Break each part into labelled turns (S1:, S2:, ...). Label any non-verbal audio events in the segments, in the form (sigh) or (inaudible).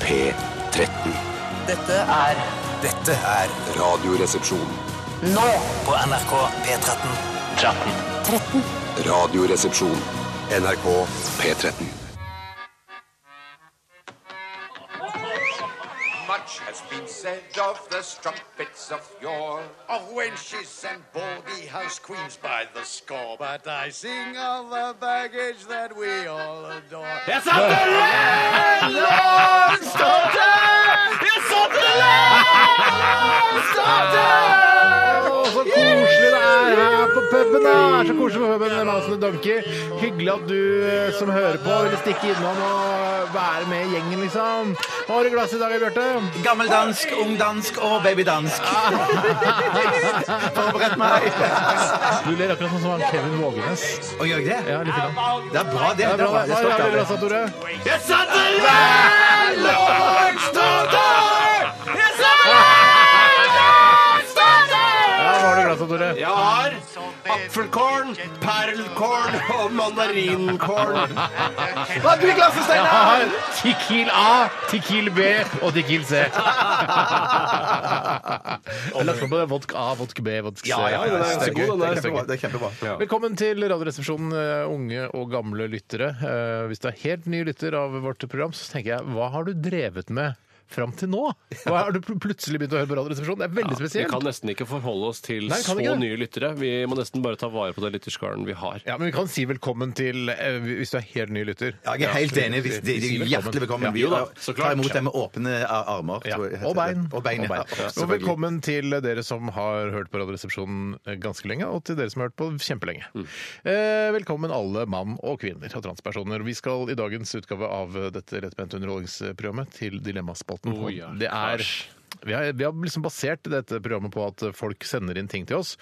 S1: P13.
S2: Dette er
S3: Dette er
S1: Radioresepsjon.
S2: nå
S3: på NRK P13.
S1: Radioresepsjon. NRK P13.
S4: Much has been said of the strumpets of yore, of wenches and baldy house queens by the score. But I sing of the baggage that we all adore. Yes,
S5: Så koselig det er her på puben! da. Det er så koselig på puben. Mads and Donkey. Hyggelig at du eh, som hører på, ville stikke innom og være med i gjengen, liksom. Hva har du i glasset i dag, Bjarte?
S6: Gammeldansk, ungdansk og babydansk. Forberedt meg.
S5: Du ler akkurat sånn som han Kevin Vågenes.
S6: Og gjør jeg det?
S5: Ja, litt grann.
S6: Det er bra, det.
S5: Det
S6: det
S5: er bra.
S6: er bra.
S5: Hva har du i
S6: Det
S5: glasset, Tore? Ja, hva har du i glasset, Tore?
S6: Jeg har apfelkorn, perlkorn og mandarinkorn. Hva har du i glasset,
S5: Jeg
S6: Steinar?
S5: har Tikil A, Tikil B og (laughs) Tikil C. Jeg har lagt på med vodk A, vodk B, vodk C.
S6: Ja, ja, den er ganske
S5: gøy.
S6: god. Den
S5: Det
S6: er
S5: er gøy.
S6: kjempebra. Det er kjempebra.
S5: Velkommen til Radioresepsjonen, eh, unge og gamle lyttere. Eh, Hvis du er helt ny lytter av vårt program, så tenker jeg hva har du drevet med fram til nå? Hva Har du pl- plutselig begynt å høre på Radioresepsjonen? Det er veldig
S7: Vi kan
S5: spesielt.
S7: nesten ikke forholde oss til
S5: Nei, vi kan
S7: så
S5: ikke det.
S7: nye lyttere. Vi må nesten bare ta vare på den lytterskaren vi har.
S5: Ja, men Vi kan si velkommen til eh, hvis du er helt ny lytter.
S6: Ja, jeg er helt enig. Hvis de, de, er hjertelig velkommen. Vi
S7: jo da, så klart.
S6: tar imot dem med åpne ar- armer.
S5: Ja.
S6: tror jeg heter
S5: Og bein.
S6: det. Og bein, ja.
S5: Og
S6: Selvfølgelig.
S5: velkommen til dere som har hørt på Radioresepsjonen eh, ganske lenge, og til dere som har hørt på kjempelenge. Eh, Velkommen alle mann og kvinner og transpersoner. Vi skal i dagens utgave av dette lettbente underholdningsprogrammet til Dilemmaspalten.
S7: Oh, ja.
S5: Det er...
S7: Æsj.
S5: Vi har, vi har liksom basert dette programmet på at folk sender inn ting til oss,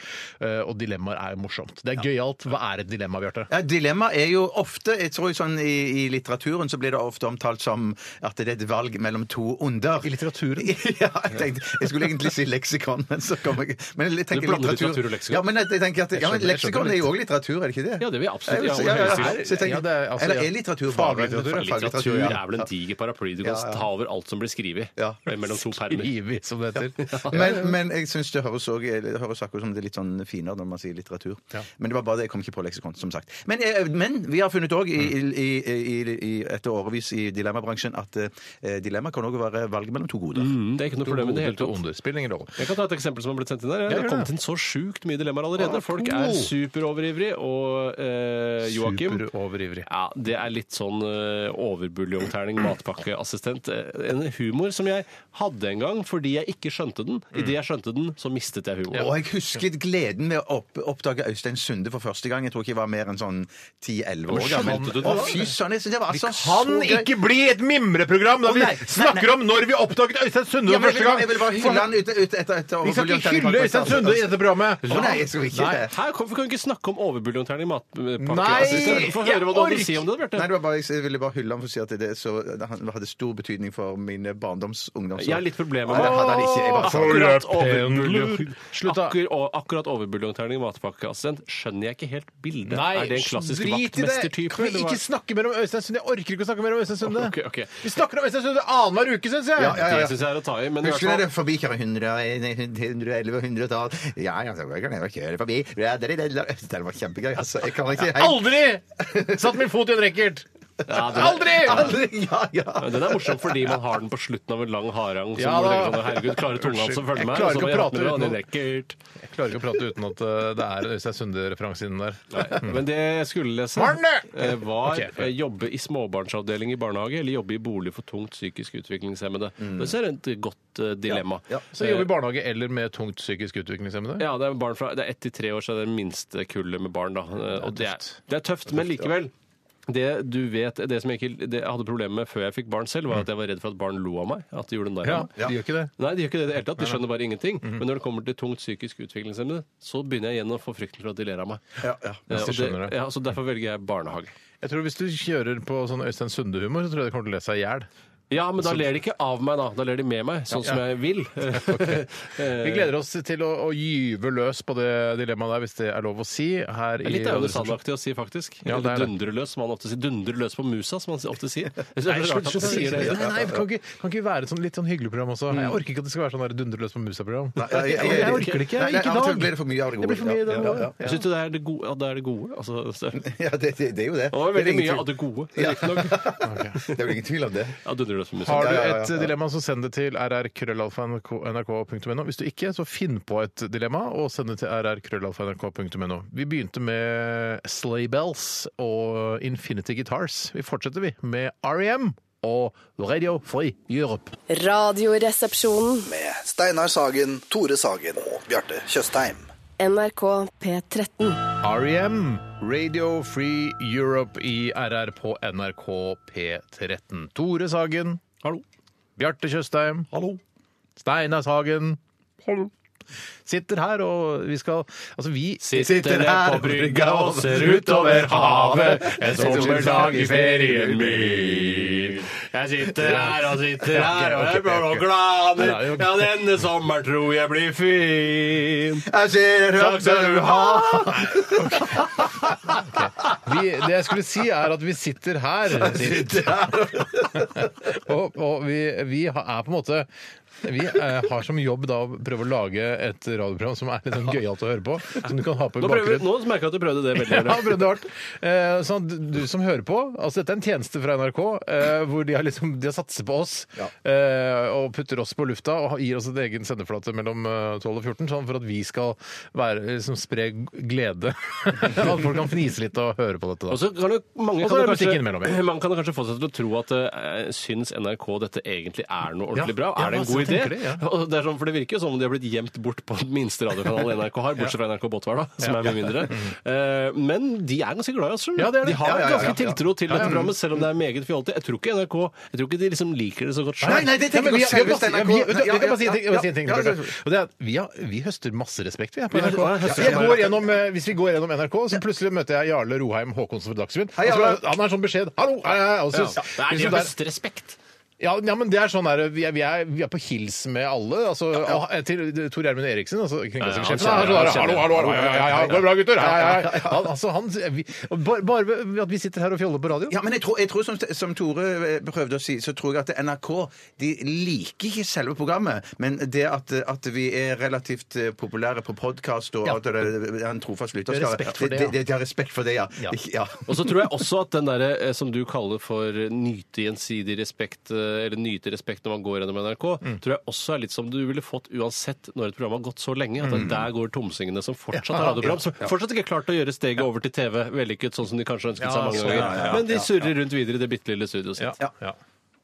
S5: eh, og dilemmaer er morsomt. Det er gøyalt. Hva er et dilemma, Bjarte?
S6: Ja, dilemma er jo ofte jeg tror jo sånn i, I litteraturen så blir det ofte omtalt som at det er et valg mellom to onder.
S5: I litteraturen?
S6: (laughs) Ja, jeg, tenkte, jeg skulle egentlig si leksikon, men så kom jeg men jeg tenker
S7: Du blander litteratur og leksikon.
S6: Ja, men jeg, jeg tenker at ja, men
S5: skjønner- jeg skjønner
S6: Leksikon er jo òg litteratur, er det ikke det?
S7: Ja, det vil jeg absolutt.
S6: Ja,
S7: Jeg
S6: ja, ja, ja. Så
S7: vil
S6: jeg tenker,
S5: Ja, det er- altså,
S6: eller
S5: ja.
S6: er litteratur bare
S5: Faglitteratur, ja.
S7: Litteratur
S6: ja.
S7: er vel en diger paraply. Du kan
S6: Ja, ja.
S7: ta over alt som blir skrevet
S6: Ja.
S7: mellom to permer.
S5: Ivy, som det heter. Eh,
S6: Men, men jeg syns det høres, også, det høres akkurat som det er litt sånn finere når man sier litteratur. Men det var bare det. Jeg kom ikke på leksikon, som sagt. Men, eh, men vi har funnet òg,
S5: Mm.
S6: etter årevis i dilemmabransjen, at eh, dilemma kan òg være valg mellom to goder.
S7: Mm, det er ikke noe problem i det hele
S5: Gode og
S7: tatt.
S5: onde. Spiller ingen rolle.
S7: Jeg kan ta et eksempel som har blitt sendt inn der. Det
S5: gjør
S7: har
S5: det.
S7: kommet inn så sjukt mye dilemmaer allerede. Folk
S5: to.
S7: er superoverivrig, og eh, Joakim
S5: Superoverivrig.
S7: ja, Det er litt sånn eh, overbuljongterning, matpakkeassistent. Eh, En humor som jeg hadde en gang fordi jeg ikke skjønte den.
S5: Mm.
S7: Idet jeg skjønte den, så mistet jeg humoren.
S6: Og jeg husket gleden med å opp, oppdage Øystein Sunde for første gang. Jeg tror ikke jeg var mer enn sånn 10-11 år gammel.
S7: skjønte du det?
S6: Å, fy søren! jeg synes Det var altså
S5: kan
S6: så gøy.
S5: ikke bli et mimreprogram når
S6: Å,
S5: vi
S6: nei, nei,
S5: snakker
S6: nei.
S5: om når vi oppdaget Øystein Sunde
S6: Ja, men
S5: for
S6: jeg, vil bare,
S5: første gang.
S6: jeg vil bare hylle han ut, ut etter, etter
S5: Vi skal ikke hylle Øystein Sunde i dette programmet.
S6: altså. Å nei, jeg skal ikke
S5: Nei.
S6: det.
S7: Her kan vi kan ikke snakke om overbuljongterning i
S5: Nei,
S7: matpakkeassistent. Få
S5: jeg
S7: høre hva du hadde
S5: ork-
S7: å si om det, Bjarte.
S6: Nei, det var bare, jeg ville bare hylle ham for å si at det, så, han hadde stor betydning for mine barndoms- og ungdomsår.
S7: Jeg har litt problemer
S6: Nei,
S7: med
S6: det hadde han ikke. Jeg bare sa det.
S7: Akkurat
S5: For jeg pendler.
S7: overbuljong-
S5: Slutt da.
S7: Akkur- og- Akkurat overbuljongterning i matpakkeassistent skjønner jeg ikke helt bildet. er det en klassisk
S5: drit i det.
S7: vaktmestertype?
S5: Kan vi
S7: eller hva?
S5: ikke snakke mer om Øystein Sunde? Jeg orker ikke å snakke mer om Øystein Sunde.
S7: Ok, ok.
S5: Vi snakker om Øystein Sunde annenhver uke, syns jeg.
S6: Ja, ja,
S7: Det syns jeg er å ta i. Men i hvert
S6: Husker
S7: fall
S6: dere forbi kjører 100, 111 og 100-tall? Ja, ja, så kan jeg bare kjøre forbi. Ja, Det det- det- det var kjempegøy, altså. Jeg kan ikke helt
S5: Aldri satt min fot i en racket!
S7: ja, den, er,
S5: Aldri!
S6: Aldri! Ja, ja.
S7: ja, den er morsom fordi man har den på slutten av en lang harang. Så
S5: Ja,
S7: hvor du
S5: da.
S7: tenker sånn, Herregud, klarer tunga hans
S5: Jeg
S7: å følge meg?
S5: klarer
S7: Og så
S5: ikke å
S7: bare, ja,
S5: prate
S7: men det var
S5: uten
S7: en racket.
S5: Jeg klarer ikke å prate uten at eh, det er en Øystein Sunde-referanse inni der.
S7: Nei, Men det jeg skulle lese,
S5: Marne!
S7: eh, var
S5: Ok, for-
S7: eh, jobbe i småbarnsavdeling i barnehage eller jobbe i bolig for tungt psykisk utviklingshemmede. Det er det et godt eh, dilemma.
S6: Ja,
S5: Så jobber i barnehage eller med tungt psykisk utviklingshemmede.
S7: Ja, det er barn fra Det er ett til tre år, så det er det minste kullet med barn. da. Eh, Og det er,
S5: tøft.
S7: det er tøft, men likevel. Det du vet, det som jeg ikke det jeg hadde problemer med før jeg fikk barn selv, var at jeg var redd for at barn lo av meg. At de gjorde narr
S5: Ja,
S7: av meg.
S5: de gjør ikke det.
S7: Nei, de gjør ikke det i det hele tatt. De skjønner bare ingenting. Men når det kommer til tungt psykisk utviklingshemmede, så begynner jeg igjen å få frykten for at de ler av meg.
S6: Ja, ja.
S7: Eh,
S5: hvis de
S7: og
S5: skjønner det.
S7: ja, så Derfor velger jeg barnehage.
S5: Jeg tror Hvis du kjører på sånn Øystein Sunde-humor, så tror jeg det kommer til å le seg i hjel.
S7: Ja, men da ler de ikke av meg, da. Da ler de med meg, sånn som jeg vil. (laughs) Eh.
S5: Vi gleder oss til å, å gyve løs på det dilemmaet der, hvis det er lov å si. Her
S7: Det er
S5: i
S7: litt Aune Sand-aktig å si, faktisk.
S5: Ja, det er
S7: Eller
S5: det.
S7: dundre løs, som han ofte sier. Dundre løs på musa, som han ofte sier. Jeg
S5: Nei,
S7: synes det er
S5: slutt,
S7: rart at
S5: slutt, slutt.
S7: han sier det. Mm.
S5: Nei, nei, kan ikke, kan ikke være sånn litt sånn hyggelig program også. Jeg orker ikke at det skal være sånn der dundreløs på musa-program.
S6: jeg- jeg-
S5: Jeg orker det
S6: Nei,
S5: ikke.
S6: nei,
S5: Ikke
S6: av
S5: i
S6: og til
S5: dag.
S6: blir det for mye av det
S5: Det blir for
S6: gode.
S5: mye av det
S6: Ja,
S5: gode.
S6: ja,
S7: Jeg syns jo det er det gode. Ja, det er det gode. Altså, så- det
S6: Ja, det, det, det er jo det.
S7: var
S6: Det er
S7: veldig
S6: ingen
S7: mye
S6: tvil-
S7: av det gode. riktignok.
S6: Det er jo ingen tvil om det.
S7: Ja, dundre løs på musa.
S5: Har du
S6: Ja, ja, ja,
S5: et
S6: ja.
S5: dilemma, så send det til rrkrøllalfa.nrk.no. Hvis du ikke, så finn på et dilemma og send det til rrkrøllalfa.nrk.no. Vi begynte med Sleigh Bells og Infinity Guitars. Vi fortsetter, vi, med REM og Radio Free Europe.
S8: Radioresepsjonen.
S9: med Steinar Sagen, Tore Sagen og Bjarte Tjøstheim.
S8: NRK P13.
S5: REM, E Radio Free Europe i RR på NRK P13. Tore Sagen.
S7: Hallo.
S5: Bjarte Tjøstheim.
S7: Hallo.
S5: Steinar Sagen. Sitter her, og vi skal Altså, vi
S7: Sitter jeg på brygga og ser utover havet En sommerdag i ferien min Jeg sitter her og sitter her og jeg blir så glad Ja, denne sommeren tror jeg blir fin Takk skal du ha
S5: Vi, det jeg skulle si er at vi sitter
S7: (laughs)
S5: her. og og vi, vi ha- er på en måte vi eh, har som jobb da å prøve å lage et radioprogram som er litt sånn gøyalt å høre på. Som du kan ha på i
S7: Nå, prøver,
S5: bakgrunnen.
S7: nå merker jeg at du prøvde det veldig
S5: Ja,
S7: hardt.
S5: Brødre Hart. Eh, sånn, du du som hører på, altså dette er en tjeneste fra NRK eh, hvor de har, liksom, de har satset på oss eh, og putter oss på lufta og gir oss en egen sendeflate mellom eh, 12 og 14, sånn for at vi skal være, liksom, spre glede. (laughs) at folk kan fnise litt og høre på dette. Da.
S7: Og så kan jo, mange
S5: Og så er
S7: kan jo
S5: det musikk
S7: kanskje,
S5: innimellom, ja.
S7: man kan jo kanskje få seg til å tro at eh, syns NRK dette egentlig er noe ordentlig
S5: Ja,
S7: bra?
S5: ja,
S7: Er det en
S5: altså,
S7: god
S5: jeg
S7: idé?
S5: tenker det, ja.
S7: (laughs) Og det, er sånn, for det virker jo som om de har blitt gjemt bort på den minste
S5: (laughs)
S7: radiokanalen NRK har, bortsett fra NRK Båtvær, da, som er mye mindre. Eh, men de er ganske glad i oss sjøl.
S5: Mm. Ja, det er det.
S7: De har
S5: Ja, ja, ja,
S7: ganske
S5: ja.
S7: tiltro til dette programmet, selv om det er meget fjollete. Jeg tror ikke NRK Jeg tror ikke de liksom liker det så godt sjøl.
S6: Nei, nei, det
S5: Ja,
S6: tenker
S5: men vi-
S6: jeg
S5: vi-
S6: på.
S5: vi- vi- vet du, Jeg kan bare si en ting. jeg kan si en ting
S6: Ja, ja,
S5: Bjarte.
S6: ja.
S5: Og det er at vi, har, vi høster masse respekt, vi her på
S7: Vi høster-
S5: NRK.
S7: ja, høster-
S5: Jeg går gjennom, eh, hvis vi går gjennom NRK, så plutselig møter jeg Jarle Roheim Haakonsen fra Dagsrevyen.
S6: Hei,
S5: Han
S6: Jarle.
S5: skal- Han har sånn beskjed 'hallo', hei, hei. Og så,
S7: Det er
S5: liksom
S7: de
S5: der-
S7: høster respekt.
S5: Ja, ja, men det er sånn der, vi, er, vi, er, vi er på hils med alle. Altså, og, eh, til Tor Gjermund Eriksen, altså kringkastingssjefen.
S7: Ja, ja, han
S5: han er
S7: kjenner-
S5: sånn der, hallo, hallo, hallo, ja, ja, ja, ja, går det bra, gutter? Hei, hei, hei. Han, altså, han, vi, og bare, bare ved at vi sitter her og fjoller på radio.
S6: Ja, men jeg tror, jeg tror som, som Tore eh, prøvde å si, så tror jeg at NRK de liker ikke selve programmet, men det at, at vi er relativt eh, populære på podkast og
S5: Ja.
S6: at det er en trofast
S5: Det er
S6: lytterskare
S5: respekt for det,
S6: de, de, de har respekt for det, (laughs) ja.
S5: Ja.
S6: Ikke- ja.
S7: Og så tror jeg også at den derre eh, som du kaller for nyte gjensidig respekt, eh, eller nyte respekt når man går gjennom NRK,
S5: Mm.
S7: tror jeg også er litt som du ville fått uansett når et program har gått så lenge,
S5: Mm.
S7: at det der går tomsingene som fortsatt har radioprogram, som fortsatt ikke har klart å gjøre steget over til TV vellykket, sånn som de kanskje ønsket seg mange
S5: sånn,
S7: ganger.
S5: ja, ja, ja.
S7: Men de surrer rundt videre i det bitte lille studioet sitt.
S5: Ja. ja.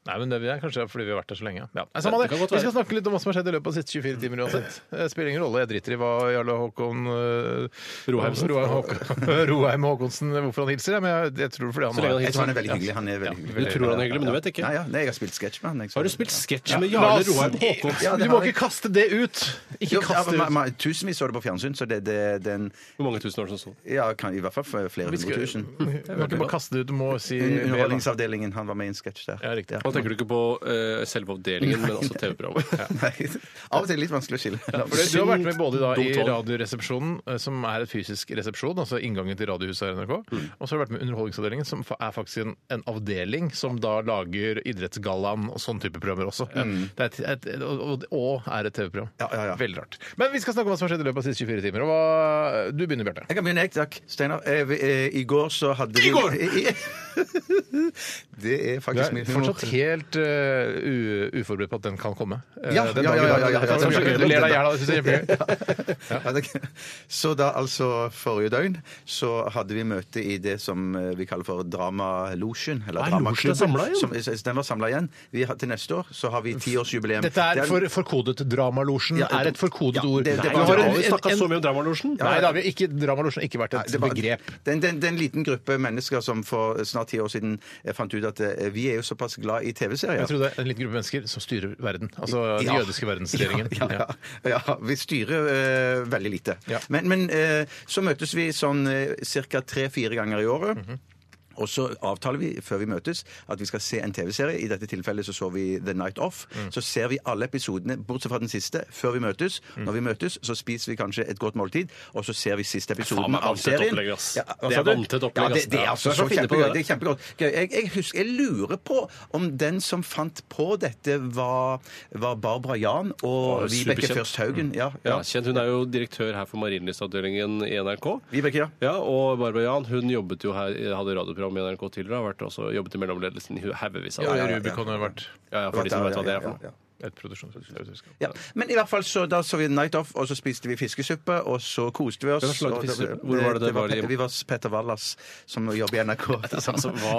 S5: Nei, men det er kanskje fordi vi har vært der så lenge. Ja. Nei,
S7: Det
S5: samme det.
S7: kan godt
S5: Vi skal
S7: være.
S5: snakke litt om hva som har skjedd i løpet av de siste 24 timer uansett. Det spiller ingen rolle. Jeg driter i hva Jarle Håkon eh,
S7: Roheimsen.
S5: Roheim, Håkon, (laughs) Roheim Håkonsen Hvorfor han hilser, jeg, men jeg, jeg tror fordi han
S7: Så lenge han
S6: Jeg
S7: hilser.
S6: tror han er veldig hyggelig. Han er veldig
S7: Du
S6: hyggelig.
S7: tror han er hyggelig, men du vet ikke.
S6: Nei, ja, nei, jeg har spilt sketsj med han. jeg, så-
S7: Har du spilt sketsj
S5: Ja,
S7: med
S5: la
S7: Jarle
S5: oss-
S7: Roheim Håkonsen?
S6: Ja, det
S5: Du må
S6: har jeg.
S5: ikke kaste det ut!
S6: Jo,
S5: Ikke
S6: ja,
S5: kast det
S6: men ma-
S5: ut.
S6: ma- Tusenvis så det på fjernsyn, så det, det den
S7: Hvor mange tusen år som sånn? så?
S6: Ja, kan, i hvert fall flere hundre
S5: skal-
S6: tusen.
S5: Du må ikke bare kaste det ut, du må si mer. da.
S6: Underholdningsavdelingen, han var med i en sketsj der.
S5: Ja, riktig.
S7: Da tenker du ikke på eh, selve avdelingen, men altså TV-programmet.
S6: (laughs) Nei, Av og til litt vanskelig å skille.
S5: For det- Du har vært med både da, i
S7: Dumt valg.
S5: Radioresepsjonen, eh, som er et fysisk resepsjon, altså inngangen til Radiohuset her i NRK,
S6: Mm.
S5: og så har du vært med i Underholdningsavdelingen, som fa- er faktisk en, en avdeling som da lager Idrettsgallaen og sånn type programmer også. Det er et, et, og, og- og er et TV-program.
S6: Mm. Ja, ja, ja.
S5: Veldig rart. Men vi skal snakke om hva som har skjedd i løpet av de siste 24 timer. Og hva, du begynner, Bjarte.
S6: Jeg kan begynne, jeg. Takk. Steinar. Eh, vi- eh, I går så hadde vi (laughs) I
S5: går!
S6: det er
S5: Du
S6: faktisk
S5: er
S6: min
S5: fortsatt helt eh, u, uforberedt på at den kan komme. Eh,
S6: Ja,
S5: den
S6: ja,
S5: dagen-
S6: ja, ja, ja, ja.
S5: Det er så gøy. Du ler deg i hjel av det,
S6: (laughs)
S5: synes jeg er kjempegøy.
S6: Ja, det- Så da altså forrige døgn så hadde vi møte i det som eh, vi kaller for Dramalosjen. Eller
S7: Er losjen samlet igjen?
S6: som- s- Den var samla igjen. Vi har, til neste år så har vi tiårsjubileum.
S5: Dette
S6: Det
S5: er for, forkodet dramalosjen.
S6: Ja,
S5: er et forkodet
S6: ja,
S5: ord.
S6: det- det
S5: Nei,
S6: var-
S5: vi har
S6: det
S5: en-
S6: var-
S7: vi
S5: en-
S7: snakket
S5: en-
S7: så mye om Dramalosjen.
S5: Nei, det har vi ikke, dramalosjen har ikke vært
S6: Nei,
S5: et
S6: det var-
S5: begrep.
S6: Den, den, den liten gruppe mennesker som for snart ti år siden eh, fant ut at eh, vi er jo såpass glad i TV-serier.
S5: Jeg tror det er en liten gruppe mennesker som styrer verden. Altså den
S6: Ja.
S5: jødiske verdensregjeringen.
S6: Ja, ja, ja. ja vi styrer eh, veldig lite.
S5: Ja.
S6: eh,
S7: Mhm.
S6: Men, men eh, så møtes vi sånn uh, ca. tre-fire ganger i året. Og så avtaler vi før vi møtes at vi skal se en TV-serie. I dette tilfellet så så vi The Night Off.
S7: Mm.
S6: Så ser vi alle episodene, bortsett fra den siste, før vi møtes.
S7: Mm.
S6: Når vi møtes, så spiser vi kanskje et godt måltid, og så ser vi siste episoden
S7: meg
S6: av
S7: vanntett
S6: serien.
S7: opplegg, ass.
S6: Ja, hva
S7: Det
S6: sa
S7: er
S6: du?
S7: vanntett opplegg,
S6: Ja, det, det er
S7: ass.
S6: altså
S7: Ja,
S6: så
S7: så finne på
S6: kjempegøy.
S7: det.
S6: Det er kjempegodt. Gøy. Jeg, jeg husker, jeg lurer på om den som fant på dette, var, var Barbara Jahn og
S7: Å,
S6: Vibeke
S7: superkjent. Mm.
S6: Først Haugen. Ja,
S7: Ja,
S6: ja.
S7: kjent. Hun er jo direktør her for Marienlystavdelingen i NRK.
S6: Vibeke, ja.
S7: Ja, og Barbara Jan hun jobbet jo her, hadde radioprogram i NRK tidligere. Har vært også jobbet i mellomledelsen i haugevis av
S5: Ja,
S7: år.
S6: ja, ja.
S5: Rubicon har vært
S7: Ja, ja, for de som vet hva det er for
S6: Ja,
S7: noe.
S6: ja.
S5: et produksjonsselskap.
S6: Ja, Men i hvert fall så da så vi Night Off, og så spiste vi fiskesuppe, og så koste vi oss.
S7: Hvem slaget
S6: og da-
S7: fiskesuppe? Hvor var det det var i-
S6: Pe- Vi var hos Petter Wallas, som jobber i
S7: (laughs)
S6: NRK.
S7: Altså,
S6: (laughs)
S7: hva?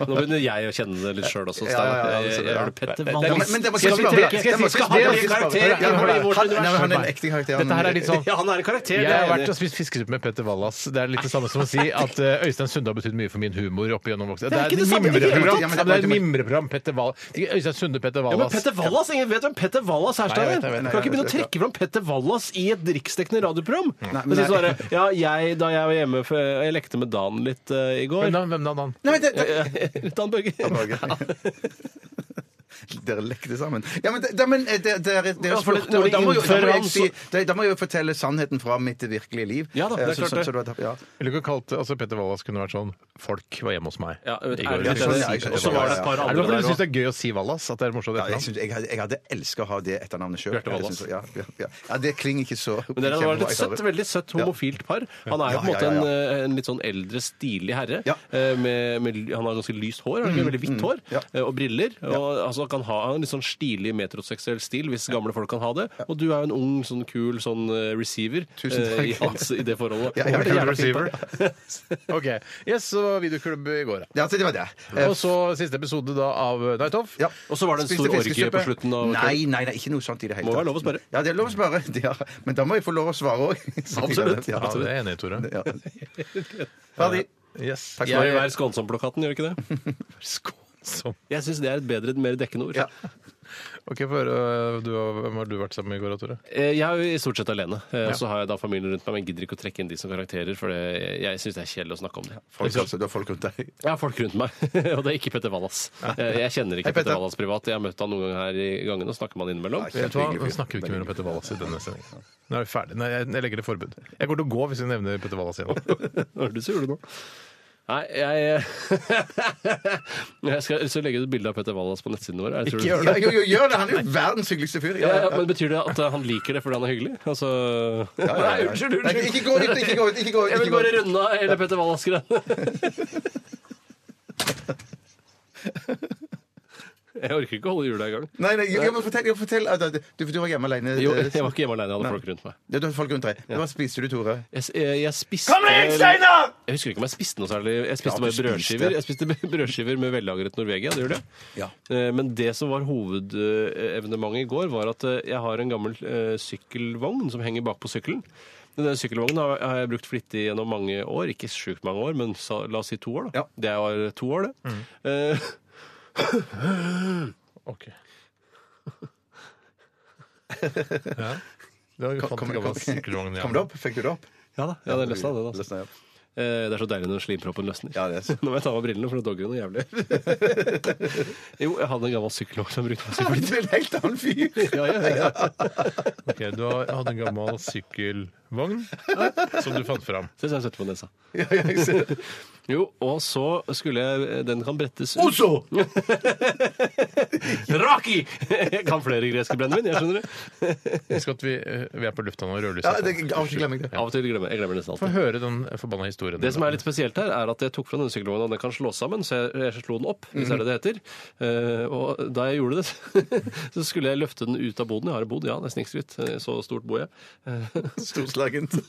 S7: Nå begynner jeg å kjenne det litt sjøl også. Steinar.
S6: Ja, ja, ja,
S7: Jeg- jeg-
S6: ja.
S7: Er det Petter
S6: Ja, men-
S7: Wallis?
S6: men det må-
S7: Skal vi
S6: skal vi-
S7: trekke-
S6: skal vi-
S7: skal
S6: skal vi-
S7: vi trekke
S6: skal vi-
S7: karakter?
S6: Ja,
S7: Han er i vårt
S6: han- nei, men han er
S7: univers.
S6: en ekte karakter.
S5: Dette her er litt sånn
S7: Ja, han er en karakter.
S5: Jeg
S7: det er
S5: har
S7: jeg
S5: vært
S7: enig i.
S5: og spist fiskesuppe med Petter Wallas. Det er litt det samme som å si at eh, Øystein Sunde har betydd mye for min humor. opp igjennom voksen. Det
S7: ikke
S5: er
S7: det
S5: et
S7: samme i det hele
S5: mimreprogram.
S6: tatt.
S5: Ja, men Det er et mimreprogram. Petter Wall- Ikke Øystein Sunde, Petter
S7: Ja, men
S5: Wallas.
S7: Petter Wallas, Ingen vet hvem Petter Wallas er,
S5: Nei, jeg vet,
S7: Steiner.
S5: jeg vet,
S7: Du
S5: nei,
S7: kan ikke
S6: jeg
S7: begynne å
S6: vet, ja.
S7: trekke fram Petter Wallas i et riksdekkende radioprogram.
S6: Nei,
S7: Men si
S6: nei.
S7: sånn der, ja, jeg, da jeg var hjemme for, Jeg lekte med Dan litt eh, i
S5: Hvem
S7: går. (laughs)
S5: da? Hvem da? Dan?
S6: Nei, men det, det,
S7: Dan Børge. (laughs)
S6: (laughs) dere lekte sammen. Ja, men, det, det, men eh, det, dere, dere
S7: for det-
S6: spurte,
S7: når
S6: og
S7: de
S6: da må jo, da
S7: innfører
S6: må
S7: han,
S6: jeg si, det, da må jeg jo fortelle sannheten fra mitt virkelige liv.
S7: Ja da, det er
S6: Eh, så-
S7: klart
S6: så-
S7: det.
S6: så det var- ja.
S5: Eller ikke kalt, altså Petter Wallas kunne vært sånn Folk var hjemme hos meg.
S7: Ja,
S5: i går.
S7: ærlig, det
S6: skjønner
S7: er det.
S6: jeg, jeg
S7: Og så var det et par
S5: Er det
S7: andre
S5: derfor
S7: der
S5: du syns
S7: også.
S5: det er gøy å si Wallas? At det er
S6: Ja,
S5: morsomt
S6: jeg,
S5: etternavn?
S6: synes, jeg, hadde, jeg hadde elsket å ha det etternavnet sjøl.
S7: Bjarte Wallas.
S6: Ja, ja, ja. ja, det klinger ikke så
S7: Men dere var et
S6: kjempebra, jeg
S7: søtt,
S6: hører.
S7: veldig søtt homofilt par. Han er jo
S6: Ja,
S7: på en måte
S6: ja, ja,
S7: En, eh, en litt sånn eldre, stilig herre.
S6: Ja. Mm,
S7: eh, Med, med, han har ganske lyst hår, han har veldig hvitt hår,
S6: ja.
S7: eh, og briller. Og, altså, han kan ha en litt sånn stilig metroseksuell stil, hvis gamle folk kan ha det. Og du er jo en ung, sånn kul sånn eh, receiver
S6: Tusen
S7: eh, i,
S6: takk.
S7: hans, i det forholdet.
S6: Ja, ja,
S5: Jævla
S6: ja.
S5: receiver. OK. Yes, så var videoklubb i går, ja.
S6: Ja, så det var det. Eh,
S5: Og så siste episode da av eh, Night Off.
S6: Ja.
S7: Og så var det en
S6: Spiste
S7: stor orgie
S6: fiskesuppe.
S7: på slutten av-
S6: Nei, nei, nei, ikke noe sånt i det hele
S7: Må være lov å spørre.
S6: Ja, det er lov å spørre. (laughs) Ja. Men da må jeg få lov å svare òg. (laughs)
S7: Absolutt.
S6: Ja,
S5: Ja, det er jeg enig i, Tore.
S7: (laughs)
S6: ja. Ferdig.
S5: Yes.
S6: Takk
S7: Jeg
S6: skal
S7: vil
S6: du ha.
S7: være skånsom plakaten, gjør du ikke
S6: (laughs)
S7: det?
S5: Skånsom.
S7: Jeg syns det er et bedre, mer dekkende ord.
S6: Ja.
S5: Ok, få høre. eh, du og- Hvem har du vært sammen med i går, da, Tore?
S7: Eh, Jeg er jo i stort sett alene, eh, og så har jeg da familien rundt meg, men jeg gidder ikke å trekke inn de som karakterer, for det, jeg syns det er kjedelig å snakke om det.
S6: Folk, altså, du har folk rundt deg.
S7: Jeg har folk rundt meg, (laughs) og det er ikke Petter Wallas. Eh, Jeg kjenner ikke
S6: Hei, Petter.
S7: Petter Wallas privat. Jeg har møtt han noen ganger her i gangen, og snakker man innimellom.
S5: Vet du hva? Nå snakker vi ikke mer om Petter Wallas i denne sendingen. Nå er vi ferdig. Nei, jeg jeg legger det forbud. Jeg kommer til å gå hvis vi nevner Petter Wallas
S6: (laughs)
S5: igjen.
S7: Hva er det du sier nå? Nei, jeg eh, (laughs) Jeg skal så legge ut et bilde av Petter Wallas på nettsiden vår. Jeg tror
S5: Ikke gjør
S6: Ja, jo, jo, gjør det! Han er jo verdens hyggeligste fyr.
S7: Ja, ja, men Betyr det at eh, han liker det fordi han er hyggelig? Altså Nei, unnskyld,
S6: Nei,
S7: unnskyld!
S6: Ikke gå ut, ikke gå ut! ikke gå ut,
S7: Jeg vil
S6: ikke gå
S7: bare
S6: ut.
S7: runde av hele Petter Wallas-greia. Jeg orker ikke å holde hjula i gang.
S6: Nei, nei, jeg må fortelle, jeg må fortelle. Ah, da, Du, du var hjemme alene.
S7: Jo, jeg var ikke hjemme alene, jeg hadde folk rundt meg.
S6: Ja, Du hadde folk rundt deg. Hva spiste du, Tore?
S7: Jeg, s- eh, jeg spiste Kom igjen, Steinar! Jeg husker ikke om jeg spiste noe særlig. Jeg spiste
S6: Ja, du
S7: bare brødskiver. Jeg spiste (laughs) brødskiver med vellagret Norvegia. Det gjorde jeg. Eh, Men det som var hovedevenementet i går, var at eh, jeg har en gammel eh, sykkelvogn som henger bakpå sykkelen. Denne sykkelvognen har har jeg brukt flittig gjennom mange år. Ikke sjukt mange år, men sa, la oss si to år.
S6: Ja.
S7: da. Det var to år, det. Eh,
S5: Ok. Ja. Du har jo fant en gammel sykkelvogn
S6: kom det opp? Fikk du det opp?
S7: (laughs) ja da, ja, det er løsna, det. da.
S6: Løsna, ja.
S7: Eh, Det er så deilig når slimproppen løsner.
S6: Ja, det er så-
S7: (laughs) Nå må jeg ta av meg brillene, for det dogger jo noe jævlig. (laughs) jo, jeg hadde en gammel sykkelvogn som brukte meg (laughs) som
S6: Du er en helt annen fyr!
S7: Ja, ja, ja.
S5: Ok, Du har- hadde en gammel sykkelvogn som du fant fram.
S7: Det skal jeg sette på nesa.
S6: (laughs) Ja, ja, jeg ser det.
S7: Jo, og så skulle jeg Den kan brettes ut.
S6: Ozo!
S7: (laughs) Raki! Jeg kan flere greske brennevin, jeg skjønner det.
S5: Husk at vi, eh, vi er på lufta nå. Rødlys.
S6: Ja, det, av og til glemmer jeg det.
S7: Av og til glemmer jeg glemmer nesten
S5: Få
S7: alltid.
S5: høre den forbanna historien.
S7: Det som er litt spesielt her, er at jeg tok fra denne sykkelvogna, og den kan slås sammen, så jeg, jeg slo den opp, hvis det er det det heter. Eh, og da jeg gjorde det, (laughs) så skulle jeg løfte den ut av boden. Jeg har en bod, ja, det er snikskritt. Eh, Så stort bor jeg. Eh,
S6: Storslagent.
S7: (laughs)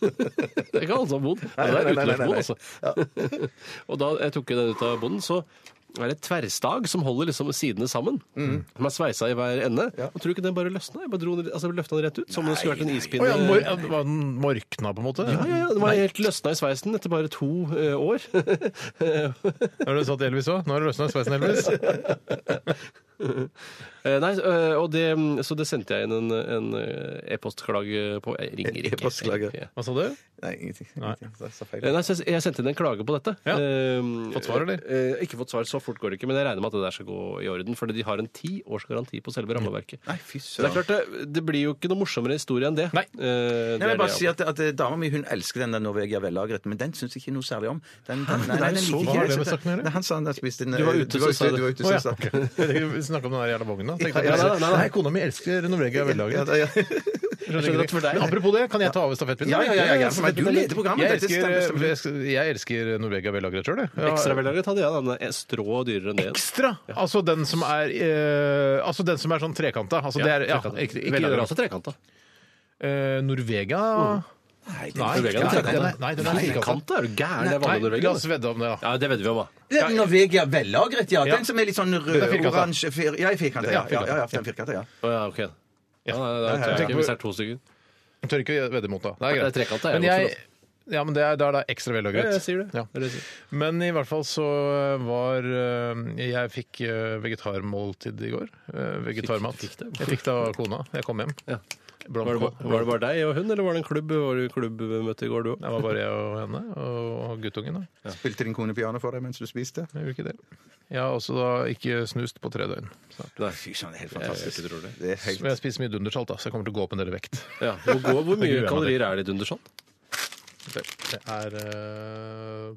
S7: Det er ikke alle som har bodd.
S6: Nei,
S7: Det er
S6: nei, nei, nei,
S7: utenlandsbod,
S6: nei.
S7: altså. (laughs) og da jeg tok den ut av bonden, så er det et tverrstag som holder liksom sidene sammen.
S6: Mm.
S7: Som er sveisa i hver ende. Og tror du ikke den bare løsna? Jeg bare dro den, altså, løfta den rett ut, som om det skulle vært en ispinne.
S5: Å ja, mor ja, var den morkna, på en måte?
S7: Ja, ja, ja, Den var helt løsna i sveisen etter bare to eh, år. (laughs)
S5: Har du satt Elvis òg? Nå har du løsna sveisen, Elvis.
S7: Eh, Nei, eh, og det, så det sendte jeg inn en, en eh, e-postklage på. Jeg ringer ikke.
S6: E-postklage.
S7: Ja.
S5: Hva sa du?
S6: Nei, ingenting. ingenting. Så jeg sa feil.
S7: Eh, Nei, så jeg- jeg sendte inn en klage på dette.
S5: Ja.
S7: Eh,
S5: Fått svar, eller?
S7: eh, Ikke fått svar. Så fort går det ikke. Men jeg regner med at det der skal gå i orden, fordi de har en ti års garanti på selve rammeverket.
S6: Nei, fy
S7: Så
S6: søren.
S7: det er klart, det, det blir jo ikke noe morsommere historie enn det.
S5: Nei.
S7: Eh, det
S6: Nei,
S7: er
S6: men jeg bare
S7: det,
S6: si at, at eh, Dama mi hun elsker den der Norvegia vellagret, men den syns jeg ikke noe særlig om. Den, den, nei, nei, den
S5: så-
S6: liker
S5: hva har det
S6: jeg
S5: med
S6: ikke.
S5: saken å gjøre?
S6: Nei, Han sa han der spiste den
S7: Du var ute, så sa du.
S6: du var ute,
S5: Å,
S6: så
S5: ja.
S6: sa
S5: ok. (laughs) Vi snakka om den der jævla vogna. Tenkte at-
S6: Ja,
S7: nei, nei, nei.
S5: Nei, kona mi elsker Norvegia
S6: Ja,
S5: vellaget.
S6: da, ja.
S5: Skjønner
S7: skjønner
S5: ikke
S7: at for
S5: det.
S7: deg-
S5: Men apropos det, kan jeg ta over stafettpinnen?
S6: Ja, ja, ja, ja, ja, for meg, du leder programmet,
S5: Jeg
S6: dette stemmer,
S5: elsker,
S6: stemmer.
S5: jeg elsker, jeg elsker Norvegia vellaget sjøl, jeg.
S7: ja.
S5: Ja,
S7: Ekstra vellagret hadde jeg, da. men en Strå dyrere enn det. igjen.
S5: Ekstra! Altså den som er, eh, altså den som er sånn trekanta. Altså det er, ja,
S7: trekant.
S5: ikke, ikke,
S7: Vellagret er også trekanta.
S5: Eh, Norvegia
S6: Mm. Nei, den-
S5: Nei,
S7: Norvegia er
S5: nei,
S7: trekanta.
S5: den er- nei, den er firkanta.
S7: Trekanta er du gæren? Det
S5: Nei,
S7: er vanlig Norvegia.
S5: La oss vedde om det, da.
S7: Ja, det vedder vi om, da.
S6: Det er Norvegia vellagret, ja.
S5: Ja.
S6: Den som er litt sånn
S5: firkantet.
S6: rød-oransje fir- Ja, i firkantet. Ja,
S5: Ja,
S6: ja,
S5: firkantet.
S6: ja, ja, den firkantet, ja.
S7: Å ja, ok. Ja, nei, nei,
S5: ja,
S7: nei,
S5: ja.
S7: ikke, hvis det er to stykker.
S5: Jeg tør ikke vedde mot det. Det er
S7: Det er
S5: greit.
S7: trekant, det er
S5: Men
S7: godt
S5: jeg, ja, men det er, det er da ekstra vellagret.
S7: Ja, jeg sier det.
S5: Ja.
S7: Det er det jeg sier.
S5: Men i hvert fall så var eh, Jeg fikk eh, vegetarmåltid i går. Eh, Vegetarmat.
S7: Fikk- fikk det?
S5: Jeg fikk det av kona. Jeg kom hjem.
S7: Ja. Var, det
S5: Blomkål.
S7: bare, var det bare deg og hun, eller var det en klubb? Var det klubbmøte i går, du òg?
S5: Det var bare jeg og henne og guttungen. da.
S6: Spilte din kone piano for deg mens du spiste?
S5: Jeg gjorde ikke det. Jeg har også da ikke snust på tre døgn.
S6: Fy søren, det er helt fantastisk.
S7: tror det.
S6: Eh, Det er helt
S5: Men jeg spiser mye dundersalt, da, så jeg kommer til å gå opp en del i vekt.
S7: Ja. Hvor, går- hvor
S5: Jeg
S7: mye
S5: gruer meg
S7: kalorier er det i et undersalt?
S5: Det det er eh,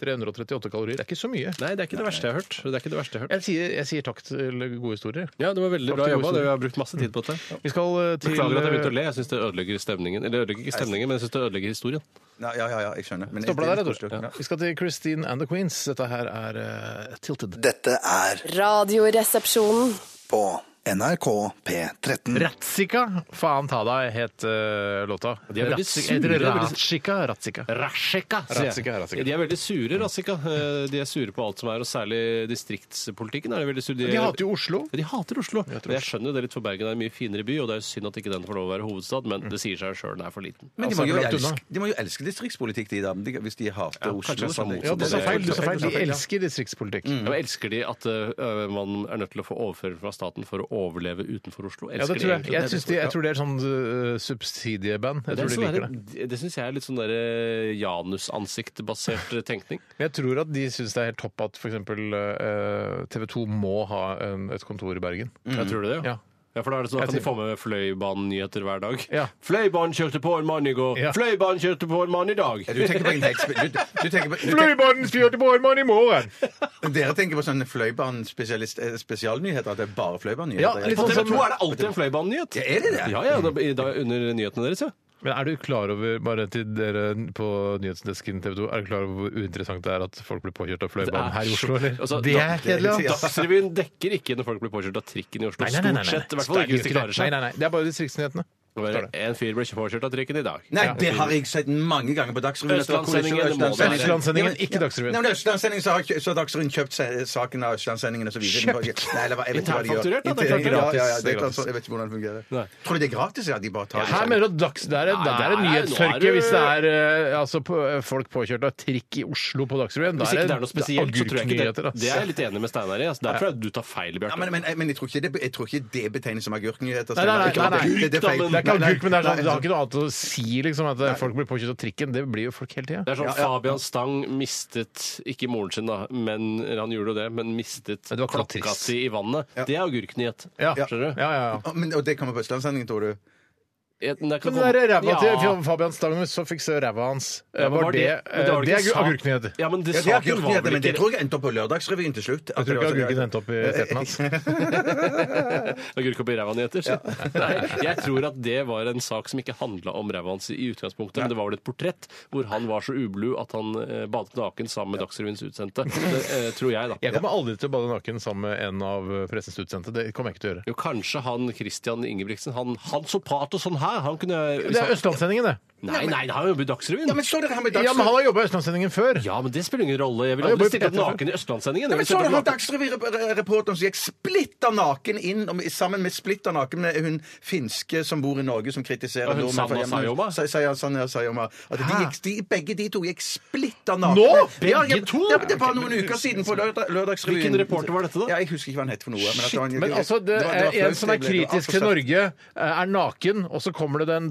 S5: 338 kalorier. Det er ikke så mye.
S7: Nei, det er ikke det verste jeg har hørt. Det er ikke det verste jeg har hørt.
S5: Jeg sier, jeg sier takk til gode historier.
S7: Ja, det var veldig
S5: Takk
S7: bra
S5: til
S7: jobba.
S5: Oslo.
S7: Det- Vi har brukt masse tid på dette.
S5: Vi skal eh, til
S7: Beklager at jeg begynte å le. Jeg syns det ødelegger stemningen. Eller ødelegger ikke stemningen, men jeg syns det ødelegger historien.
S6: Nei, Ja, ja, ja, jeg skjønner. Men
S5: Stopper deg der,
S6: det er litt
S5: Tor.
S6: koselig.
S5: Ja. Vi skal til Christine and the Queens. Dette her er eh, Tilted.
S9: Dette er
S8: Radioresepsjonen.
S9: på NRK
S5: Mm.
S9: P13.
S5: Ratzika, faen ta deg, het eh, låta.
S7: De er veldig
S5: Rats-
S7: sure,
S5: heter det
S7: de er veldig-
S5: Ratzika, Ratzika.
S7: Rassika!
S5: Rassika, rassika.
S7: De er veldig sure, Rassika. Eh, De er sure på alt som er, og særlig distriktspolitikken er de veldig sure.
S5: De hater jo Oslo.
S7: Ja, De hater Oslo. Men jeg skjønner jo det litt, for Bergen er en mye finere by, og det er jo synd at ikke den får lov å være hovedstad, men det sier seg sjøl, den er for liten.
S6: Men de
S5: Altså,
S6: må, jo
S5: langt unna.
S6: elske, de må jo elske distriktspolitikk, de da, de- hvis de hater Oslo.
S7: kanskje det er
S6: sånn,
S7: motsatt.
S6: liksom.
S5: Ja, du sa
S7: Det er-
S5: feil. du sa feil. Mm.
S6: Ja,
S5: De elsker distriktspolitikk.
S7: Ja, men elsker de at eh, man er nødt til å få overføring fra staten for å overleve utenfor Oslo?
S5: Ja,
S7: Elsker
S5: det tror jeg.
S7: egentlig
S5: Jeg, synes de, jeg tror det er sånn eh, subsidieband. Jeg
S7: Det, er
S5: tror de
S7: sånn
S5: liker det.
S7: der- det. det syns jeg er litt sånn derre janusansiktbasert eh, tenkning.
S5: Men jeg tror at de syns det er helt topp at f.eks. Uh, TV 2 må ha en, et kontor i Bergen.
S7: Jeg tror det,
S5: Mm. Ja.
S7: ja. Ja, for Da er det sånn at
S5: Jeg
S7: kan de
S5: tenker-
S7: få med Fløibanen-nyheter hver dag.
S5: Ja.
S7: Fløibanen kjørte på en mann i går!
S5: Ja.
S7: Fløibanen kjørte på en mann i dag!
S6: Du tenker på en tekst... Du, du tenker på, du tenker,
S5: Fløibanen kjørte på en mann i morgen!
S6: dere tenker på sånne fløibanespesialist- eh, spesialnyheter, at det er bare
S5: Ja,
S6: fløibannyheter?
S5: litt
S7: På
S5: sånn
S7: TV 2
S5: som-
S7: er det alltid en Fløibanen-nyhet!
S6: Ja, er det det?
S7: Ja, ja, da, i, da, under nyhetene deres, ja.
S5: Men er du klar over, bare til dere på nyhetsdesken TV 2, er du klar over hvor uinteressant det er at folk blir påkjørt av fløibanen her i Oslo, eller?
S7: Altså,
S5: det
S7: da-
S5: er kjedelig, da.
S7: Dagsrevyen dekker ikke når folk blir påkjørt av trikken i Oslo. Stort sett. I hvert fall ikke hvis de klarer
S5: Nei,
S7: seg.
S5: nei, nei. Det er bare distriktsnyhetene.
S7: Det var En fyr ble ikke påkjørt av trikken i dag.
S6: Nei, det har jeg sett mange ganger på Dagsrevyen. at det var
S7: Østlandssendingen,
S6: kollisjon-
S7: det må være.
S5: Østlandssendingen,
S6: Ja, men-
S5: ikke Dagsrevyen.
S6: Nei, men Østlandssendingen så har ikke- så har Dagsrevyen kjøpt se- saken av Østlandssendingen og så videre.
S5: Kjøpt?
S6: Nei, eller hva, jeg vet ikke hva de gjør.
S7: Internfakturert, da, det er
S6: Inter- ja,
S7: klart det er
S5: gratis.
S6: ja, ja, det
S5: Det
S6: er
S5: er
S6: klart,
S5: gratis.
S6: så jeg vet ikke hvordan det fungerer.
S7: Nei.
S6: Tror du det er gratis, ja? De bare tar
S5: Her mener du dags, det er, det er en
S7: Nei, nei, nå er
S5: nyhetstørke
S7: du-
S5: hvis det er eh, altså, på, folk påkjørt av trikk i Oslo på Dagsrevyen. Da
S7: Hvis ikke det er noe
S5: det-
S7: spesielt, så tror jeg ikke
S5: agurknyheter, ass.
S7: det. Det er jeg litt enig med Steinar i. Altså, derfor er du tar feil,
S6: Ja, men,
S7: Bjarte.
S6: men, men jeg, tror ikke det, jeg tror ikke det betegnes som agurknyheter.
S5: Nei, nei, nei,
S6: Steinar. Ikke
S5: nei, nei.
S6: agurk, Det, det er feil.
S5: Det er ikke
S6: Nei, nei,
S5: agurk, men det, er sånn,
S6: nei,
S5: det har ikke noe annet å si liksom, at eh, folk blir påkjørt av trikken. Det blir jo folk hele tida.
S7: Det er sånn Fabian Stang mistet ikke moren sin, da, men eller han gjorde jo det, men mistet
S5: Men det var ikke noe
S7: klokka
S5: trist.
S7: si i vannet. Det er agurknyhet.
S5: Ja.
S7: Skjønner du?
S5: Ja, ja, ja.
S6: Å, men, og det kommer på Østlandssendingen, tror du?
S7: Jeg- den der kan
S5: Men det der ræva
S7: komme-
S5: til
S7: Ja.
S5: Fa- Fabian Stangnus som fikk se ræva hans,
S7: Ja, men
S5: var det
S7: men
S5: eh,
S7: var
S5: Det er
S7: ikke sak-
S5: agurknyheter.
S7: Ja, men det
S6: Ja, det er
S7: saken var
S6: agurknyheter,
S7: vel
S6: men det
S7: ikke
S6: tror jeg endte opp på Lørdagsrevyen til slutt.
S5: Jeg tror ikke agurken endte opp i teten hans.
S7: Agurk oppi ræva nyheter? (laughs) Nei, jeg tror at det var en sak som ikke handla om ræva hans i utgangspunktet, men det var vel et portrett hvor han var så ublu at han eh, badet naken sammen med Dagsrevyens utsendte. Det eh, tror jeg, da.
S5: Jeg kommer aldri til å bade naken sammen med en av pressens utsendte. Det kommer jeg ikke til å gjøre.
S7: Jo, kanskje han Christian Ingebrigtsen. Han, han så prat og sånn her! Han kunne
S5: Det er Østlandssendingen, det.
S7: Nei, nei, han har jobbet i Dagsrevyen.
S6: Ja, men så dere han med
S5: Ja, men
S6: Dagsrevyen?
S5: han har jobba i Østlandssendingen før.
S7: Ja, men det spiller ingen rolle. Jeg vil
S5: Han jobber
S7: aldri
S5: i
S7: stille opp
S5: P3
S7: naken i Østlandssendingen.
S6: Nei,
S7: Jeg vil
S6: men så
S7: stille
S6: er
S7: opp
S6: det han
S7: naken-
S6: Dagsrevy-reporteren som gikk splitter naken inn om- sammen med splitter naken med hun finske som bor i Norge, som kritiserer
S7: Og hun
S6: nordmenn for
S7: Sanna
S6: hjemme-
S7: Sayoma?
S6: Sa- Sa- Sanna Sayoma. At de gikk, de, begge de to gikk splitter naken.
S5: Nå?
S6: Ja,
S7: Begge
S6: ja,
S7: to?
S6: Ja, men det var noen uker siden på lørdag, Lørdagsrevyen.
S7: Hvilken reporter var dette da?
S6: Ja, jeg husker ikke hva han het for noe. Men, at det var en,
S5: Men altså, det
S6: var-
S5: er
S6: var
S5: en
S6: flaut,
S5: som er
S6: det ble- det var
S5: kritisk
S6: for
S5: til
S6: søtt.
S5: Norge, eh, er naken, og så kommer det en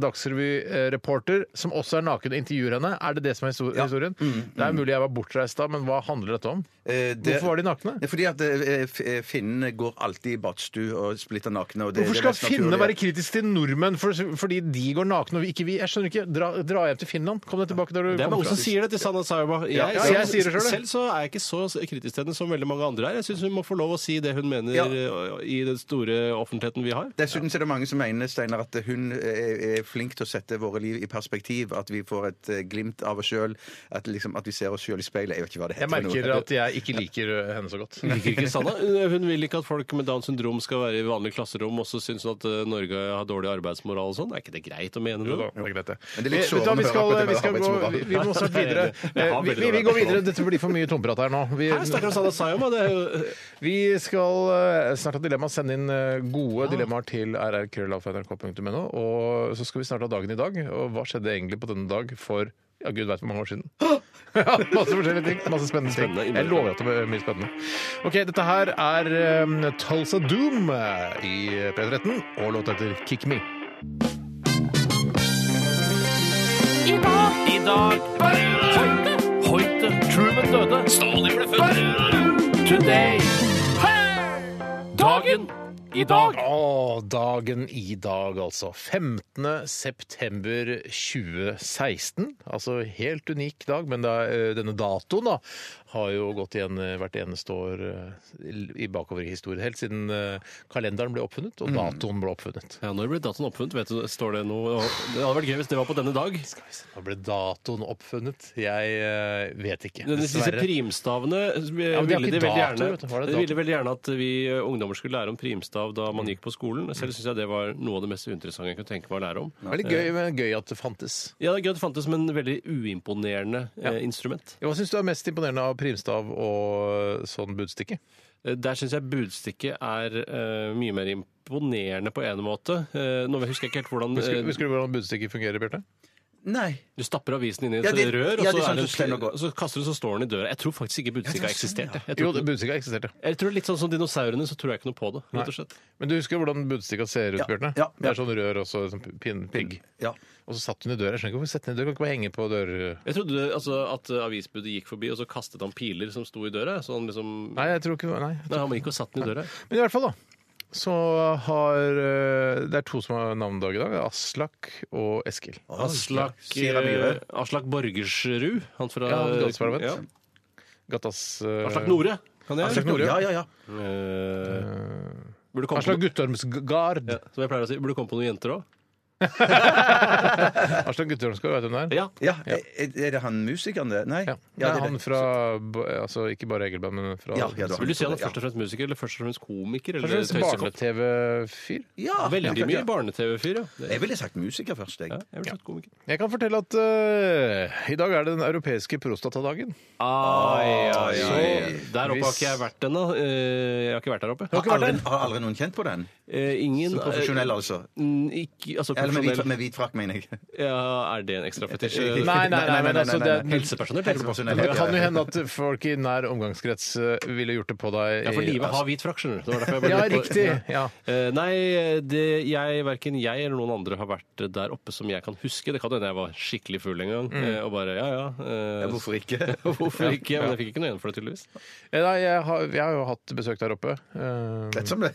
S5: Dagsrevy-reporter som også er naken og intervjuer henne. Er det det som er histor- historien? Det er mulig jeg var bortreist da, men hva handler dette om?
S6: Eh, det-
S5: Hvorfor var de nakne?
S6: Det er Fordi at eh, f- eh, finnene går alltid i badstue og splitter nakne. Og det,
S5: Hvorfor
S6: det er
S5: skal
S6: mest
S5: finnene
S6: naturlige.
S5: være kritiske til nordmenn for, fordi de går nakne og ikke vi? Jeg skjønner ikke. Dra, dra hjem til Finland. Kom deg tilbake der du
S7: Det er
S5: kom
S7: mange som
S5: fra.
S7: sier det til Sanna Sayama. Jeg,
S5: Ja, ja, jeg sier det selv, det.
S7: selv så er jeg ikke så kritisk til henne som veldig mange andre er. Jeg syns hun må få lov å si det hun mener
S6: Ja.
S7: eh, i den store offentligheten vi har.
S6: Dessuten så er det mange som mener Steiner, at hun er er flink til å sette våre liv i perspektiv. At vi får et eh, glimt av oss sjøl. At, liksom, at vi ser oss sjøl i speilet. Jeg vet ikke hva det heter.
S5: Jeg merker at jeg ikke liker eh, henne så godt.
S7: Liker ikke Sanna. Eh, Hun vil ikke at folk med Downs syndrom skal være i vanlige klasserom, og så syns hun at eh, Norge har dårlig arbeidsmoral og sånn. Er ikke det greit å mene
S5: Jo da,
S7: det?
S5: det er greit, det.
S6: Men det er litt
S5: Vi- vet du hva,
S6: sårende
S5: vi
S6: å
S5: skal,
S6: høre akkurat det
S5: vi,
S6: med
S5: skal gå,
S6: arbeidsmoral.
S5: vi, vi må snart videre.
S7: Jeg har
S5: Eh, Vi,
S7: veldig
S5: vi, vi
S7: dårlig
S5: går videre. Dette blir for mye tomprat her nå. Vi,
S7: Her snakker hun om Sanna Sayama. Det er jo
S5: vi skal eh, snart ha dilemma. Send inn eh, gode dilemmaer til rrkrøllalfa.nrk.no. Og så skal vi snart ha dagen i dag. Og hva skjedde egentlig på denne dag for ja, gud veit hvor mange år siden. (gasps) Ja, masse forskjellige ting. Masse spennende ting.
S7: Spennende,
S5: Jeg lover at det blir mye spennende. Ok, dette her er eh, Tulsa Doom eh, i P13, og låta heter Kick Me.
S7: I dag Hoite, Hoite, Truman døde. Stalin ble født. Today. Dagen i dag.
S5: Å, dagen i dag, altså. 15. september 2016. Altså helt unik dag, men det er, eh, denne datoen da, har jo gått igjen eh, hvert eneste år eh, i bakover i historien. Helt siden eh, kalenderen ble oppfunnet,
S7: Mm.
S5: og datoen ble oppfunnet.
S7: Ja, Når ble datoen oppfunnet? Vet du, står det noe Det hadde vært gøy hvis det var på denne dag.
S5: Da ble datoen oppfunnet? Jeg eh, vet ikke.
S7: Denne, disse primstavene eh,
S5: men de har
S7: ville de
S5: ikke
S7: veldig
S5: dato,
S7: gjerne
S5: vet du. Var det
S7: De
S5: dato?
S7: ville veldig gjerne at vi eh, ungdommer skulle lære om primstav da man gikk på skolen. Selv syns jeg det var noe av det mest interessante jeg kunne tenke meg å lære om.
S5: Veldig gøy, men gøy at det fantes.
S7: Ja, det er gøy at det fantes, men veldig uimponerende eh, instrument.
S5: Hva syns du er mest imponerende av primstav og sånn budstikke?
S7: Eh, Der syns jeg budstikke er eh, mye mer imponerende på en måte. Eh, nå husker jeg ikke helt hvordan
S5: Husker,
S7: eh,
S5: husker du hvordan budstikke fungerer, Bjarte?
S6: Nei.
S7: Du stapper avisen inn i et
S6: Ja, det-
S7: rør, og
S6: ja,
S7: så,
S6: det er sånn
S7: er det
S6: som stemmer
S7: en,
S6: godt.
S7: så kaster du, så står den i døra. Jeg tror faktisk ikke budstikke har eksistert. jeg.
S5: Jo,
S7: Jeg tror, ikke-
S5: budstikke eksisterte.
S7: jeg tror Litt sånn som dinosaurene, så tror jeg ikke noe på det. rett og slett.
S5: Men du husker hvordan budstikka ser ut,
S6: Ja,
S5: Bjørne?
S6: ja,
S5: Det
S6: ja.
S5: er sånn rør og så sånn pin, pigg.
S6: Ja.
S5: Og så satt hun i døra. Jeg skjønner ikke hvorfor sette den i døra. Kan ikke bare henge på dør...
S7: Jeg trodde altså, at eh, avisbudet gikk forbi, og så kastet han piler som sto i døra. Så han liksom...
S5: Nei, jeg tror ikke Nei.
S7: Nei, han gikk og satt den i døra.
S5: Men i hvert fall, da. Så har eh, Det er to som har navnedag i dag. Aslak og Eskil.
S7: Aslak,
S6: Sira Myhre.
S7: eh, Aslak Borgersrud. Han fra
S5: Ja, han Galsberg, vet du.
S7: Ja.
S5: Gattas eh,
S7: Aslak Nore. Kan jeg?
S5: Aslak Nore.
S6: Ja, ja, ja.
S7: Eh, burde komme
S5: Aslak
S7: på,
S5: Guttormsgard.
S7: ja, som jeg pleier å si, burde komme på noen jenter òg.
S5: Aslak Guttormsgard, vet du hvem det er?
S7: Ja.
S6: ja. Er, er det han musikeren, det? Nei.
S5: Ja.
S6: Ja,
S5: det er han
S6: det-
S5: fra bo- Altså ikke bare Egelband, men fra
S6: Ja, ja, det var
S7: Vil du si han er
S6: Ja.
S7: først og fremst musiker eller først og fremst komiker?
S5: Kanskje
S7: Eller
S5: en
S7: tøysekopp?
S5: barne-TV-fyr?
S6: Ja,
S7: Veldig
S6: ja,
S7: mye
S6: ja.
S7: barne-TV-fyr, ja. Det-
S6: Jeg ville sagt musiker først, jeg.
S7: ja. Jeg vil sagt komiker.
S5: Jeg kan fortelle at eh, i dag er det den europeiske prostatadagen.
S7: Ai, ai, ai.
S5: Så
S7: Der oppe har
S5: hvis-
S7: ikke jeg vært ennå. Eh, Jeg har ikke vært der oppe.
S6: Har aldri, har aldri noen kjent på den?
S7: Eh, Ingen
S6: Så profesjonell, altså.
S7: Mm, Ikke, altså
S6: Eller med hvit,
S7: profesjonell
S6: med hvit frakk, mener jeg.
S7: ja, Er det en ekstra
S6: (laughs)
S7: fetisj? Eh,
S5: nei, nei, nei, men altså, det er-
S7: Helsepersonell, tenker du på?
S6: Helsepersonell.
S5: Det
S6: ja,
S5: kan
S6: ja,
S5: jo
S6: ja.
S5: hende at folk i nær omgangskrets eh, ville gjort det på deg.
S7: Ja, for
S5: i-
S7: livet har hvit frakk, skjønner du. Det var derfor jeg bare
S5: Ja,
S7: lurte på-
S5: riktig. Ja.
S7: Eh, nei, det, jeg, verken jeg eller noen andre har vært der oppe som jeg kan huske. Det kan hende jeg var skikkelig full en gang
S5: Mm.
S7: eh, og bare ja ja. eh,
S6: Ja, Hvorfor ikke?
S7: (laughs) Hvorfor ikke? Men jeg fikk ikke noe igjen for det, tydeligvis.
S5: Eh, Nei, jeg har, jeg har jo hatt besøk der oppe. Eh,
S6: Lett som det.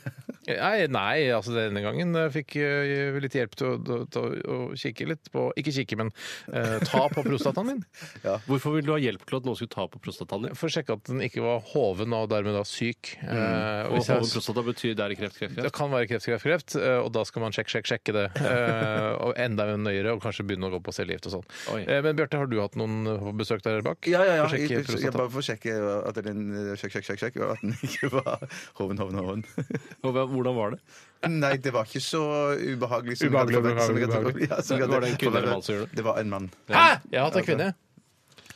S5: nei, nei, altså denne gangen eh, fikk jeg litt hjelp til å, til å, å kikke litt på Ikke kikke, men eh, ta på prostataen min. (laughs)
S7: Hvorfor ville du ha hjelp til at noen skulle ta på prostataen din?
S5: For å sjekke at den ikke var hoven og dermed da syk. Eh, og
S7: Mm. Og
S5: hvis jeg-
S7: hoven prostata betyr der kreft, kreft,
S5: Det
S7: kreft.
S5: kan være kreft, kreft, kreft, eh, og da skal man sjekke, sjekke, sjekke det. eh, Og enda nøyere, og kanskje begynne å gå på cellegift og
S7: Oi.
S5: sånn. Eh, Men Bjarte, har du hatt noen på besøk der bak?
S6: Ja, ja, ja.
S5: For å
S6: Jeg,
S5: sjekke
S6: jeg
S5: prostata?
S6: eh, bare for å sjekke at den Sjekk, sjekk, sjekk, sjekk, og at den ikke var hoven, hoven, hoven.
S7: Og hva- Hvordan var det?
S6: (laughs) Nei, det var ikke så ubehagelig som
S5: Ubehagelig,
S6: jeg hadde forventet- som jeg hadde
S5: ubehagelig,
S6: forventet. Ja, som jeg
S7: Var det
S6: hadde
S7: en kvinne eller
S6: forventet.
S7: mann som gjorde det?
S6: Det var en mann.
S5: Hæ?! Altså. Jeg har hatt en kvinne.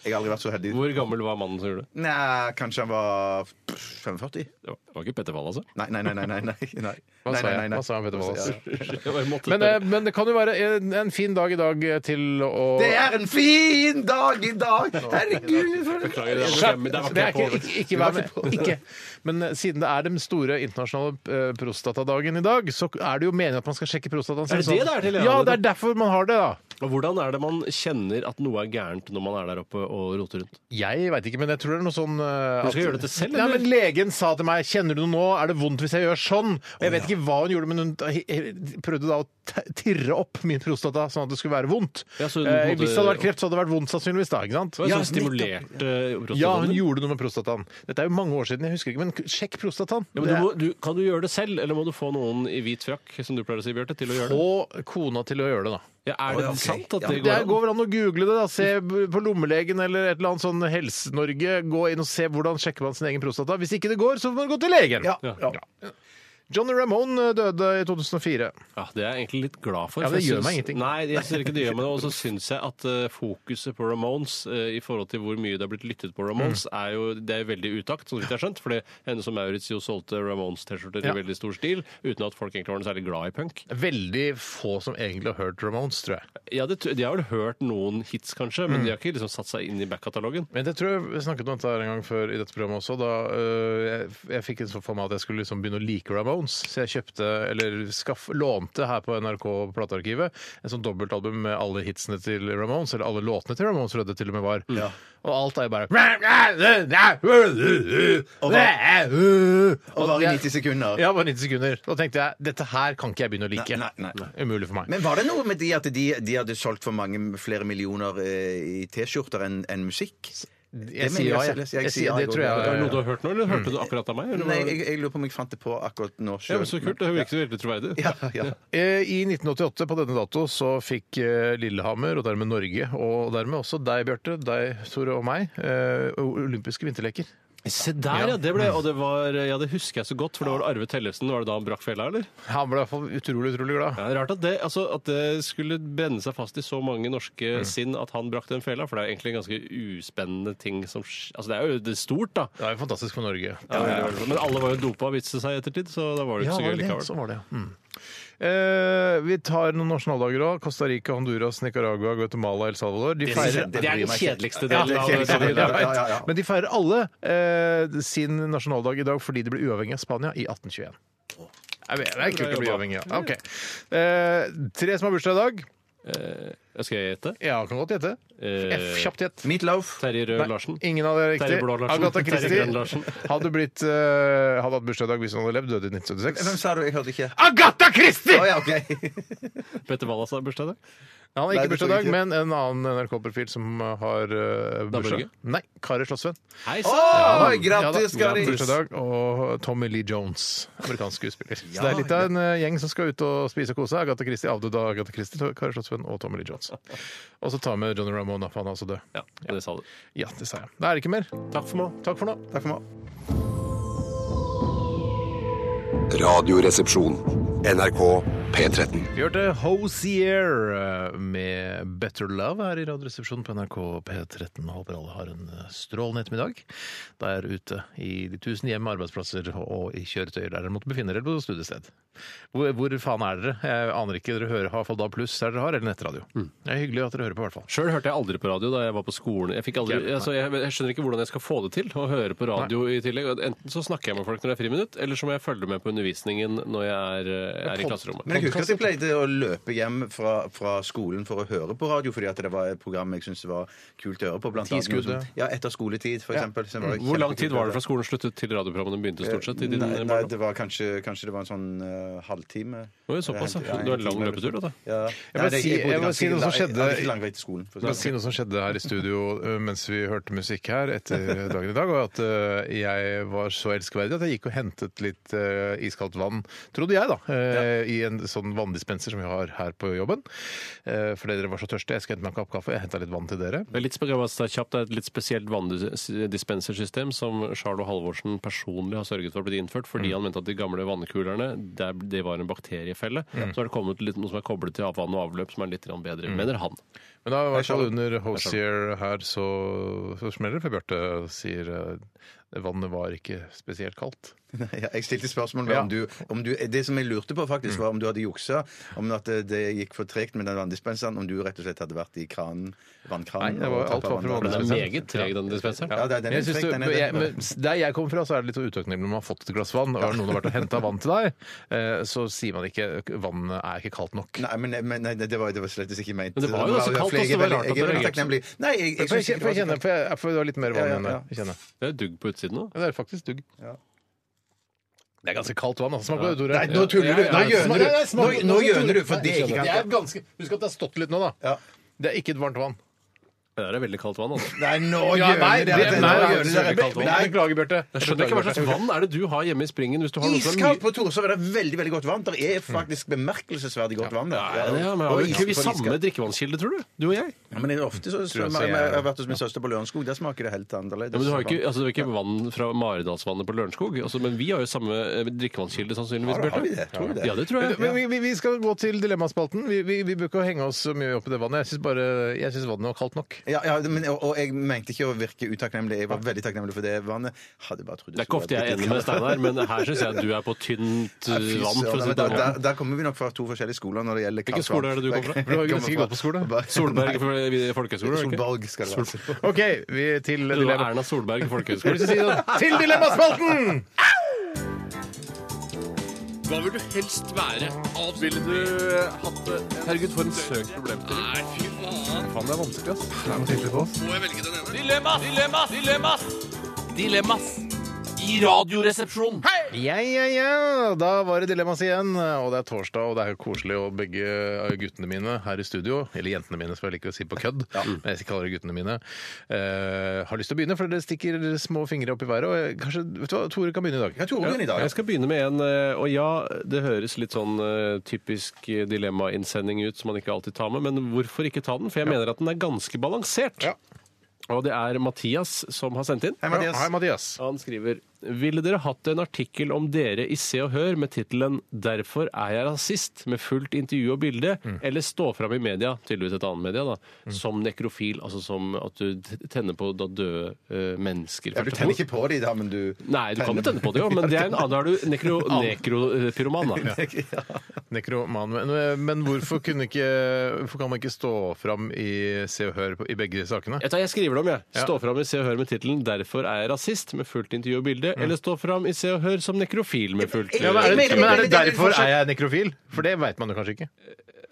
S6: Jeg har aldri vært så heldig.
S7: Hvor gammel var mannen som gjorde det?
S6: Nei, kanskje han var 45?
S7: Det var, det var ikke Petter Wall,
S5: (laughs)
S7: altså.
S6: Nei, nei, nei. nei, nei, nei, nei.
S5: Hva
S6: Nei, nei,
S5: sa jeg?
S6: nei, nei.
S5: Hva sa jeg, Petter Wall?
S6: Ja.
S7: Jeg måtte
S5: Men,
S7: spørre.
S5: eh, men det kan jo være en, en fin dag i dag eh, til å
S6: Det er en fin dag i dag! Herregud! for en-
S7: Beklager, det var
S5: Skjerp-
S7: ikke- men det var
S5: det er
S7: ikke
S5: ikke,
S7: på.
S5: ikke, ikke vær med. Ikke. Men eh, siden det er den store internasjonale eh, prostatadagen i dag, så er det jo meningen at man skal sjekke prostataen sin. sånn.
S7: Er det det det er til, ja?
S5: Ja, det er derfor man har det, da.
S7: Og Hvordan er det man kjenner at noe er gærent når man er der oppe og roter rundt?
S5: Jeg veit ikke, men jeg tror det er noe sånn eh,
S7: Du
S5: at-
S7: skal gjøre dette selv,
S5: Nei,
S7: eller?
S5: men Legen sa til meg 'Kjenner du noe nå? Er det vondt hvis jeg gjør sånn?' Og jeg vet ikke hva hun gjorde, men hun t- prøvde da å t- tirre opp min prostata sånn at det skulle være vondt.
S7: Ja, så hun
S5: eh,
S7: måtte-
S5: hvis det hadde vært kreft, så hadde det vært vondt sannsynligvis da. ikke sant?
S7: Det var sånn stimulert eh, prostataen
S5: Ja, hun
S7: din.
S5: gjorde noe med prostataen. Dette er jo mange år siden, jeg husker ikke, men k- sjekk prostataen.
S7: Ja, men du må, du, kan du gjøre det selv, eller må du få noen i hvit frakk, som du pleier å si, Bjarte, til å gjøre det?
S5: Få kona til å gjøre det, da.
S7: Ja, er det sant at det
S5: Det
S7: går an?
S5: går vel an å google det. da, Se b- på lommelegen eller et eller annet sånn Helse-Norge. Gå inn og se hvordan sjekker man sin egen prostata. Hvis ikke det går, så får man gå til legen.
S6: Ja,
S5: Ja. Johnny Ramone døde i 2004.
S7: Ja, det er jeg egentlig litt glad for.
S5: Ja,
S7: for
S5: det
S7: jeg
S5: gjør
S7: syns-
S5: meg ingenting.
S7: Nei, jeg synes ikke det gjør meg
S5: (laughs)
S7: det. Og så syns jeg at eh, fokuset på Ramones, eh, i forhold til hvor mye det har blitt lyttet på Ramones,
S5: Mm.
S7: er jo det er jo veldig utakt, så vidt jeg har skjønt. Fordi henne som Maurits jo solgte Ramones-T-skjorter
S5: Ja.
S7: i veldig stor stil, uten at folk egentlig var noe særlig glad i punk.
S5: Veldig få som egentlig har hørt Ramones, tror jeg.
S7: Ja, det, tr- De har vel hørt noen hits, kanskje,
S5: Mm.
S7: men de har ikke liksom satt seg inn i backkatalogen.
S5: Men jeg tror jeg vi snakket om dette her en gang før i dette programmet også. Da øh, jeg, jeg fikk en sånn for meg at jeg skulle liksom begynne å like Ramones. Så jeg kjøpte, eller skaff, lånte her på NRK Platearkivet, en sånn dobbeltalbum med alle hitsene til Ramones, eller alle låtene til Ramones, tror jeg det til og med var. Og alt er jo bare
S6: Og
S5: Og
S6: var i
S5: jeg-
S6: 90 sekunder.
S5: Ja, bare 90 sekunder. Da tenkte jeg dette her kan ikke jeg begynne å like.
S6: Nei, nei, nei.
S5: Umulig for meg.
S6: Men var det noe med de at de, de hadde solgt for mange flere millioner eh, i T-skjorter enn enn musikk? mener
S5: jeg sier ja, jeg.
S6: selv.
S5: Jeg sier- det
S6: går
S5: tror jeg-
S6: med.
S7: Er det noe du har hørt nå, eller
S5: Mm.
S7: hørte du akkurat av meg? Eller?
S6: Nei,
S7: var det-
S6: jeg, jeg lurer på om jeg fant det på akkurat nå
S7: ja,
S6: sjøl.
S7: men Så kult. Det virker veldig troverdig.
S6: (laughs) Ja, ja.
S5: Eh, I 1988 på denne dato så fikk eh, Lillehammer, og dermed Norge, og dermed også deg, Bjarte, deg, Tore, og meg, eh, olympiske vinterleker.
S7: Se der, ja. Det ble, og det var, ja, det husker jeg så godt, for det var Arve Tellefsen. Var det da han brakk fella, eller?
S5: Han ble i hvert fall utrolig, utrolig glad.
S7: Ja, det er Rart at det, altså, at det skulle brenne seg fast i så mange norske sinn at han brakk den fella, for det er jo egentlig en ganske uspennende ting som sk- Altså, det er jo det er stort, da.
S5: Det er jo fantastisk for Norge.
S7: Men alle var jo dopa, viste det seg i ettertid, så da var det ikke
S5: var
S7: så gøy
S5: det det?
S7: likevel.
S5: Sånn var det, ja. Mm. Eh, vi tar noen nasjonaldager òg. Costa Rica, Honduras, Nicaragua, Guatemala, El Salvador. De feirer
S7: Det er den kjedeligste
S5: Ja,
S7: delen
S5: det er
S7: av
S5: kjedelig,
S7: det.
S5: kjedelig, jeg
S6: Ja, ja, ja.
S5: vet. Men de feirer alle eh, sin nasjonaldag i dag fordi de ble uavhengig av Spania i 1821. Jeg vet, det er kult å bli
S7: jobba.
S5: uavhengig, ja. Ok. Eh, tre som har bursdag i dag.
S7: Eh, Skal jeg gjette?
S5: Ja, kan godt gjette.
S7: Eh,
S5: F, kjapt gjett.
S6: Meatloaf.
S7: Terje Rød
S5: Nei,
S7: Larsen.
S5: Ingen av dere er
S7: Terje Blå
S5: riktig.
S7: Larsen.
S5: Agatha
S7: Terje Grønn
S5: Christie
S7: Larsen.
S5: hadde, blitt, eh, hadde hatt bursdag i dag hvis hun hadde levd, døde i
S6: Hvem
S5: 1976.
S6: sa du? Jeg hørte ikke.
S5: Agatha Christie!
S6: Å ja, (laughs) OK.
S7: Petter Wallas har bursdag i dag.
S5: Han har
S6: Nei,
S5: ikke
S6: det
S5: bursdag i
S6: tror
S5: dag,
S6: jeg ikke.
S5: men en annen NRK-profil som har eh, bursdag.
S7: Børge?
S5: Nei, Kari Slottsveen.
S7: Hei
S6: Å,
S7: sann!
S6: grattis,
S5: Ja, da,
S6: Kari.
S5: bursdag i dag, og Tommy Lee Jones, amerikansk skuespiller. Så det er litt av en eh, gjeng som skal ut og spise og kose. seg. Agatha Christie avdøde av Agatha Christie, to- Kari Slottsveen og Tommy Lee Jones. Og så tar vi med Johnny Ramone, for han er også død.
S7: Ja, det sa du.
S5: Ja, det sa jeg. Da er det ikke mer. Takk for nå. Takk for nå.
S6: Takk for meg.
S1: Radioresepsjon. NRK P13.
S5: Vi hørte Hosier eh, med Better Love her i Radioresepsjonen på NRK P13. Håper alle har en eh, strålende ettermiddag der ute i de tusen hjem, arbeidsplasser og i kjøretøyer der dere måtte befinne dere på studiested. Hvor, hvor faen er dere? Jeg aner ikke. Dere hører i hvert fall da pluss der dere har, eller nettradio. Det er hyggelig at dere hører på, i hvert fall.
S7: Sjøl hørte jeg aldri på radio da jeg var på skolen. Jeg, fikk aldri,
S5: Ikke jeg, nei.
S7: altså, jeg, jeg skjønner ikke hvordan jeg skal få det til å høre på radio i tillegg. Enten så snakker jeg med folk når det er friminutt, eller så må jeg følge med på undervisningen når jeg er, eh, er i klasserommet.
S6: Men jeg husker at jeg pleide å løpe hjem fra, fra skolen for å høre på radio, fordi at det var et program jeg syntes var kult å høre på. Blant annet noe
S5: Tidsskuddet.
S6: som- Ja, etter skoletid, for eksempel. så var det
S7: Mm. Hvor lang
S6: kjempekult
S7: tid
S6: å
S7: var
S6: høre.
S7: det fra skolen sluttet til radioprogrammene begynte stort sett? I din
S6: Nei,
S7: eh,
S6: nei,
S7: barndom?
S6: det var kanskje, kanskje det var en sånn eh, halvtime.
S7: Oi, såpass, ja.
S6: Ja, en
S7: Du har en lang
S6: time eller
S7: løpetur, da.
S6: Ja.
S5: må
S6: Nei, det-
S5: si- jeg
S6: bodde
S5: må
S6: ganske
S5: si noe som
S6: lang- Jeg hadde
S5: skjedde-
S6: ikke lang vei til skolen. For å
S5: Jeg kan
S6: si
S5: si
S6: det.
S5: noe som skjedde her i studio eh, mens vi hørte musikk her etter dagen i dag, og at eh, jeg var så elskverdig at jeg gikk og hentet litt eh, iskaldt vann, trodde jeg da, eh, i en sånn vanndispenser som vi har her på jobben. Eh, Fordi dere var så tørste. Jeg skal hente meg en kopp kaffe. Jeg henta litt vann til dere.
S7: Det er litt spe- jeg må si det kjapt, det er et litt spesielt vanndispensersystem som Charlo Halvorsen personlig har sørget for å bli innført, fordi
S6: Mm.
S7: han mente at de gamle vannkulerne der, det var en bakteriefelle. Så har det kommet litt, noe som er koblet til vann og avløp, som er litt grann
S6: Mm.
S7: bedre, mener han.
S5: Men da i hvert fall under Hosier her så, så smeller det, for Bjarte sier eh, vannet var ikke spesielt kaldt.
S6: (laughs) Ja, jeg stilte spørsmål ved
S5: Ja.
S6: om, du, om du Det som jeg lurte på, faktisk,
S7: Mm.
S6: var om du hadde juksa. Om at det- det gikk for tregt med den vanndispenseren. Om du rett og slett hadde vært i kranen, vannkranen.
S5: Nei, det var-
S6: og tappet
S5: alt var fra
S6: vann.
S7: Den er
S5: vanndispenser.
S7: meget treg, den dispenseren.
S6: Ja, det er den
S5: Men jeg
S6: er
S5: synes
S6: tregt,
S5: det,
S6: den er-
S5: jeg, men der jeg kommer fra, så er det litt sånn utakknemlig når man har fått et glass vann, og noen har vært og henta vann til deg, eh, så sier man ikke 'vannet er ikke kaldt nok'.
S6: Nei, men, men nei, det var, det var slett ikke ment.
S7: Men det var jo ganske kaldt,
S6: flere-
S7: også, det var rart at
S6: Jeg er
S7: dere
S6: veldig
S7: reagerte.
S6: takknemlig. Nei, jeg, jeg synes
S5: Får
S6: ikke
S5: jeg, får jeg
S6: det var
S5: kjenne,
S6: så kaldt.
S5: får jeg, får jeg ha litt mer vann
S6: Ja, ja,
S5: enn
S6: ja.
S5: det? Kjenne.
S7: Det er dugg på utsiden nå.
S5: Men det er faktisk dugg. Det er ganske kaldt vann. Altså. Smak på det, Tore.
S6: Nei, nå tuller du.
S5: Ja, ja,
S6: Nå
S5: ja.
S6: gjøner du.
S5: Nei, nei, smak-
S6: Nå- nå gjøner du, for det er ikke
S5: Nei, jeg er ganske... Husk at det har stått litt nå, da.
S6: Ja.
S5: Det er ikke et varmt vann.
S7: Det der er veldig kaldt vann, altså.
S6: Nei, nå
S5: Ja,
S6: gjøner
S5: nei,
S6: dere
S5: det-
S6: det. Nå
S5: nei, det er
S6: gjøner dere
S7: veldig kaldt vann.
S6: Nei,
S5: Beklager, Bjarte.
S7: Jeg skjønner ikke hva slags vann er det du har hjemme i springen hvis du har noe som er
S6: Iskaldt på Torshov er det veldig veldig godt varmt. Det er faktisk bemerkelsesverdig godt vann der.
S7: Ja, ja, men
S6: Og
S7: har vi ikke vi
S6: iskaldt-
S7: samme drikkevannskilde, tror du? Du og jeg?
S6: Ja, men det er ofte så,
S5: jeg
S6: jeg,
S5: også jeg-
S6: har vært hos min søster på Lørenskog. Der smaker det helt annerledes.
S7: Ja, men du har jo ikke, altså, det er ikke vann fra Maridalsvannet på Lørenskog, altså, men vi har jo samme eh, drikkevannskilde sannsynligvis,
S6: Har- har vi det? Tror vi det?
S7: Ja, det tror jeg.
S5: Men vi, vi, vi skal gå til dilemmaspalten. Vi, vi, vi bør ikke henge oss så mye opp i det vannet. Jeg syns bare jeg synes vannet var kaldt nok.
S6: Ja, ja, men, og, og jeg mente ikke å virke utakknemlig. Jeg var veldig takknemlig for det vannet. Hadde bare trodd
S7: Det er ikke ofte jeg er enig med
S6: (laughs)
S7: Steinar, men her syns jeg du er på tynt eh, vann. for å si det
S6: der, der,
S7: sånn.
S6: der kommer vi nok fra to forskjellige skoler når det gjelder
S7: Hvilken
S6: kaldt
S7: skole er det du
S6: vann. (laughs)
S7: kom fra? Du var jo ganske
S6: Jeg kommer
S7: godt på skole.
S6: fra- Nei,
S7: Solberg folkehøgskole? var det ikke?
S6: Solberg skal det være.
S5: OK, vi til
S7: Det var
S5: dilemma.
S7: Erna Solberg
S5: Skal vi
S7: folkehøgskole.
S5: si det? Til dilemmaspalten!
S10: Hva vil du helst være? Ville du eh, hatt det? Herregud, for en søk problemstilling. Nei, fy faen. Faen, det er vanskelig, ass. Det er noe tydelig på oss. Må jeg velge den ene? Dilemmas! Dilemmas! Dilemmas! Dilemmas! I radioresepsjonen. Hei!
S5: Ja, ja, ja. Da var det dilemmas igjen. Og det er torsdag, og det er jo koselig. Og begge guttene mine her i studio, eller jentene mine, som jeg liker å si på kødd, men jeg kaller det guttene mine, eh, har lyst til å begynne, for dere stikker små fingre opp i været. Og jeg, kanskje, vet du hva, Tore kan begynne i dag.
S6: Ja, Tore begynner i dag.
S7: Jeg skal begynne med en, eh, og ja, det høres litt sånn eh, typisk eh, dilemmainnsending ut som man ikke alltid tar med, men hvorfor ikke ta den? For jeg mener at den er ganske balansert.
S5: Ja.
S7: Og det er Mathias som har sendt inn.
S6: Hei, Mathias.
S5: Hei, Mathias.
S7: Han skriver Ville dere hatt en artikkel om dere i Se og Hør med tittelen 'Derfor er jeg rasist', med fullt intervju og bilde,
S5: Mm.
S7: eller stå fram i media, tydeligvis et annet media, da, som nekrofil, altså som at du t- tenner på da døde eh, mennesker?
S6: Ja, du tenner ikke på de da, men du
S7: Nei, du kan jo tenne på det òg, men det er en annen, da er du nekro,
S5: (laughs)
S7: nekropyroman, da.
S5: Nekroman. Men, men hvorfor, kunne ikke, hvorfor kan man ikke stå fram i Se og Hør på- i begge sakene?
S7: Jeg, tar, jeg skriver det om, jeg. Stå fram i Se og Hør med tittelen 'Derfor er jeg rasist', med fullt intervju og bilde, eller stå fram i Se og Hør som nekrofil med fullt
S5: Mm. Ja, men,
S6: Jeg
S5: er det,
S6: mener-
S5: men er det
S6: jeg mener-
S5: derfor er jeg nekrofil? For det veit man jo kanskje ikke.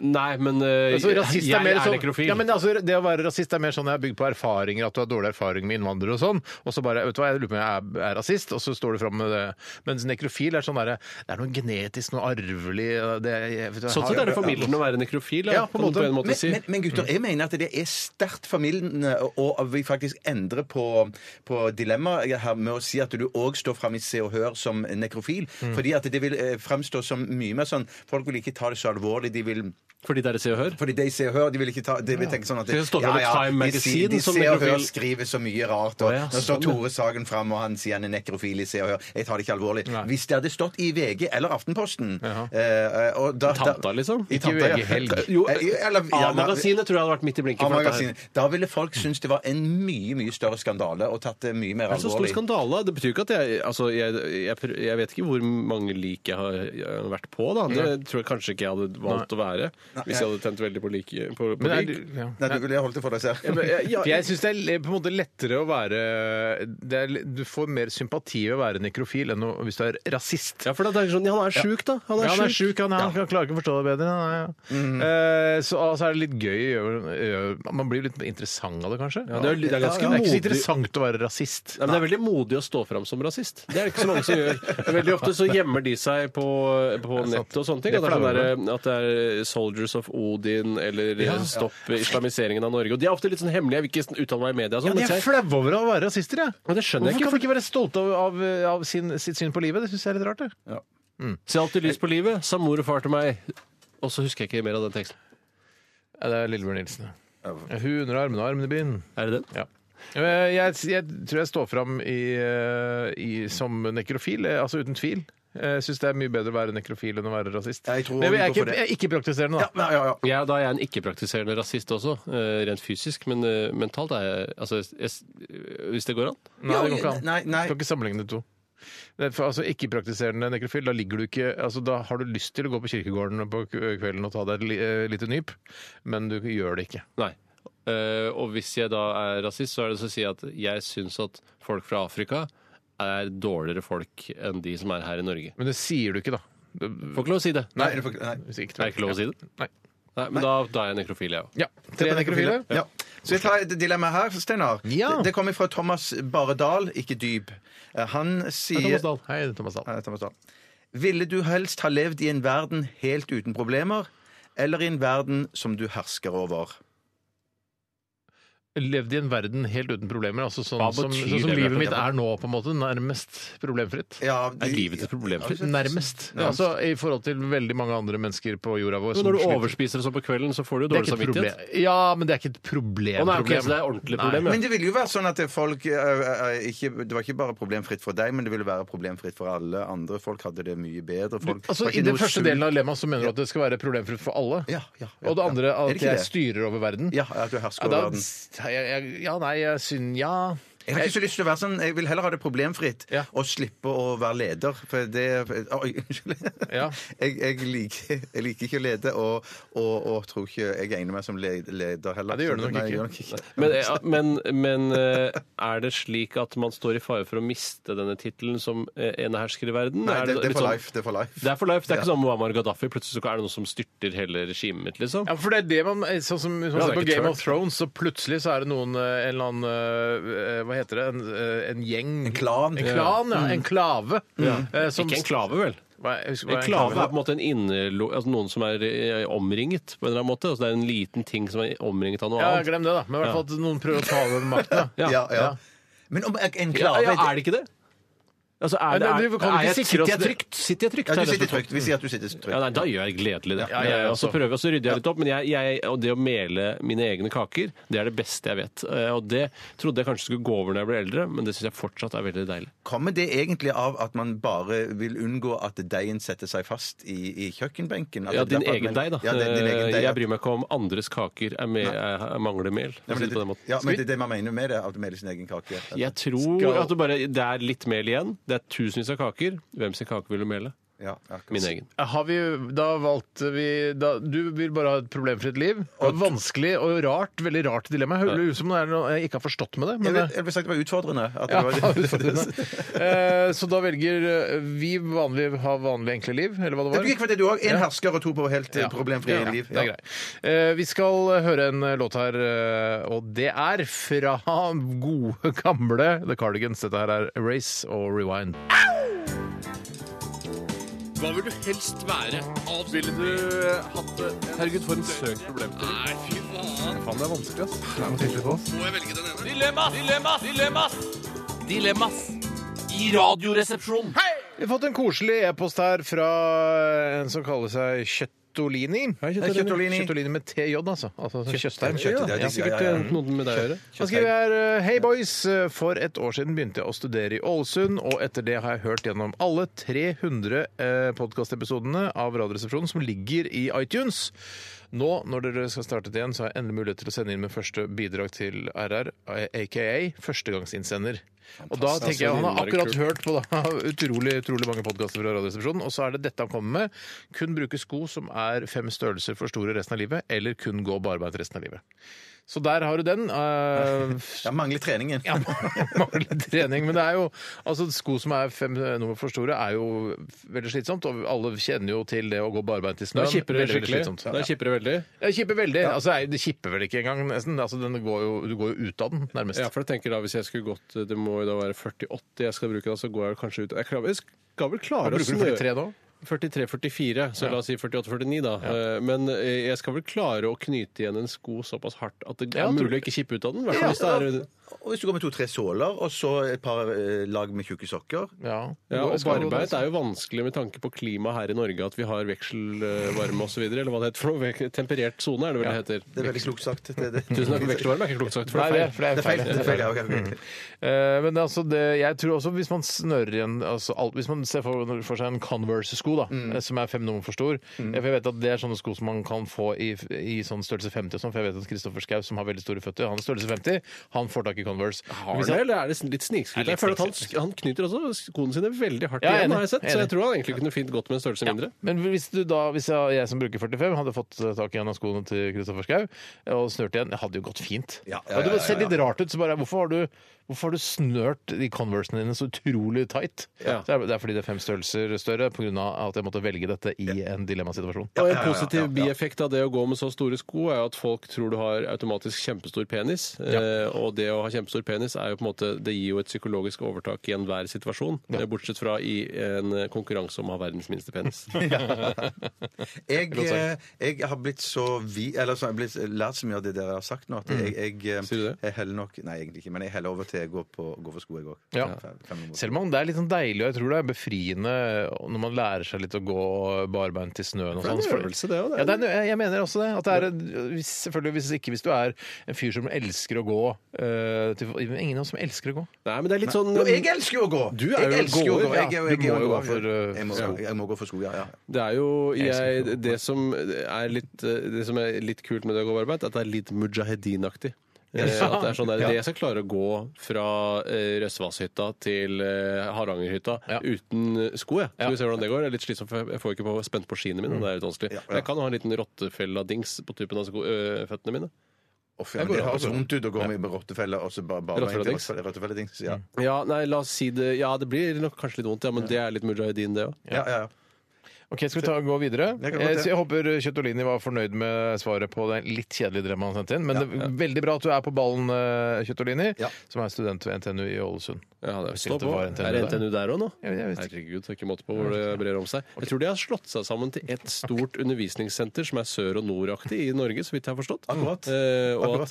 S7: Nei, men eh,
S5: Altså, rasist
S7: jeg
S5: er mer sånn,
S7: nekrofil.
S5: ja, men altså, det å være rasist er mer sånn jeg har bygd på erfaringer, at du har dårlig erfaring med innvandrere og sånn, og så bare vet du hva, jeg lurer på om jeg er, er rasist, og så står du fram med det. Mens nekrofil er sånn derre Det er noe genetisk, noe arvelig det, jeg, vet du, jeg
S7: Sånn
S5: har-
S7: sett er det formildende å være nekrofil,
S5: Ja, på en
S7: kan du
S5: måte.
S7: på en måte
S6: Men,
S7: si.
S6: men, men gutter, jeg mener at det er sterkt formildende, og at vi faktisk endrer på, på dilemmaet her med å si at du òg står fram i Se og Hør som nekrofil.
S7: Mm.
S6: Fordi at det vil eh, fremstå som mye mer sånn Folk vil ikke ta det så alvorlig. De vil
S7: Fordi det er Se og Hør.
S6: fordi de ser og hører, de vil ikke ta de vil tenke sånn at
S7: Så det står fram i
S6: de,
S7: Time
S6: sier-
S7: Magazine
S6: de
S7: som
S6: ser og
S7: nekrofil.
S6: hører skriver så mye rart. Og
S7: Å ja,
S6: Nå står
S7: sånn, ja.
S6: Tore Sagen fram, og han sier han er nekrofil i Se og Hør. Jeg tar det ikke alvorlig. Hvis det hadde stått i VG eller Aftenposten eh, og da,
S7: Tanta, liksom?
S6: I
S7: Ikke
S6: tanta, ja.
S5: VG
S6: (laughs)
S5: Helg.
S7: Jo,
S6: Eh, eller- ja, da-
S7: A-magasinet tror jeg hadde vært midt i blinken. for dette her.
S6: A-magasinet. Da ville folk synes det var en mye mye større skandale og tatt det mye mer
S7: Det er så stor
S6: alvorlig.
S7: skandale. Det betyr ikke at jeg Altså, jeg, jeg, pr- jeg vet ikke hvor mange lik jeg har eh, vært på, da. Det tror jeg kanskje ikke jeg hadde valgt å være hvis jeg hadde tent veldig på lik. På, på
S5: Men er,
S7: lik.
S5: du- ja.
S6: Nei, du ville holdt det for deg selv.
S7: Men jeg-
S5: For
S7: ja,
S5: jeg syns det er le- på en måte lettere å være det er, li- Du får mer sympati ved å være nekrofil enn å, hvis du er rasist.
S7: ja, for det er sånn, ja, han er sjuk, da. Han er,
S5: Ja, han er
S7: sjuk.
S5: sjuk, han, er, han klarer ikke å forstå det bedre. Han er, ja. eh, så altså, er det litt gøy å gjøre- gjøre- Man blir litt mer interessant av det, kanskje?
S7: Ja, det, er, det er ganske
S5: det er ikke så
S7: modig.
S5: interessant å være rasist.
S7: Nei, men det er veldig modig å stå fram som rasist. Det er det ikke så mange som gjør. Veldig ofte så gjemmer de seg på, på
S5: sant.
S7: nett og sånne ting.
S5: Det
S7: At det, er sånn
S5: flauer
S7: der, at det er Soldiers of Odin eller eh, Stopp islamiseringen av Norge. Og de er ofte litt sånn hemmelige. Jeg vil ikke sånn uttale meg i media. og Sånn,
S5: Ja, de er
S7: men jeg,
S5: flaue over å være rasister, jeg.
S7: Men det skjønner jeg
S5: Hvorfor
S7: ikke,
S5: kan de ikke være stolte av, av, av sin, sitt syn på livet? Det syns jeg er litt rart. Det.
S7: Se alltid lys på livet, sa mor og far til meg. Og så husker jeg ikke mer av den teksten.
S5: Ja, det er Lillebjørn Nilsen. ja. Hun under armene har armene i bind.
S7: Er det den?
S5: Ja. Eh, Jeg, jeg tror jeg står fram i, eh, i, som nekrofil, eh, altså uten tvil. Jeg syns det er mye bedre å være nekrofil enn å være rasist.
S6: Jeg tror
S5: Men jeg er
S6: vi går for
S5: ikke,
S6: det.
S5: jeg er ikke praktiserende,
S6: Ja, (laughs)
S5: da.
S6: ja, ja, ja.
S7: Ja, da er jeg en ikke-praktiserende rasist også, eh, rent fysisk, men eh, mentalt er jeg Altså, jeg, jeg, hvis det går an.
S5: Nei, det går ikke an.
S6: Nei, nei.
S5: Du kan ikke sammenligne de to. Det er For, altså, ikke-praktiserende nekrofil, da ligger du ikke altså, Da har du lyst til å gå på kirkegården på k- kvelden og ta deg et li- eh, lite nyp, men du gjør det ikke.
S7: Nei. Eh, og hvis jeg da er rasist, så er det så å si at jeg syns at folk fra Afrika er dårligere folk enn de som er her i Norge.
S5: Men det sier du ikke, da. Det-
S7: Får ikke lov å si det.
S6: Nei, du får ikke- nei.
S5: hvis ikke-
S7: Er det ikke lov å si det?
S5: Nei.
S7: Nei, men da, da er jeg nekrofil, jeg òg.
S5: Ja. Tre nekrofile.
S6: Ja. Så jeg tar et dilemma her, Steinar.
S5: Ja.
S6: Det, det kommer fra Thomas Baredal, ikke Dyb. Eh, Han sier
S5: Thomas Dahl. Hei, det er Thomas Dahl.
S6: Ja, det er Thomas Dahl. Ville du helst ha levd i en verden helt uten problemer, eller i en verden som du hersker over?
S5: levd i en verden helt uten problemer. Altså sånn,
S7: Hva
S5: som,
S7: betyr
S5: sånn som
S7: det,
S5: livet
S7: Bjarte?
S5: mitt er nå, på en måte. Nærmest problemfritt.
S6: Ja, de-
S7: Er livet et problem? for deg?
S5: Nærmest. Ja, altså I forhold til veldig mange andre mennesker på jorda vår.
S7: Men
S5: som
S7: når du
S5: sliter.
S7: overspiser og sånn på kvelden, så får du
S5: Det
S7: jo
S5: er ikke
S7: dårlig
S5: et
S7: samvittighet.
S5: problem. Ja, men det er ikke et problem.
S7: Å, nei, ok,
S5: problem.
S7: så det er ordentlig
S5: Nei.
S7: problem, ja.
S6: Men det ville jo være sånn at det folk eh, eh, ikke, Det var ikke bare problemfritt for deg, men det ville være problemfritt for alle andre. Folk hadde det mye bedre. Folk, var
S5: Altså,
S6: ikke
S5: I den
S6: noe
S5: første
S6: sult.
S5: delen av lemmaet så mener du at det skal være problemfritt for alle.
S6: Ja, ja, ja,
S5: og det andre
S6: ja. Er det
S5: at
S6: ikke
S5: jeg
S6: det?
S5: styrer over verden.
S6: Ja, at du hersker
S5: da-
S6: over verden.
S5: jeg, jeg, ja, nei, jeg syns Ja.
S6: Jeg har ikke så lyst til å være sånn, jeg vil heller ha det problemfritt
S5: Ja.
S6: og slippe å være leder. For det Oi, unnskyld.
S5: Ja.
S6: (laughs) Jeg, jeg, liker, jeg liker ikke å lede, og, og, og tror ikke jeg egner meg som le- leder heller.
S5: Nei, det gjør du nok
S6: Nei, jeg
S5: ikke.
S6: gjør nok ikke.
S7: Men, ja, men, men eh, er det slik at man står i fare for å miste denne tittelen som eh, enehersker i verden?
S6: Nei, det, det
S7: litt
S6: er for
S7: sånn-
S6: life. Det er for life.
S7: Det er for life. Det er ikke
S6: Ja.
S7: sånn Muammar Gaddafi. Plutselig så er det noe som styrter hele regimet mitt, liksom.
S5: Ja, for det er det man Sånn som, sånn
S7: Ja,
S5: som
S7: det er
S5: på
S7: ikke
S5: Game
S7: tørt.
S5: of Thrones, så plutselig så er det noen eh, en eller annen eh, Hva heter det? En, eh, en gjeng
S6: En klan.
S5: En klan, ja. En klave. Eh, som-
S7: Ikke en klave, vel?
S5: Hva er- jeg husker hva
S7: En klave er på en måte en innelo... Altså noen som er eh, omringet på en eller annen måte. Altså det er en liten ting som er omringet av noe
S5: Ja,
S7: annet.
S5: glem det, da. Men i hvert fall at noen prøver å ta over makten.
S7: Ja.
S6: Ja, ja. Men om en
S7: Ja,
S6: klave
S7: ja, er det ikke det? Altså, er det,
S5: Men
S7: er,
S5: du kan ikke
S7: er jeg,
S5: sikre
S7: sitter
S5: oss
S7: jeg
S5: det.
S7: trygt? Sitter jeg trygt?
S6: Ja,
S7: Det
S6: du
S7: er det som
S6: sitter
S7: er
S6: trygt. Vi sier at du sitter
S7: Ja,
S6: trygt.
S7: nei, Da gjør jeg gledelig det.
S5: Ja, jeg
S7: og så
S5: også.
S7: prøver jeg, og så rydder jeg litt opp. Men jeg, jeg, og det å mele mine egne kaker, det er det beste jeg vet. Eh, Og det trodde jeg kanskje skulle gå over når jeg ble eldre, men det syns jeg fortsatt er veldig deilig.
S6: Kommer det egentlig av at man bare vil unngå at deigen setter seg fast i, i kjøkkenbenken? At
S7: Ja,
S6: det er
S7: din
S6: derfor at
S7: egen
S6: man-
S7: deig, da. Eh,
S6: Ja, det er din egen deig.
S7: jeg bryr meg ikke om andres kaker er med, er, mangler mel.
S6: Ja, men
S7: for å
S6: det,
S7: si det på den måten.
S6: ja, men det er det man mener med det, at du meler sin egen kake.
S7: Jeg tror at det bare Det er litt mel igjen. Det er tusenvis av kaker. Hvem sin kake vil du mele?
S6: Ja, akkurat.
S7: Min egen.
S5: Har vi, da valgte vi da, Du vil bare ha et problemfritt liv. Og vanskelig og rart. Veldig rart dilemma. Jeg hører ut som det er noe jeg ikke har forstått med det. Men
S6: Jeg
S5: det
S6: vil, jeg vil sagt det var utfordrende. At det
S5: ja,
S6: var,
S5: (laughs) Eh, så da velger eh, vi vanlig ha vanlig enkle liv, eller hva det
S6: Jeg
S5: var?
S6: gikk for det du òg. Én hersker og to på helt eh,
S5: Ja.
S6: problemfrie
S5: Ja,
S6: liv.
S5: Det er
S6: Ja.
S5: greit. Eh, vi skal høre en låt her, eh, og det er fra (laughs) gode, gamle The Cardigans. Dette her er Erase og Rewind.
S10: Hva vil du helst være? Ville du hatt det? Herregud, for en søk problem til. Nei, fy faen. Faen, det er vanskelig, ass. Det er tydelig på oss. Må jeg velge den ene?
S2: Dilemmas! Dilemmas! Dilemmas! Dilemmas i Radioresepsjonen.
S5: Vi har fått en koselig e-post her fra en som kaller seg Kjøttolini.
S6: Kjøttolini.
S5: Kjøttolini. Kjøttolini med TJ, altså. altså Tjøstheim.
S6: Kjøtt-
S5: Ja,
S6: det er
S5: ja.
S6: sikkert, eh,
S7: Noe med deg å gjøre.
S5: Han skriver her Hei boys, eh, for et år siden begynte jeg å studere i Ålesund, og etter det har jeg hørt gjennom alle 300 podkastepisodene av Radioresepsjonen som ligger i iTunes. Nå når dere skal starte igjen, så har jeg endelig mulighet til å sende inn min første bidrag til RR, aka førstegangsinnsender. Og da tenker jeg Han har akkurat hørt på da, (laughs) utrolig utrolig mange podkaster fra Radioresepsjonen, og så er det dette han kommer med. Kun bruke sko som er fem størrelser for store resten av livet, eller kun gå barbeint resten av livet. Så der har du den. eh, (laughs)
S6: Jeg mangler treningen.
S5: ja, mangler trening. Men det er jo altså sko som er fem eh, nummer for store, er jo veldig slitsomt. Og alle kjenner jo til det å gå barbeint i
S7: Da
S5: snøen.
S7: kipper det
S5: Veldig, veldig
S7: skikkelig.
S5: slitsomt.
S7: Da
S5: Ja.
S7: kipper det veldig.
S5: Det kipper veldig. Altså, det er- det kipper vel ikke engang, nesten. Altså, den går jo, du går jo ut av den, nærmest.
S7: Ja, for jeg tenker da, Hvis jeg skulle gått Det må jo da være 48 jeg skal bruke, da, så går jeg kanskje ut Jeg klarer- jeg skal vel
S5: Hva
S7: klare å
S5: bruker du
S7: snø...
S5: for de tre nå?
S7: 43-44, så la oss si 48-49, da. Eh, Men eh, jeg skal vel klare å knyte igjen en sko såpass hardt at det
S5: Ja,
S7: er
S5: tror-
S7: mulig å ikke kippe ut av den? i hvert fall hvis det er-
S6: (laughs) Og hvis du går med to-tre såler, og så et par eh, lag med tjukke sokker
S5: Ja,
S7: Ja,
S5: Gå-
S7: og
S5: skal-
S7: Barbeid er jo vanskelig med tanke på klima her i Norge, at vi har vekselvarme osv. Eller hva det heter for noe. Vek- Temperert sone er det vel det heter.
S6: Det er veldig klokt sagt. Det, det.
S7: Tusen takk. Vekselvarme er ikke klokt sagt, for
S5: Nei,
S7: det
S5: det
S7: er
S5: er,
S7: feil.
S5: for det er feil.
S6: Det er feil, ja, ok, ok.
S5: Eh, men altså det, jeg tror også hvis man snører igjen altså alt, Hvis man ser for, for seg en Converse-sko da,
S7: Mm.
S5: eh, som er fem nummer for stor eh, For jeg vet at det er sånne sko som man kan få i, i sånn størrelse 50 og sånn, For jeg vet at Kristoffer Schau, som har veldig store føtter, han er størrelse 50, han får tak i Converse.
S7: Har
S5: Hvis
S7: han det,
S5: jeg-
S7: eller er det litt
S5: Det er
S7: snikskryt?
S5: litt
S7: Jeg føler at han, han knyter også skoene sine veldig hardt
S5: Ja, jeg er
S7: igjen,
S5: enig.
S7: har jeg sett. Så
S5: Enig.
S7: jeg tror han egentlig kunne fint gått med en størrelse mindre.
S5: Men hvis, du da, hvis jeg, jeg som bruker 45 hadde fått eh, tak i en av skoene til Kristoffer Schau eh, og snørt igjen, det hadde jo gått fint.
S6: Ja,
S5: Det hadde sett litt rart ut. Så bare, hvorfor, har du, hvorfor har du snørt de Conversene dine så utrolig tight?
S7: Ja.
S5: Så er det det er fordi det er fem størrelser større, pga. at jeg måtte velge dette i en dilemmasituasjon.
S7: Og en positiv bieffekt av det å gå med så store sko er jo at folk tror du har automatisk kjempestor penis. Eh, og det å ha kjempestor penis er jo på en måte, det gir jo et psykologisk overtak i enhver situasjon. eh, Bortsett fra i en eh, konkurranse om å ha verdens
S5: (laughs)
S7: minste penis.
S6: Jeg, eh, jeg har blitt så vi... Eller så har jeg blitt lært så mye av det dere har sagt nå, at jeg, jeg, eh,
S7: Sier du det?
S6: jeg heller nok Nei, egentlig ikke, men jeg heller over til jeg går, på, går for sko, jeg òg.
S5: Ja. Selv om det er litt sånn deilig, og jeg tror det er befriende når man lærer seg litt å gå barbeint i snøen og
S7: er en
S5: sånn.
S7: øvelse, det også, det.
S5: Ja, det er, en ø- jeg mener også det. At det er, en- hvis, selvfølgelig hvis ikke hvis du er en fyr som elsker å gå eh, til, Ingen av oss som elsker å gå.
S7: Nei, men det er litt sånn
S6: Jo, jeg elsker jo å gå!
S7: Du er jo
S6: jeg elsker jo å
S7: gåer,
S6: gå.
S7: ja.
S6: Jeg, er jo-
S5: Du
S6: jeg, er
S5: må jo
S6: en
S5: gå
S6: gåer.
S5: for, eh,
S6: jeg, må,
S5: sko.
S6: jeg må gå for sko, ja. ja.
S7: Det er jo
S5: Jeg elsker
S7: jeg, Det som er litt, det som er litt kult med det å gå på arbeid, er at det er litt (laughs) mujahedin-aktig. Eh, at det er sånn der, Jeg skal klare å gå fra eh, Røsvasshytta til eh, Harangerhytta
S5: Ja.
S7: uten sko. Jeg. Skal vi se hvordan det går. Det er litt slitsomt, for jeg får ikke på, spent på skiene mine. Det er litt vanskelig. Men jeg kan ha en liten rottefella-dings på tuppen av sko, ø, føttene mine.
S6: Uff, ja, men det høres vondt ut å gå med rottefeller og så bare bare
S7: Rottefelledings.
S6: rottefelledings. Rottefelledings, Ja.
S7: Ja, nei, la oss si det. Ja, det blir nok kanskje litt vondt, ja, men det er litt mujahedin, det òg.
S6: Ja, ja, ja.
S5: Ok, Skal vi ta, gå videre?
S6: Jeg
S5: Jeg,
S6: kan godt, ja.
S5: jeg håper Kjøttolini var fornøyd med svaret på den litt kjedelige dilemmaet han sendte inn. Men det er veldig bra at du er på ballen, eh, Kjøttolini,
S6: Ja.
S5: som er student ved NTNU i Ålesund.
S7: Ja, det er,
S5: Hvis ikke
S7: stå
S5: det
S7: på.
S5: var NTNU
S7: er det NTNU der òg nå?
S5: Jeg- jeg
S7: (laughs)
S5: visste ikke.
S7: Herregud, det er ikke måte på hvor det brer om seg. Jeg tror de har slått seg sammen til ett stort undervisningssenter som er sør- og nordaktig i Norge, så vidt jeg har forstått.
S6: Akkurat.
S7: Eh, og at,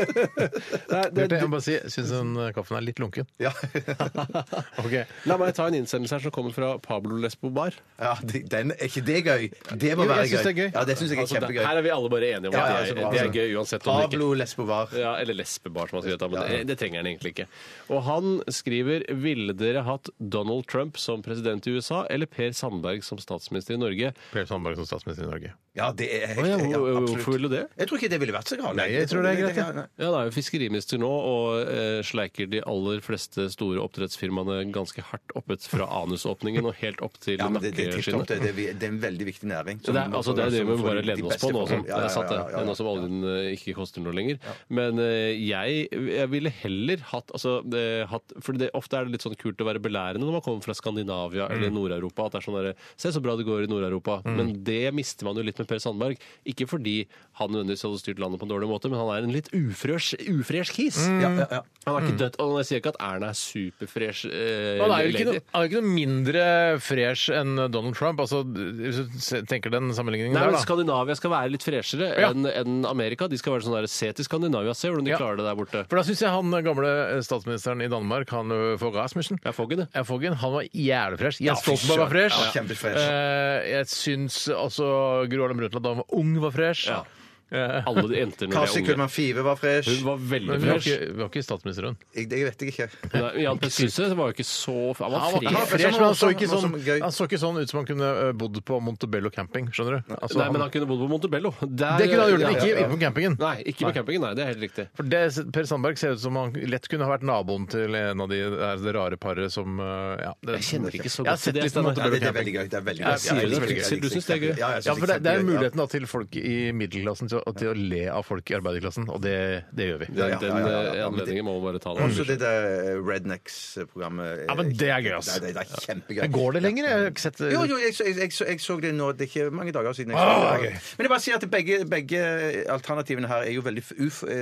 S7: Nei, det,
S6: (laughs)
S5: Bjarte, jeg må bare si, syns den eh, kaffen er litt lunken.
S6: Ja, (laughs)
S5: Ok.
S7: la meg ta en innsendelse her som kommer fra Pablo Lesbobar.
S6: ja de- den, Er ikke det gøy? Det må
S5: Jo, jeg
S6: være
S5: synes det er gøy.
S6: Ja, det syns jeg er
S7: Altså, det,
S6: kjempegøy.
S7: her er vi alle bare enige om
S6: Ja, ja,
S7: at
S6: så
S7: det
S6: bra,
S7: er, det
S6: så
S7: er gøy uansett om det ikke
S6: Pablo Lesbovar.
S7: Ja, eller lesbebar, som han skrev. da, Men
S6: Ja, ja.
S7: det- det trenger han egentlig ikke. Og han skriver Ville dere hatt Donald Trump som president i USA eller Per Sandberg som statsminister i Norge?
S5: Per Sandberg som statsminister i Norge.
S6: Ja, det er helt
S7: Ja,
S6: ja,
S7: hvor- hvorfor
S6: absolutt.
S7: ville du det?
S6: Jeg tror ikke det ville vært så galt.
S5: Nei, jeg tror det er greit, ja.
S6: nei.
S7: Ja, Han er jo fiskeriminister nå og eh, sleiker de aller fleste store oppdrettsfirmaene ganske hardt oppet fra anusåpningen og helt opp til
S6: Ja, men det, det, er tipptopp,
S7: nakkeskinnet.
S6: det, det, er vi- det er en veldig viktig næring.
S7: Så det er, altså, det er det vi må bare lene oss på nå
S6: Ja,
S7: som,
S6: ja,
S7: det er sant, det.
S6: ja, ja, ja.
S7: nå som oljen eh, ikke koster noe lenger. Men eh, jeg, jeg ville heller hatt, altså, eh, hatt For det, ofte er det litt sånn kult å være belærende når man kommer fra
S6: Mm.
S7: Skandinavia eller Nord-Europa. At det er sånn derre Se så bra det går i Nord-Europa. Men det mister man jo litt med Per Sandberg. Ikke fordi han nødvendigvis hadde styrt landet på en dårlig måte, men han er en litt ufresh, ufresh kis.
S6: Mm. Ja, ja, Mm. ja.
S7: Han er ikke dødt. Og jeg sier ikke at Erna er superfresh eh,
S5: Han er jo ikke
S7: lady.
S5: noe, han er ikke noe mindre fresh enn Donald Trump. Altså, hvis du se- tenker den sammenligningen
S7: Nei,
S5: der,
S7: men
S5: da.
S7: Skandinavia skal være litt freshere
S5: Ja.
S7: enn enn Amerika. De skal være sånn der, Se til Skandinavia, se hvordan de
S5: Ja.
S7: klarer det der borte.
S5: For da syns jeg han gamle statsministeren i Danmark, han ø, Fogh Rasmussen
S7: Jeg får ikke det.
S5: Ja, Foggen, han var jævlig fresh. Jens
S6: fy
S5: Stoltenberg var
S6: søren.
S5: fresh.
S6: Ja, kjempefresh.
S5: Eh, jeg syns også Gro Harlem Brundtland da han var ung, var fresh.
S7: Ja.
S5: Eh,
S7: Alle de jenter når
S6: Kasi
S7: de er unge.
S6: Kullmann Five var fresh.
S7: Hun var veldig
S5: men hun var
S7: fresh.
S5: ikke, hun var ikke statsminister, hun.
S6: Jeg, det vet jeg ikke.
S7: Nei, Jan Pessyse var jo ikke så Han var
S5: Han var ikke
S6: han
S7: fri.
S6: var
S5: fresh, men han så ikke,
S6: morsom,
S5: sånn,
S6: morsom, gøy.
S5: han så ikke sånn ut som han kunne ø, bodd på Montebello camping. skjønner du? Altså,
S7: Nei, men
S5: han,
S7: han kunne bodd på Montebello. Der-
S5: det kunne han gjort,
S7: Ja,
S5: men ikke
S7: ja, ja.
S5: på campingen.
S7: Nei, ikke på campingen. Nei, det er helt riktig.
S5: For det, Per Sandberg ser ut som han lett kunne ha vært naboen til en av de der, det rare paret som uh, ja, det,
S7: Jeg kjenner ikke så
S5: Jeg har
S7: godt til
S5: sett
S7: det.
S5: litt
S7: Steinar.
S6: Ja,
S5: Monte
S6: det,
S5: Bello
S6: det er
S5: camping.
S6: veldig gøy. Det er veldig
S7: Ja,
S6: gøy.
S7: sier du det? Sier du synes det er gøy?
S6: Ja, jeg
S5: Ja,
S6: synes
S5: for det, det er jo
S6: kjempegøy, ja.
S5: muligheten da, til folk i middelklassen til, å- til å le av folk i arbeiderklassen, og det, det gjør vi.
S7: Den,
S6: Ja,
S7: den
S6: ja, ja, ja, ja,
S7: eh,
S6: ja, men det-
S7: anledningen må man bare ta. den.
S6: Også det der eh, Rednecks-programmet.
S5: Mm. Ja, men det er gøy, ass.
S6: Det, det, det er kjempegøy.
S5: Men Går det lenger? Jeg har ikke sett eh,
S6: Jo, jo, jeg så, jeg, jeg, så, jeg så det nå. Det er ikke mange dager siden. Jeg
S5: Ah,
S6: så det.
S5: ok.
S6: Men jeg bare sier at begge, begge alternativene her er jo veldig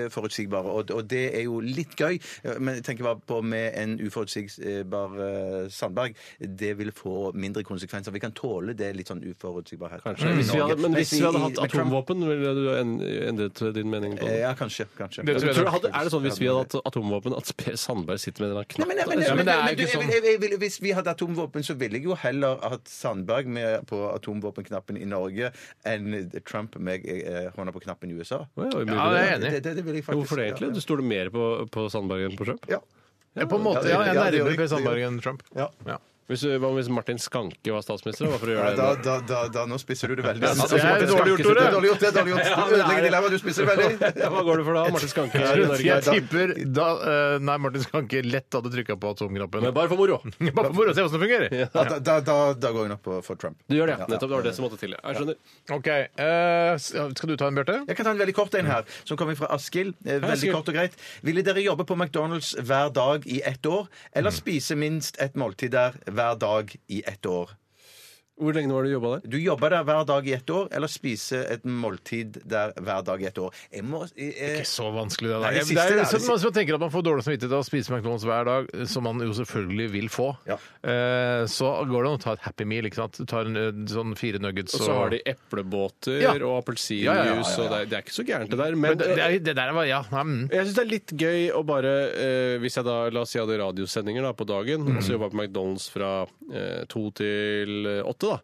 S6: uforutsigbare, og, og det er jo litt gøy. Men tenk bare på med en uforutsigbar eh, Sandberg. Det vil få mindre konsekvenser. Vi kan tåle det litt sånn uforutsigbarhet.
S7: Kanskje. Hvis vi hadde, men hvis vi hadde hatt atomvåpen, ville du en- endret din mening på
S6: Eh,
S7: det?
S6: Ja, kanskje. kanskje.
S5: Det tror jeg
S7: Tror du,
S5: nok.
S7: hadde, er det sånn hvis vi hadde hatt atomvåpen, at Per Sandberg sitter med en
S6: Nei,
S7: knapp?
S6: men, nei, men,
S5: Ja, men
S6: men,
S5: det er jo
S6: men, du,
S5: ikke
S6: jeg,
S5: sånn.
S6: vil- jeg, vil- hvis vi hadde atomvåpen, så ville jeg jo heller hatt Sandberg med på atomvåpenknappen i Norge enn Trump med eh, hånda på knappen i USA.
S7: Å, ja,
S5: Ja,
S7: det
S5: jeg er
S7: er
S5: enig.
S6: Det, det, det vil jeg faktisk,
S7: Hvorfor det egentlig? Du
S6: ja,
S7: stoler mer på, på Sandberg enn på Trump?
S6: Ja.
S5: Ja, på en måte.
S6: Ja,
S5: Ja,
S6: det-
S5: jeg
S6: ja, det gjør
S5: nærmer
S6: jeg.
S5: Per Sandberg enn Trump.
S6: Ja.
S7: Hvis, du- hva hvis Martin Skanke var statsminister? Hva for å
S6: Ja,
S7: gjøre
S6: da,
S7: det?
S6: da, da, da, nå spiser du det veldig. Altså,
S5: Ja, det er dårlig gjort, Tore.
S6: Det er Dårlig gjort, det er dårlig gjort. Du ødelegger dilemmaet, du spiser det veldig.
S7: Ja, hva går det for da? (laughs) Martin Skanke er i Norge.
S5: Jeg tipper da eh, Nei, Martin Skanke lett hadde trykka på atomknappen.
S7: Men bare for moro.
S5: (laughs) Bare for moro å se hvordan det fungerer.
S6: Ja, da, da, da, da går jeg nok på for Trump.
S7: Du gjør det, ja. Nettopp. Det var det som måtte til. ja. Jeg skjønner.
S5: Ok, eh, Skal du ta en, Bjarte?
S6: Jeg kan ta en veldig kort en her, som kommer fra Askild. Eh, Veldig
S7: Askild.
S6: kort og greit. Ville dere jobbe på McDonald's hver dag i ett år, eller spise minst et måltid der hver dag i ett år?
S7: Hvor lenge var det du jobba der?
S6: Du jobber der hver dag i ett år, eller spise et måltid der hver dag i ett år? Jeg må eh,
S5: Ikke så vanskelig, det
S6: Nei,
S5: der.
S6: det
S5: Det
S6: siste
S5: er
S6: der,
S5: jo
S6: det
S5: sånn at man
S6: siste.
S5: man tenker at man får dårlig samvittighet av å spise McDonald's hver dag, eh, som man jo selvfølgelig vil få.
S6: Ja.
S5: Eh, Så går det an å ta et Happy Meal. ikke sant? Du tar en eh, sånn fire nuggets
S7: Og så har de eplebåter
S5: Ja.
S7: og appelsinjuice,
S5: Ja, ja, ja, ja,
S7: og det er, det er ikke så gærent, det der.
S5: Men
S7: Men, eh,
S5: det, det, er- det der var Ja. Nei, mm.
S7: Jeg syns det er litt gøy å bare eh, Hvis jeg da la oss si jeg hadde radiosendinger da, på dagen,
S5: Mm.
S7: og så jobba på McDonald's fra eh, to til eh, åtte, da.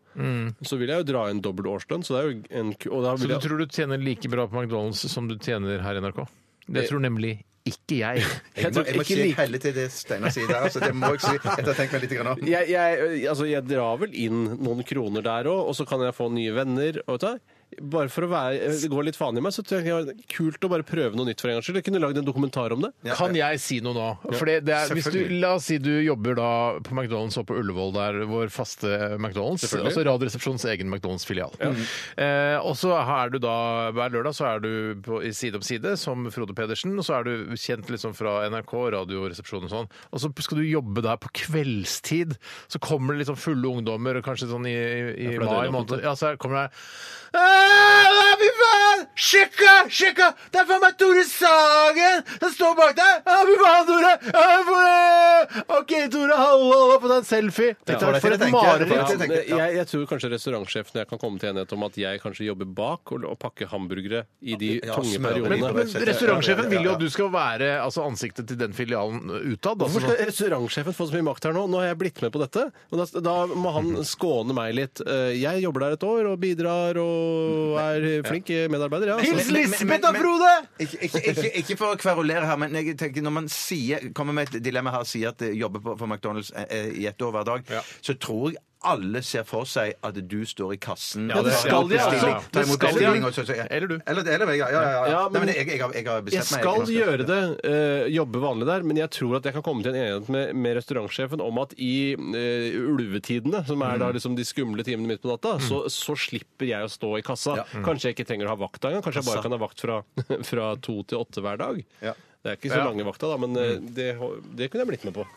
S7: Så vil jeg jo dra en dobbel årslønn, så det er jo en ku- og da
S5: Mm. Så
S7: vil
S5: du
S7: jeg,
S5: tror du tjener like bra på McDonald's som du tjener her i NRK? Det tror nemlig ikke jeg.
S6: Jeg må, jeg må
S7: ikke
S6: si
S7: like-
S6: helle til det Steinar sier der. Altså, det må jeg si etter å ha tenkt meg litt grann om.
S7: jeg, jeg, altså, jeg drar vel inn noen kroner der òg, og så kan jeg få nye venner. Og vet du hva? bare for å være, gå litt faen i meg, så tenker jeg det er kult å bare prøve noe nytt for en gangs skyld. Jeg kunne lagd en dokumentar om det.
S5: Kan jeg si noe nå? For det, det er, hvis du,
S6: Selvfølgelig.
S5: la oss si du jobber da på McDonald's og på Ullevål, der vår faste McDonald's. Altså Radioresepsjonens egen McDonald's-filial. Eh, og så er du da hver lørdag så er du på, i Side om side som Frode Pedersen. Og så er du kjent liksom fra NRK, Radioresepsjonen og sånn. Og så skal du jobbe der på kveldstid. Så kommer det liksom fulle ungdommer, og kanskje sånn i, i, i mai
S7: for det er døgnet rundt,
S5: måned. Ja, så her kommer det her Fy faen! Sjekka! Sjekka! Det er faen meg Tore Sagen! Han står bak deg! Ja, Fy faen, Tore! Ja, for, eh, OK, Tore, hallo, hallo på den selfie. Dette
S6: var det
S5: er for
S6: jeg
S5: et
S6: tenkte.
S7: Ja,
S5: mareritt.
S6: Det
S7: men
S6: tenker jeg, ja.
S7: eh, jeg, jeg tror kanskje restaurantsjefen og jeg kan komme til enighet om at jeg kanskje jobber bak og, og pakker hamburgere i de
S6: Ja,
S7: tunge
S6: smør-
S5: Men,
S7: periodene.
S5: men restaurantsjefen vil jo at du skal være altså, ansiktet til den filialen utad.
S7: Hvorfor
S5: Altså.
S7: skal restaurantsjefen få så mye makt her nå? Nå har jeg blitt med på dette. Og da, da må han
S6: Mhm.
S7: skåne meg litt. Eh, Jeg jobber der et år og bidrar og er flink medarbeider. Ja,
S5: Hils
S6: Altså,
S7: så-
S5: Lisbeth og Frode!
S6: Ikke, ikke, ikke, ikke for å kverulere her, men jeg tenker når man sier, kommer med et dilemma her og sier at eh, jobber på, på McDonald's eh, eh, i ett år hver dag, så tror jeg alle ser for seg at du står i kassen
S5: Ja, det
S6: tar
S5: skal
S6: imot
S5: de, altså.
S6: bestilling-
S5: Det
S6: tar imot
S5: skal de.
S6: bestilling, og så- så-
S5: Eller du.
S6: Eller, eller meg, ja. ja, ja, ja.
S7: Ja, men-
S6: Nei, men jeg, jeg, har- jeg har
S7: Jeg
S6: bestemt meg.
S7: skal
S6: jeg-
S7: gjøre det, eh, jobbe vanlig der, men jeg tror at jeg kan komme til en enighet med, med restaurantsjefen om at i eh, ulvetidene, som er
S5: Mm.
S7: da liksom de skumle timene midt på natta, så, så slipper jeg å stå i kassa.
S5: Mm.
S7: Kanskje jeg ikke trenger å ha vakt da engang. Kanskje jeg bare kan ha vakt fra, (laughs) fra to til åtte hver dag.
S6: Ja.
S7: Det er ikke så
S5: Ja. Mm.
S7: lange vakta, da, men eh, det, det kunne jeg blitt med
S5: (laughs)
S7: på.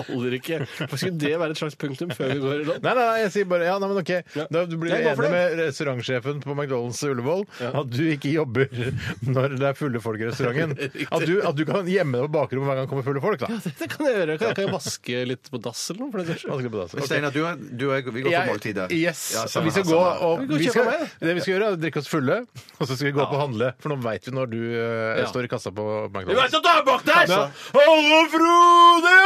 S7: Holder ikke. Hva Skulle det være et slags punktum før vi går i land?
S5: Nei, nei, nei, jeg sier bare ja, nei, men ok.
S7: Ja.
S5: Da du blir
S7: Jeg
S5: du
S7: går for
S5: enig med restaurantsjefen på McDonald's Ullevål at du ikke jobber (laughs) når det er fulle folk i restauranten. At du, at du kan gjemme deg på bakrommet hver gang det kommer fulle folk. da.
S7: Det kan jeg gjøre. Kan jeg, kan jeg vaske litt på dass eller noe? For det
S5: Man skal på dass.
S6: Men
S5: Ok.
S6: Steinar, du, og- du og jeg vi går på måltidet.
S5: Yes.
S6: Ja,
S5: og
S6: samme
S5: vi skal
S6: her,
S5: gå
S6: samme her.
S5: og
S7: Vi går og
S5: vi skal,
S7: kjøper meg.
S5: Det vi skal gjøre, er å drikke oss fulle, og så skal vi gå opp og handle. For nå veit vi når du eh,
S7: Ja.
S5: står i kassa på
S2: Du
S5: McDonald's.
S2: veit at du er bak der!
S5: Ja. Hallo, Frode!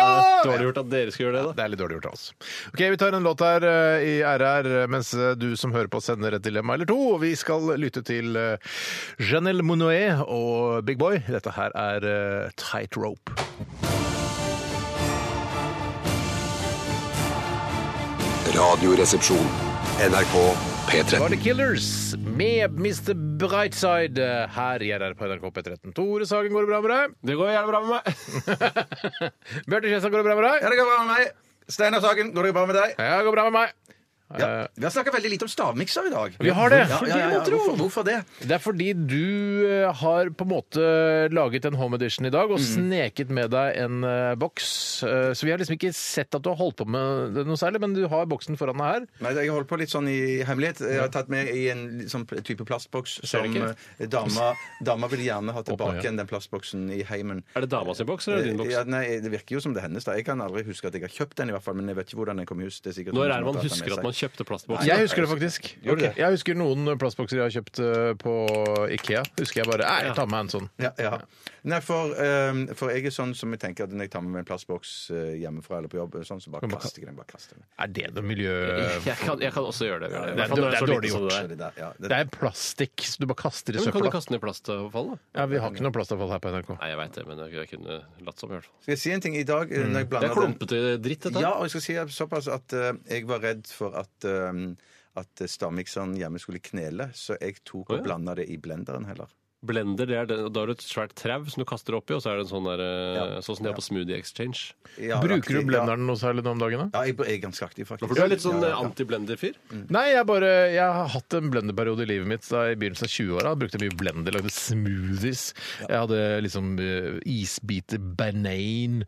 S7: Dårlig gjort at dere skal gjøre det, da.
S5: Det er litt dårlig gjort av oss. Ok, Vi tar en låt her eh, i RR mens eh, du som hører på, sender et dilemma eller to. Og vi skal lytte til eh, Janelle Monoet og Big Boy. Dette her er eh, Tight Rope.
S1: Radioresepsjon. NRK
S5: Var det
S1: P13.
S5: Killers med Mr. Brightside eh, her i RR på NRK P13. Tore Sagen, går det bra med deg?
S7: Det går gjerne bra med meg.
S5: (laughs) Bjarte Kjesa, går det bra med deg?
S6: Ja, det går bra med meg. Steinar Sagen, går det bra med deg?
S5: Ja, det går bra med meg.
S6: Ja. Vi har snakka veldig lite om stavmikser i dag.
S5: Eh. Vi har det.
S6: Ja, ja, ja, ja. Hvorfor, hvorfor det?
S5: Det er fordi du eh, har på en måte laget en home edition i dag og sneket med deg en eh, boks. Eh, Så vi har liksom ikke sett at du har holdt på med det noe særlig, men du har boksen foran deg her.
S6: Nei, Jeg har holdt på litt sånn i hemmelighet. Jeg har tatt med i en litt sånn type plastboks som
S5: ikke.
S6: eh,
S7: (laughs)
S6: dama, dama vil gjerne ha tilbake
S5: Åpne, ja.
S6: igjen, den plastboksen i heimen. Eh,
S7: Er det dama sin boks eller er det din boks?
S6: Ja, nei, Det virker jo som det er hennes. da Jeg kan aldri huske at jeg har kjøpt den, i hvert fall, men jeg vet ikke hvordan den kom i hus. Det er sikkert
S7: Når
S6: noen
S7: er
S6: som
S7: det man
S6: har tatt den med
S7: husker at man
S6: seg.
S7: kjøpte plastbokser.
S5: Jeg husker det faktisk.
S6: Gjør du det?
S5: Ok, Jeg husker noen plastbokser jeg har kjøpt eh, på Ikea. Husker jeg bare Nei, jeg tar med en sånn.
S6: Ja, ja. Nei, for, ehm, for jeg er sånn som jeg tenker at når jeg tar med meg en plastboks eh, hjemmefra eller på jobb, sånn, så bare
S5: Men bare-
S6: kaster jeg den. bare kaster den.
S5: Er det noe miljø...
S7: Eh, Jeg kan, jeg kan også gjøre det.
S5: det er
S7: I hvert fall
S5: dårlig- det
S7: når jeg
S5: er
S7: så liten
S5: dårlig
S7: som
S5: gjort.
S6: Så
S7: det der.
S6: det der, ja.
S5: Det er plastikk, så du bare kaster i
S7: Ja, men kan du
S5: søpla.
S7: kaste den i plastavfallet? da?
S5: Ja, vi har ikke noe plastavfall her på NRK.
S7: Nei, jeg veit det, men jeg, jeg kunne latt som. i hvert fall.
S6: Skal jeg si en ting i dag? eh, Når jeg
S7: Det
S6: blander
S7: er
S6: den-
S7: klumpete dritt, dette.
S6: Ja,
S7: her.
S6: og jeg skal si såpass at eh, jeg var redd for at eh, at stavmikseren hjemme skulle knele, så jeg tok og
S7: Å, ja.
S6: blanda det i blenderen heller.
S7: Blender, det er den, og da har du et svært trau som du kaster oppi, og så er det en sånn der, eh, sånn som de har på Smoothie Exchange.
S6: Ja,
S5: Bruker
S6: aktig,
S5: du blenderen noe særlig nå om dagen? da?
S6: Ja, ja jeg er ganske aktiv, faktisk.
S7: For du er litt sånn
S6: Ja,
S7: eh,
S6: ja, ja.
S7: anti-blender-fyr.
S5: Nei, jeg, bare, jeg har hatt en blenderperiode i livet mitt da, i begynnelsen av 20-åra. Brukte mye blender, lagde smoothies. Jeg hadde liksom eh, isbiter, banan,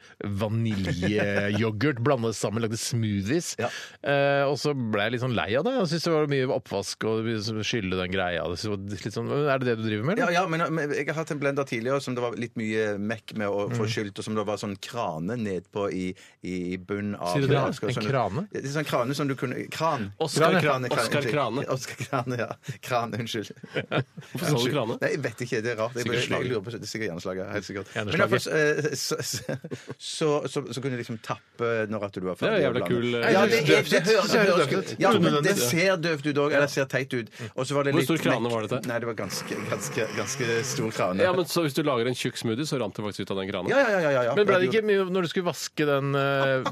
S5: vaniljeyoghurt. Blandet sammen, lagde smoothies. Eh, og så ble jeg litt sånn lei av det. Jeg syntes det var mye oppvask og skylle den greia. Jeg syntes det var litt sånn, er det det du driver med?
S6: Ja,
S5: eller?
S6: ja, men, men jeg har hatt en blender tidligere som det var litt mye mekk med å få skylt, og som det var sånn krane nedpå i, i i bunn av
S5: Sier du det?
S6: Ja, skal-
S5: En
S6: sånn-
S5: krane?
S6: Ja, det er Sånn krane som du kunne Kran.
S7: Oscar
S6: Krane,
S7: Krane. Oscar
S6: unnskyld.
S7: Krane.
S6: Oscar Krane, ja. Kran, unnskyld.
S7: Hvorfor sa du
S6: Unnskyld.
S7: krane?
S6: Nei, jeg vet ikke. Det er rart. Jeg,
S7: Sikkert
S6: jeg, jeg
S7: slaget.
S6: lurer på, det er sikkert hjerneslaget. Helt sikkert. Men
S5: Hjerneslaget.
S6: i hvert fall, eh, så, så, så, så, så kunne du liksom tappe når at du var
S7: Det
S6: ferdig.
S7: er
S6: å
S7: jævla
S6: blande.
S7: kul, eh,
S6: Ja, det, er, det, høres-
S5: Det høres
S6: høres
S5: døvt
S6: kult
S5: ut.
S6: ut. Ja, men det ser døvt ut òg. Eller ser teit ut. Og så var det
S7: Hvor
S6: litt
S7: stor krane
S6: mekk.
S7: var dette?
S6: Nei, det var ganske, ganske, ganske stor krane.
S7: Ja, men så Hvis du lager en tjukk smoothie, så rant det faktisk ut av den krana.
S6: Ja, ja, ja, ja, ja.
S5: Men ble det ikke mye når du skulle vaske den eh,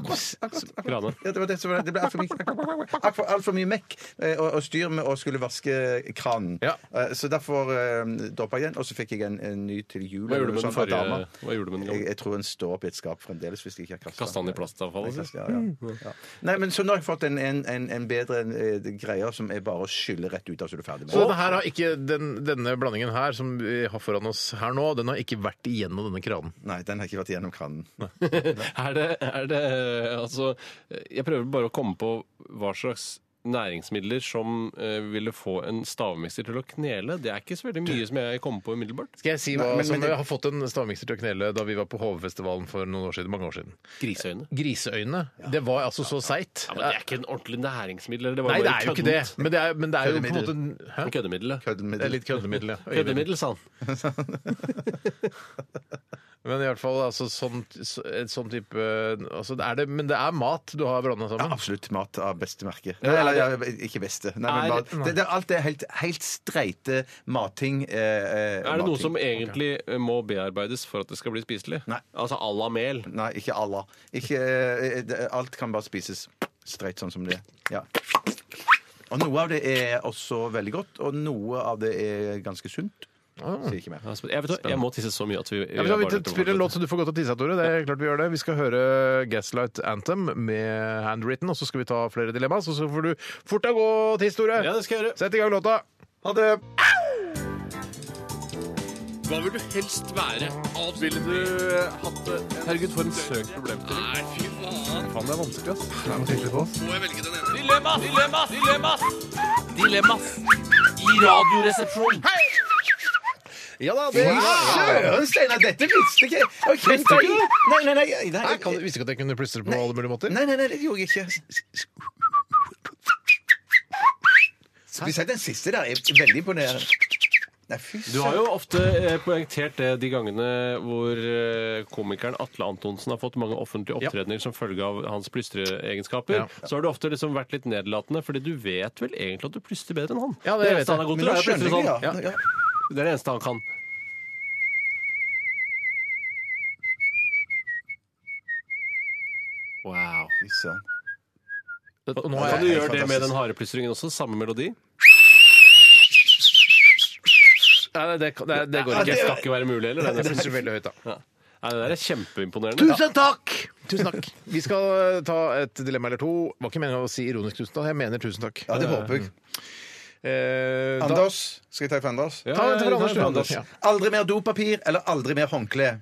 S7: krana.
S6: Ja, det var det som var det. ble altfor mye, alt for, alt for mye mekk eh, og, og styr med å skulle vaske kranen.
S5: Ja.
S6: Eh, Så derfor eh, droppa jeg den, og så fikk jeg en, en ny til jul.
S7: Hva gjorde du
S6: eller noe
S7: med den
S6: sånt, av
S7: forrige?
S6: dama.
S7: Hva gjorde du med den
S6: Jeg,
S7: gamle?
S6: jeg tror den står opp i et skap fremdeles. hvis jeg ikke har kastet
S7: Kastet den i plastavfallet,
S6: Ja, ja, ja. ja. Nei, men Så nå har jeg fått en, en, en, en bedre eh, greie som er bare å skylle rett ut av så du er ferdig med
S5: Så denne, her har ikke, den, denne blandingen her som vi har foran oss her nå, den har ikke vært igjennom denne kranen.
S6: Nei, den har ikke vært gjennom kranen.
S7: Er det, er det eh, Altså, eh, jeg prøver bare å komme på hva slags næringsmidler som eh, ville få en stavmikser til å knele. Det er ikke så veldig mye som jeg kommer på umiddelbart.
S5: Skal jeg si hva
S6: Nei, men-
S5: som
S6: men det-
S5: har fått en stavmikser til å knele da vi var på HV-festivalen for noen år siden, mange år siden?
S7: Griseøyne.
S5: Griseøyne. Det var altså så seigt.
S7: Ja, men det er ikke en ordentlig næringsmiddel. Det var
S5: Nei,
S7: bare
S5: det er jo ikke det.
S7: køddent.
S5: Men det er, men det er jo på en måte en- Hæ?
S7: En køddemiddel. ja.
S5: Det er litt køddemiddel, ja.
S7: Køddemiddel, sa han.
S5: Men i hvert fall altså, sånn, så- et sånn type altså, det er det, Men det er mat du har blanda
S6: Ja,
S5: sammen.
S6: absolutt mat av beste merke. Nei, eller, ja, ikke beste. Nei,
S7: Er-
S6: men mat. Det, det, alt er helt, helt streite matting. Eh, eh,
S7: Er det noe
S6: matting.
S7: som egentlig eh, må bearbeides for at det skal bli spiselig?
S6: Nei.
S7: Altså à la mel.
S6: Nei, ikke alla. Ikke, eh, eh, det- alt kan bare spises streit sånn som det er. Ja. Og noe av det er også veldig godt, og noe av det er ganske sunt.
S7: Ah.
S6: Sier ikke mer.
S7: Ja, sp- Jeg, vet, hva, jeg må tisse så mye at vi
S5: Ja, men da, vi spiller en låt så du får godt av tissa, Tore. Det er klart Vi gjør det. Vi skal høre Gaslight Anthem med Handwritten, og så skal vi ta flere dilemmaer. Så så får du fort deg gå og tisse, Tore.
S7: Ja, det skal jeg gjøre.
S5: Sett i gang låta.
S6: Ha det!
S10: Hva vil du helst være? Ville du hatt det? Herregud, for en søkt problemstilling. Nei, fy faen. Faen, det er vanskelig, ass. Det er vanskelig på oss. Må jeg velge den ene?
S2: Dilemmas, dilemmas, dilemmas! Dilemmas i Radioresepsjonen.
S5: Ja da, det
S6: Søren, Steinar, dette visste ikke jeg! Jeg kjente ikke det. Nei, nei, nei,
S5: Jeg kan,
S6: nei,
S5: visste ikke at jeg kunne plystre på alle mulige måter.
S6: nei, nei, nei, det gjorde jeg ikke. Spesielt den siste der er veldig imponerende. Nei, fy
S7: Du har jo ofte eh, poengtert det de gangene hvor eh, komikeren Atle Antonsen har fått mange offentlige opptredener som følge av hans plystreegenskaper.
S5: Ja.
S7: Så har du ofte liksom vært litt nedlatende, fordi du vet vel egentlig at du plystrer bedre enn han.
S5: Ja, det vet
S7: eneste han
S5: jeg.
S7: er god
S6: Men nå
S7: til, er å
S6: skjønner
S7: plystre
S6: jeg,
S7: sånn.
S6: ja. ja.
S7: Det er det eneste han kan. Wow.
S6: Fy søren.
S5: Og nå er
S7: Kan du
S5: jeg-
S7: gjøre det med
S6: fantastisk.
S7: den harde plystringen også? Samme melodi?
S5: Nei, nei, det, kan- det, det går
S7: Det
S5: ikke.
S7: skal ikke være mulig, eller?
S5: Det
S7: Det, er nesten-
S5: plystrer veldig høyt, da.
S7: Nei, det der er kjempeimponerende.
S5: Tusen takk! Tusen takk. Vi skal eh, ta et dilemma eller to. Var ikke meningen å si ironisk tusen takk. Jeg mener tusen takk.
S6: Ja, det håper jeg.
S7: Mm.
S5: Eh, da-
S6: Anders. Skal jeg ta en for Anders?
S7: Ja,
S5: Ta en
S7: ja,
S5: til
S7: ja,
S5: Anders,
S7: det
S5: du,
S7: er
S5: Anders.
S7: Anders.
S5: Ja.
S6: Aldri mer dopapir eller aldri mer håndkle?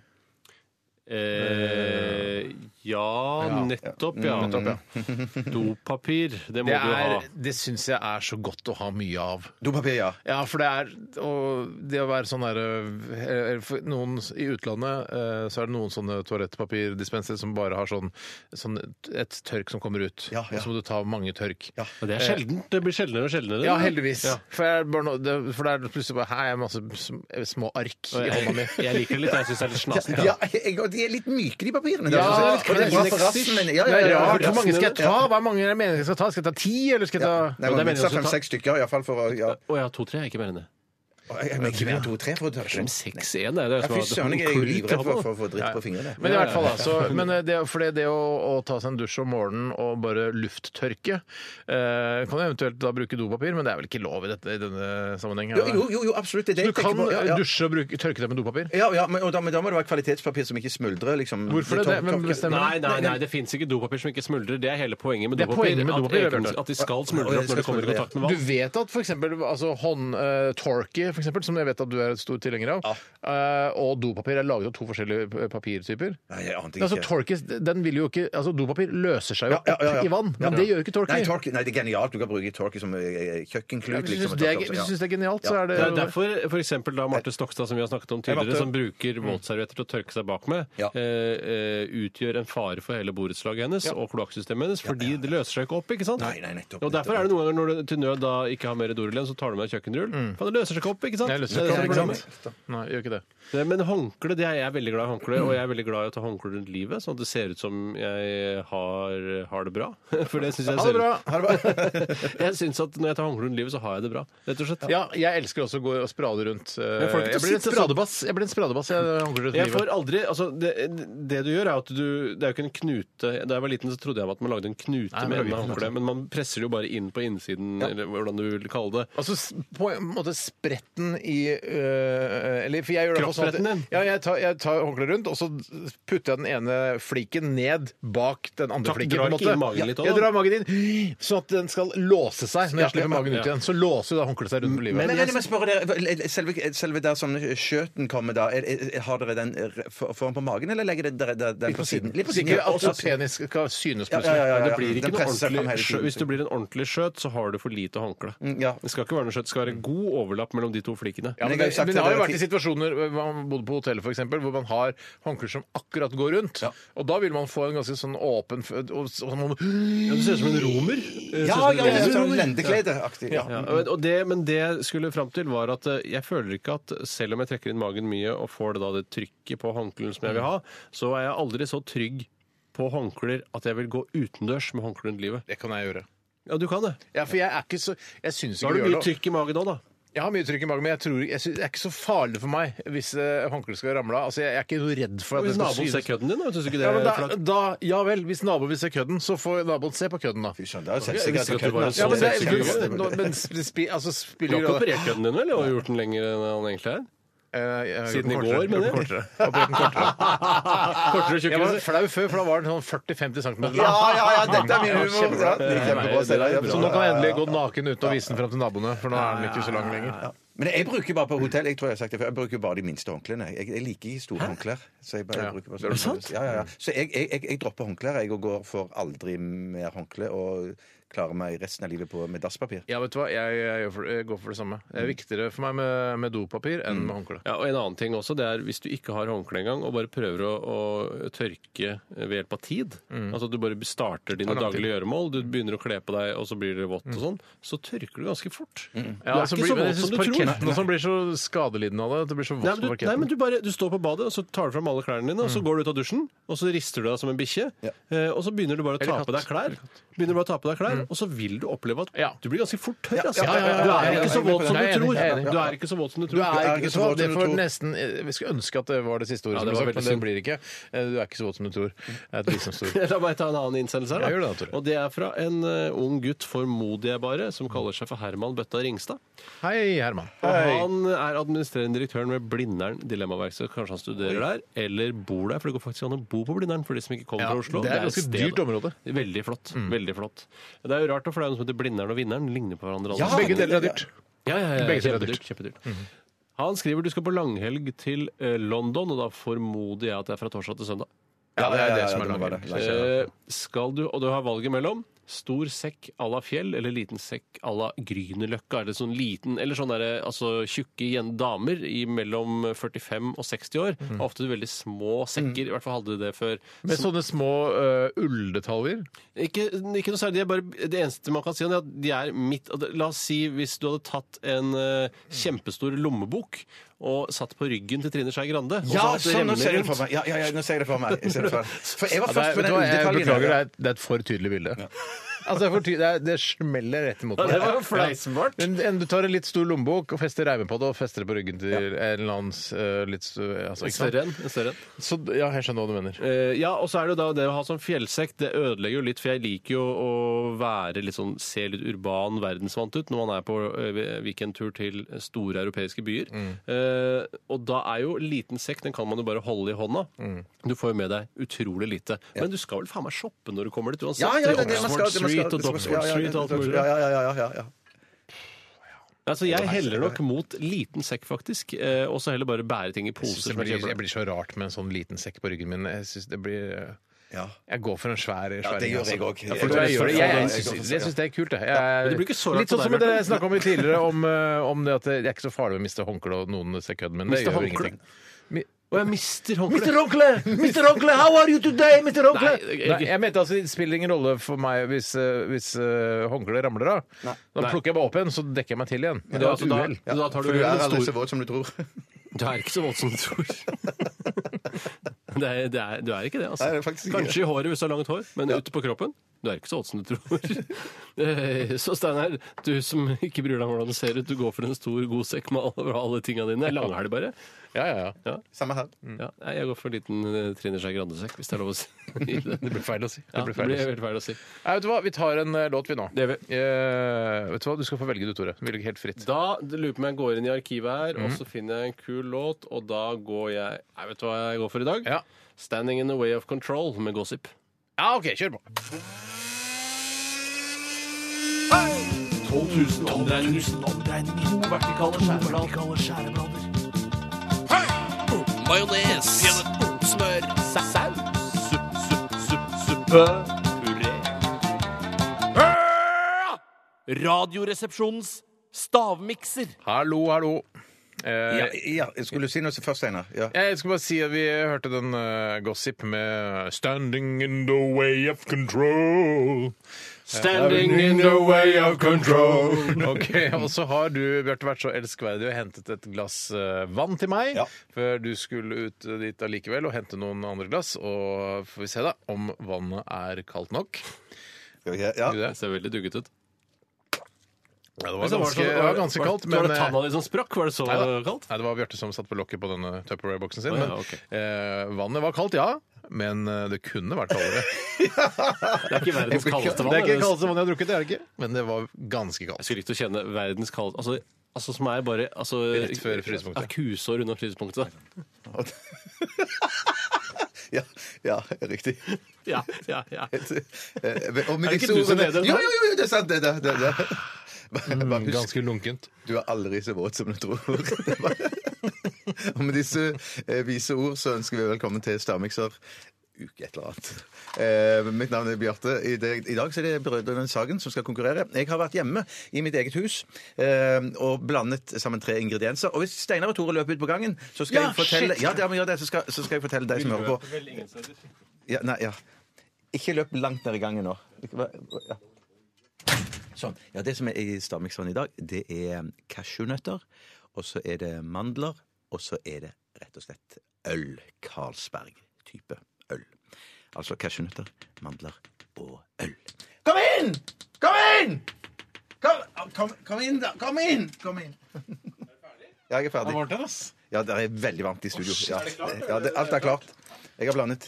S7: Eh, Ja, nettopp, ja. Dopapir, det må
S5: Mm, Det,
S7: du ha.
S5: er- det syns jeg er så godt å ha mye av.
S6: Dopapir, ja.
S5: Ja, for det er og det å være sånn derre for Noen i utlandet eh, så er det noen sånne toalettpapirdispenser som bare har sånn, sånn et tørk som kommer ut,
S6: Ja, ja.
S5: og så må du ta mange tørk. Ja.
S7: Men det er sjeldent. Det blir sjeldnere og sjeldnere.
S5: heldigvis.
S7: Ja.
S5: For, jeg, bare nå- det, for det er plutselig bare Her er masse sm- små ark i hånda mi.
S7: (laughs) Jeg liker det litt. Jeg syns det er litt snasent.
S6: Ja, jeg, og de er litt myke, de papirene.
S5: sånn, Ja,
S6: der,
S5: det
S6: synes jeg.
S5: er
S6: og det er bra
S5: litt
S6: for rassen, men ja,
S5: Det
S6: ja,
S5: er
S6: ja,
S5: rart.
S6: ja.
S5: Hvor mange skal jeg ta? Hva mange er det meningen jeg skal ta? Skal jeg ta ti, eller skal jeg ta
S6: Nei,
S7: Og det er
S6: men
S7: meningen å ta-
S6: Fem-seks stykker, iallfall. For, å- ja.
S7: Å ja, to-tre er ikke mer enn det.
S6: Jeg jeg må ikke mer enn to-tre for å ta
S7: Men seks-én er det.
S6: Ja,
S7: som
S6: Fy
S7: er-
S6: søren, jeg er jo livredd for for å få dritt på fingrene.
S5: Men i hvert fall altså, men det, for det, det å, å ta seg en dusj om morgenen og bare lufttørke eh, Kan du eventuelt da bruke dopapir, men det er vel ikke lov i, dette, i denne sammenhengen?
S6: Jo,
S5: er det?
S6: jo, jo, jo, absolutt. Det er det jeg
S5: Du
S6: tenker
S5: kan eh,
S6: på. Ja, ja.
S5: dusje og bruke, tørke deg med dopapir?
S6: Ja, ja, men, og da, men da må det være kvalitetspapir som ikke smuldrer. Liksom.
S5: Hvorfor det?
S6: tørker-
S5: Hvem
S6: tørker-
S5: bestemmer?
S7: Nei, nei, nei, det fins ikke dopapir som ikke smuldrer. Det er hele poenget med
S5: Det er
S7: dopapir.
S5: poenget med
S7: at,
S5: dopapir,
S7: eken-
S5: Bjarte.
S7: at de skal
S6: Å,
S7: smuldre
S6: ja,
S7: opp
S6: de
S7: når de
S6: skal
S7: kommer i
S6: smuldre, ja.
S7: kontakt med
S5: Du
S7: vann.
S5: vet at f.eks. Altså, håndtorky, for eksempel, som jeg vet at du er et stor tilhenger av, eh, og dopapir er laget av to forskjellige p- papirtyper.
S6: Nei, jeg ante
S5: Altså,
S6: ikke.
S5: torky, den vil jo ikke, altså, dopapir løser seg jo
S6: Ja, ja, ja, ja.
S5: opp i vann, men
S6: Ja.
S5: det gjør jo ikke torky.
S6: Nei, torky, nei, det er genialt. Du kan bruke torky som eh,
S5: Ja,
S6: kjøkkenklut.
S5: Hvis du
S6: liksom,
S5: syns
S6: og
S5: det, er-
S6: tørke
S5: hvis
S6: opp,
S5: du
S6: så-
S5: synes det er genialt, så
S6: Ja.
S5: er det
S7: Det er derfor for eksempel, da
S5: Eh,
S7: Marte Stokstad, som vi har snakket om tidligere,
S6: Marte.
S7: som bruker våtservietter til å tørke seg bak med,
S6: Ja.
S7: eh, eh, utgjør en fare for hele borettslaget hennes og kloakksystemet hennes, fordi det løser seg ikke opp, ikke sant?
S6: Nei, nei, nettopp,
S7: Og derfor er det noen ganger når du til nød da ikke har mer dorull igjen, så tar du med deg kjøkkenrull.
S5: Mm.
S7: For det løser seg ikke opp, ikke sant?
S5: Nei, det løser seg
S7: Det er
S5: ikke
S7: det
S5: opp,
S7: som er
S5: ikke sant? Nei, gjør ikke det.
S7: problemet. Det- Men håndkle, det er jeg er veldig glad i håndkle, og jeg er veldig glad i å ta håndkle rundt livet, sånn at det ser ut som jeg har, har det bra. (laughs) For det synes jeg
S5: Ha det
S7: ser ut
S5: bra!
S7: (laughs) Jeg syns at når jeg tar håndkle rundt livet, så har jeg det bra. Rett og slett.
S5: Ja, jeg elsker også å gå og sprade rundt. eh,
S7: Men får du ikke
S5: Jeg blir en
S7: sitte sånn?
S5: spradebass. Jeg blir en spradebass, jeg håndkler rundt
S7: Jeg
S5: livet.
S7: får aldri, altså det, det du gjør er at du Det er jo ikke en knute Da jeg var liten, så trodde jeg at man lagde en knute
S5: Nei, man
S7: med
S5: lager
S7: enden av
S5: ikke en
S7: håndkleet, men man presser det jo bare inn på innsiden, eller hvordan du vil kalle det.
S5: Altså s- på en måte spretten i øh, eller, for jeg gjør det på sånn at-
S7: Kroppspretten din?
S5: Ja, jeg tar, jeg tar håndkleet rundt, og så putter jeg den ene fliken ned bak den andre
S7: Takk,
S5: fliken.
S7: drar
S5: på en
S7: ikke
S5: måte.
S7: inn magen litt også,
S5: jeg
S7: da?
S5: drar magen inn, sånn at den skal låse seg når jeg slipper magen
S7: ja.
S5: ut igjen. Så låser jo da håndkleet seg rundt på livet.
S6: Men, men, men spørre dere, selve, selve der som skjøten kommer da, er, er, har dere den r- for- foran på magen, eller legger dere den, den på siden? Litt på siden,
S5: Ikke
S6: ja.
S5: at penis skal synes
S6: Ja,
S5: plutselig.
S6: ja, ja, ja, ja.
S7: Det blir ikke
S6: Den
S7: noe
S6: presser fram hele
S7: ordentlig
S6: tiden.
S7: skjøt. Hvis du blir en ordentlig skjøt, så har du for lite håndkle.
S6: Mm, ja.
S7: Det skal ikke være noe skjøt. Det skal være god overlapp mellom de to flikene.
S5: Ja, men,
S6: Men jeg har jo
S5: det,
S6: sagt
S5: men
S6: det
S5: det har jo
S6: der
S5: vært i situasjoner hvor man bodde på hotellet for eksempel, hvor man har håndklær som akkurat går rundt. Og da vil man få en ganske sånn åpen fø- og, og, så må man-
S7: Ja, du ser ut som en romer. Eh,
S6: Ja,
S7: ser ut som en
S6: ja, ja,
S7: romer.
S6: sånn lendekledeaktig. Ja.
S7: Ja, og- og det, men det jeg skulle fram til, var at eh, jeg føler ikke at selv om jeg trekker inn magen mye og får det da det trykket på håndkleet som jeg vil ha,
S5: Mm.
S7: så er jeg aldri så trygg på håndklær at jeg vil gå utendørs med håndkle rundt livet.
S5: Det kan jeg gjøre.
S7: Ja, du kan det.
S5: Ja, for jeg er ikke så Jeg syns
S7: Da
S5: ikke
S7: har
S5: det
S7: du
S5: gjør
S7: mye
S5: noe.
S7: trykk i magen òg, da.
S5: Jeg har mye trykk i magen, men jeg tror, jeg synes, det er ikke så farlig for meg hvis eh, håndkleet skal ramle av. Altså, jeg, jeg er ikke noe redd for at det
S7: Hvis
S5: skal
S7: naboen ser
S5: synes.
S7: kødden din, da, syns du ikke det
S5: Ja, men
S7: er
S5: da,
S7: flaut?
S5: da, ja vel, hvis naboen vil se kødden, så får naboen se på kødden, da.
S6: Fy søren, det er jo
S7: Jeg visste ikke at du var
S6: sexy.
S7: så
S5: Ja, men det,
S7: sexy.
S5: men, nå- men sp- spi, altså,
S7: Du
S5: spiller
S7: har ikke operert kødden din, vel? Og gjort den lenger enn han egentlig er? Siden i går,
S5: Eh,
S7: mener jeg.
S5: Kortere. Operert den (laughs) kortere.
S7: Kortere
S5: Jeg var
S7: tjukkelse?
S5: flau før, for da var den sånn 40-50 cm lang.
S6: Ja, ja, ja, dette er min
S5: Ja,
S6: humor.
S5: kjempebra.
S6: Ja, det er kjempebra, Steinar. Ja,
S5: Så nå kan jeg endelig gå naken uten å vise den fram til naboene, for nå er den ikke så lang lenger.
S6: Men jeg bruker bare på hotell Jeg tror jeg har sagt det før Jeg bruker bare de minste håndklærne. Jeg, jeg liker ikke store håndklær. Så jeg bare bruker bare
S5: Er det sant?
S6: Ja, ja, ja. Så jeg, jeg, jeg, jeg dropper håndklær jeg, og går for aldri mer håndkle og klarer meg resten av livet på, med dasspapir.
S5: Ja, vet du hva, jeg, jeg, gjør for- jeg går for det samme. Det er viktigere for meg med, med dopapir enn med håndkle.
S7: Ja, og en annen ting også, det er Hvis du ikke har håndkle engang, og bare prøver å, å tørke ved hjelp av tid Altså at du bare starter
S5: Mm.
S7: dine
S5: lang tid. Mm.
S7: daglige gjøremål, du begynner å kle på deg, og så blir det vått og sånn, så tørker du ganske fort. Du
S5: Ja,
S7: er
S5: altså, blir,
S7: ikke så
S5: men jeg
S7: våt som
S5: synes
S7: du tror.
S5: parketten også blir så skadelidende av det. at Det blir så
S7: Nei,
S5: vått
S7: men,
S5: på
S7: du, nei,
S5: parketten.
S7: men du, bare, du står på badet, og så tar du fram alle klærne dine, og
S5: Mm.
S7: så går du ut av dusjen, og så rister du deg som en bikkje, eh, og så begynner du bare å ta
S5: Eller
S7: på deg
S5: katt.
S7: klær, Begynner bare å ta på deg klær, og så vil du oppleve at
S5: Mm. Ja.
S7: du blir ganske fort tørr. Altså.
S5: ja, ja, ja, ja,
S7: Du
S5: ja,
S7: er
S5: ja,
S7: ikke så
S5: jeg er
S7: våt som
S5: enig, jeg er enig,
S7: du tror.
S5: jeg er enig.
S7: Du er ikke så våt som du
S5: Du
S7: tror.
S5: er ikke så våt
S6: som
S5: det
S6: du
S5: får
S6: tror.
S5: nesten, eh, Vi skulle ønske at det var det siste ordet,
S7: Ja,
S5: som
S7: det
S5: ble
S7: var
S5: sagt, men
S7: veldig
S5: det
S7: synd.
S5: blir det ikke. Eh, Du er ikke så våt som du tror. Det er et
S7: (laughs)
S5: visdomsord.
S7: La meg ta en annen innsendelse her.
S5: Ja, gjør det da, Tore.
S7: og det er fra en eh, ung gutt, formoder jeg bare, som kaller seg for Herman Bøtta Ringstad.
S5: Hei, Herman.
S7: Og han er administrerende direktøren ved Blindern Dilemmaverksted. Kanskje han studerer der, eller bor der. For det går faktisk an å bo på Blindern for de som ikke kommer
S5: Ja,
S7: fra Oslo.
S5: det er et ganske
S7: sted.
S5: dyrt område. Mm.
S7: Veldig flott. veldig flott. Det er jo rart, da, for det er noe som heter Blindern og Vinneren. Ligner på hverandre. alle.
S5: Begge deler er dyrt.
S7: Ja, ja, ja,
S5: Begge deler er Mm.
S7: kjempedyrt. kjempedyrt. Han skriver du skal på langhelg til eh, London, og da formoder jeg at det er fra torsdag til søndag.
S5: Ja, det er det
S6: ja,
S5: som er
S6: det må
S5: laget.
S6: være det.
S7: Eh, skal du, og du har valget mellom stor sekk à la fjell eller liten sekk à la Grünerløkka. Eller sånn liten, eller sånn derre altså tjukke jen- damer i mellom 45 og 60 år. Mm. Ofte veldig små sekker.
S6: Mm.
S7: I hvert fall hadde de det før.
S5: Med sånne små øh, ulldetaljer.
S7: Ikke, ikke noe særlig. De er bare, det eneste man kan si, om det er at de er midt at- La oss si hvis du hadde tatt en eh, kjempestor lommebok og satt på ryggen til Trine Skei Grande og
S6: Ja,
S7: så hatt
S6: sånn, nå
S7: remmer
S6: ser jeg det
S7: rundt.
S6: for meg. Ja, ja, ja, nå ser jeg det for meg. Jeg ser det
S7: (laughs)
S6: for, meg. for jeg var
S5: Ja, det
S6: først
S5: er,
S6: på
S5: vet du
S6: den
S5: hva, jeg
S6: ulldetaljen.
S5: beklager, det er, det er et for tydelig bilde. (laughs) Altså, det, er for ty det, er, det smeller rett imot
S7: Ja,
S5: meg.
S7: det var jo fleisenbart.
S5: Ja. Men- men Du tar en litt stor lommebok og fester reimer på det, og fester det på ryggen til en eller annen øh, litt stor altså, ikke sant?
S7: Større enn. Større enn.
S5: Så, ja, jeg skjønner hva du mener.
S7: Eh, ja, og så er det jo da det å ha sånn fjellsekk, det ødelegger jo litt, for jeg liker jo å være litt sånn, se litt urban, verdensvant ut når man er på eh, weekendtur til store europeiske byer.
S6: Mm.
S7: Eh, og da er jo liten sekk, den kan man jo bare holde i hånda.
S6: Mm.
S7: Du får jo med deg utrolig lite. Men du skal vel faen meg shoppe når du kommer dit uansett?
S6: Ja, ja, det er det man skal. det
S7: Oxford
S6: man skal-
S7: Street og
S6: det man skal- ja,
S7: Doxford
S6: ja,
S7: Street og alt mulig.
S6: Ja, ja, ja, ja, ja, ja.
S7: Altså, jeg heller nok mot liten sekk, faktisk. eh, og så heller bare bære ting i
S5: Jeg, synes
S7: poser.
S5: det
S7: som jeg
S5: blir,
S7: kjøper.
S5: jeg blir så rart med en sånn liten sekk på ryggen min. Jeg synes det blir eh,
S6: Ja.
S5: Jeg går for en svær svær
S6: det
S5: ring,
S6: gjør
S5: altså.
S6: jeg òg.
S5: Ja, for Jeg, gjør det. jeg, jeg, synes- jeg syns det er kult, det. Jeg,
S7: Men det blir ikke så rart
S5: litt sånn
S7: på
S5: som
S7: deg,
S5: dere
S7: Bjarte.
S5: snakka om i tidligere, om, eh, om det at det er ikke så farlig å miste håndkleet og noen ser kødden min. Det
S7: Miste
S5: gjør jo
S7: håndkle?
S5: ingenting. Mi-
S7: Og jeg mister håndkleet.
S5: Onkle! Mr. Onkle, how are you today, Mr.
S7: Onkle?
S5: Nei, jeg mente altså, det spiller ingen rolle for meg hvis, eh, hvis eh, håndkleet ramler av. Da
S7: Nei.
S5: plukker jeg bare opp igjen, så dekker jeg meg til igjen.
S7: Det er altså da, da tar du
S6: For du er
S7: en
S6: aldri
S7: stor
S6: så våt som du tror. (laughs)
S7: Du er ikke så våt som du tror. (laughs) det er, det er, du er ikke det, altså.
S6: Nei, det er faktisk ikke.
S7: Kanskje i håret hvis du har langt hår, men ute på kroppen du er ikke så våt som du tror. (laughs) Eh, så Steinar, du som ikke bryr deg om hvordan du ser ut, du går for en stor god sekk med alle, (laughs) alle tinga dine. Langhelg, bare.
S5: Ja, ja, ja.
S6: Samme her.
S7: Ja, nei, jeg går for en liten eh, Trine Skei Grande-sekk, hvis det er lov å si. det
S5: Det blir feil å si.
S7: ja,
S5: Det blir feil å si.
S7: helt feil å si.
S5: Nei, vet du hva? Vi tar en eh, låt, vi nå.
S7: Det gjør vi.
S5: Eh, vet Du hva? Du skal få velge, du, Tore. Vi velger helt fritt.
S7: Da det lurer på meg, jeg går inn i arkivet her, og så finner jeg en kul låt, og da går jeg Nei, vet du hva jeg går for i dag?
S5: Ja.
S7: 'Standing in the Way of Control' med Gossip.
S5: Ja, OK, kjør på.
S2: 12 000 omdreininger. To vertikale skjæreblader. Majones. Smør. Saus. Supp, supp, supp, suppe. Puré. Ah! Radioresepsjonens stavmikser.
S5: Hallo, hallo. Eh,
S6: Ja, ja, skulle du si noe først, Steinar? Ja.
S5: Jeg skulle bare si at vi hørte den eh, gossip med eh, 'Standing in the way of
S7: (laughs)
S5: control'.
S7: Standing in the way of control.
S5: Ok, Og så har du, Bjarte, vært så elskverdig og hentet et glass eh, vann til meg
S6: Ja.
S5: før du skulle ut eh, dit allikevel og hente noen andre glass. Og får vi se da om vannet er kaldt nok.
S6: Skal vi se, ja.
S5: Skal vi
S7: Det ser veldig dugget ut.
S5: Ja, det var ganske, det var ganske kaldt,
S7: men Var
S5: men
S7: det
S5: eh,
S7: sånn- tanna di som sprakk? Var det så
S5: Neida.
S7: kaldt?
S5: Nei, det var Bjarte som satt på lokket på denne Tupperware-boksen sin.
S7: Å, ja,
S5: men,
S7: ok.
S5: eh, vannet var kaldt, ja. Men eh, det kunne vært kaldere.
S7: Det er ikke verdens kaldeste vann.
S5: Det er ikke det
S7: eller?
S5: kaldeste vannet jeg har drukket, det er det ikke. Men det var ganske
S7: Jeg
S5: kaldt.
S7: skulle likt å kjenne verdens kaldeste altså, altså som er bare altså,
S5: Rett før frysepunktet.
S7: Ja, Kusår unna frysepunktet.
S6: (laughs) ja. Ja,
S7: (laughs)
S6: riktig. Eh,
S7: Ja, ja, ja.
S6: Og med
S7: Er det ikke
S6: disse
S7: du som
S6: ordene-
S7: leder den
S6: Jo,
S7: her? Mm,
S6: jo, jo, det er sant! Det, det, det, det. Bare- Bare husk
S5: Ganske lunkent.
S6: Du er aldri så våt som du tror. (laughs) Og med disse eh, vise ord så ønsker vi velkommen til Stavmikser uke et eller annet. Eh, mitt navn er Bjarte. I, det- I dag så er det Brødrene Sagen som skal konkurrere. Jeg har vært hjemme i mitt eget hus eh, og blandet sammen tre ingredienser. Og hvis Steinar og Tore løper ut på gangen, så skal jeg fortelle ja, det, ja, men gjør det, så, skal, så skal jeg fortelle deg som hører på ja, nei, ja. Ikke løp langt ned i gangen nå. Ikke- hva- hva- Ja. Sånn. Ja, det som er i stavmikseren i dag, det er cashewnøtter, og så er det mandler, og så er det rett og slett øl. Carlsberg-type øl. Altså cashewnøtter, mandler og øl. Kom inn! Kom inn! Kom, kom, kom inn, da. Kom inn! Kom inn. (laughs) Ja, jeg er ferdig. Ja, det er veldig varmt i studio. Ja, ja, det, alt er klart. Jeg har blandet.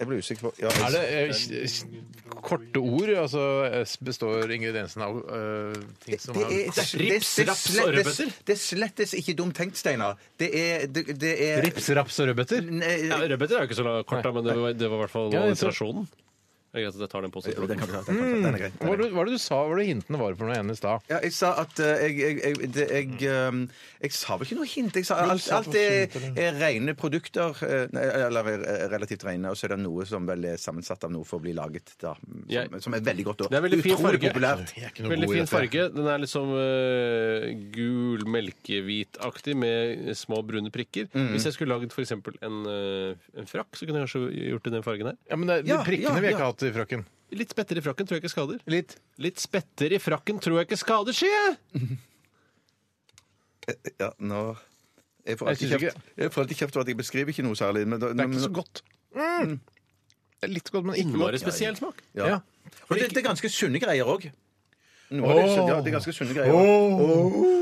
S6: Jeg ble usikker på ja, jeg,
S5: Er det eh, s- s- korte ord? Altså eh, s- består ingrediensene av eh, ting som
S6: det
S5: har
S6: er, det,
S7: Rips,
S6: det, det,
S7: raps og
S6: slettes,
S7: rødbeter?
S6: det slettes ikke dumt tenkt, Steinar. Det er, det, det er Eh,
S5: Rips, raps og rødbeter?
S6: Nei,
S7: Ja, Rødbeter er jo ikke så kort, da, men det var, det var i hvert fall
S5: Ja, jeg tror-
S7: illustrasjonen. Det er greit at jeg tar den posen.
S6: Den kan vi ta. Den, kan vi ta. den er grei.
S5: Hva var det hva var det du sa, hva var det hintene var for noe igjen i stad?
S6: Ja, jeg sa at eh, jeg, jeg, jeg, det, jeg, um, jeg sa vel ikke noe hint. Jeg sa alt,
S5: sa
S6: alt
S5: noe
S6: er,
S5: hint, eller?
S6: er rene produkter, eh, nei, eller er relativt rene, og så er det noe som vel er sammensatt av noe for å bli laget, da.
S7: Jeg-
S6: Som, som er veldig godt og
S7: Det er veldig fin
S6: utrolig
S7: farge.
S6: populært.
S5: Jeg er ikke noe
S7: Veldig
S5: god i
S7: fin
S5: dette.
S7: farge. Den er liksom eh, gul, melkehvitaktig med små brune prikker.
S5: Mm.
S7: Hvis jeg skulle lagd f.eks. En, eh, en frakk, så kunne jeg kanskje gjort det i den fargen her.
S5: Ja, men det, de
S6: Ja,
S5: prikkene
S6: ja,
S5: vil
S6: ja.
S5: jeg ikke ha hatt i frakken.
S7: Litt spetter i frakken tror jeg ikke skader.
S5: Litt.
S7: Litt spetter i frakken tror jeg ikke skader, sier jeg!
S6: Ja, nå... Jeg får alltid
S5: Jeg synes
S6: kjeft jeg får alltid kjeft for at jeg beskriver ikke noe særlig. Men, da-
S5: Det er ikke så
S6: men-
S5: godt. Mm. Det er litt godt, men ikke
S7: Innmari
S5: godt.
S7: spesiell smak.
S6: Ja.
S5: Ja.
S6: Og det, det er ganske sunne greier òg. Noe av det, er sunn- ja, det er ganske sunne greier.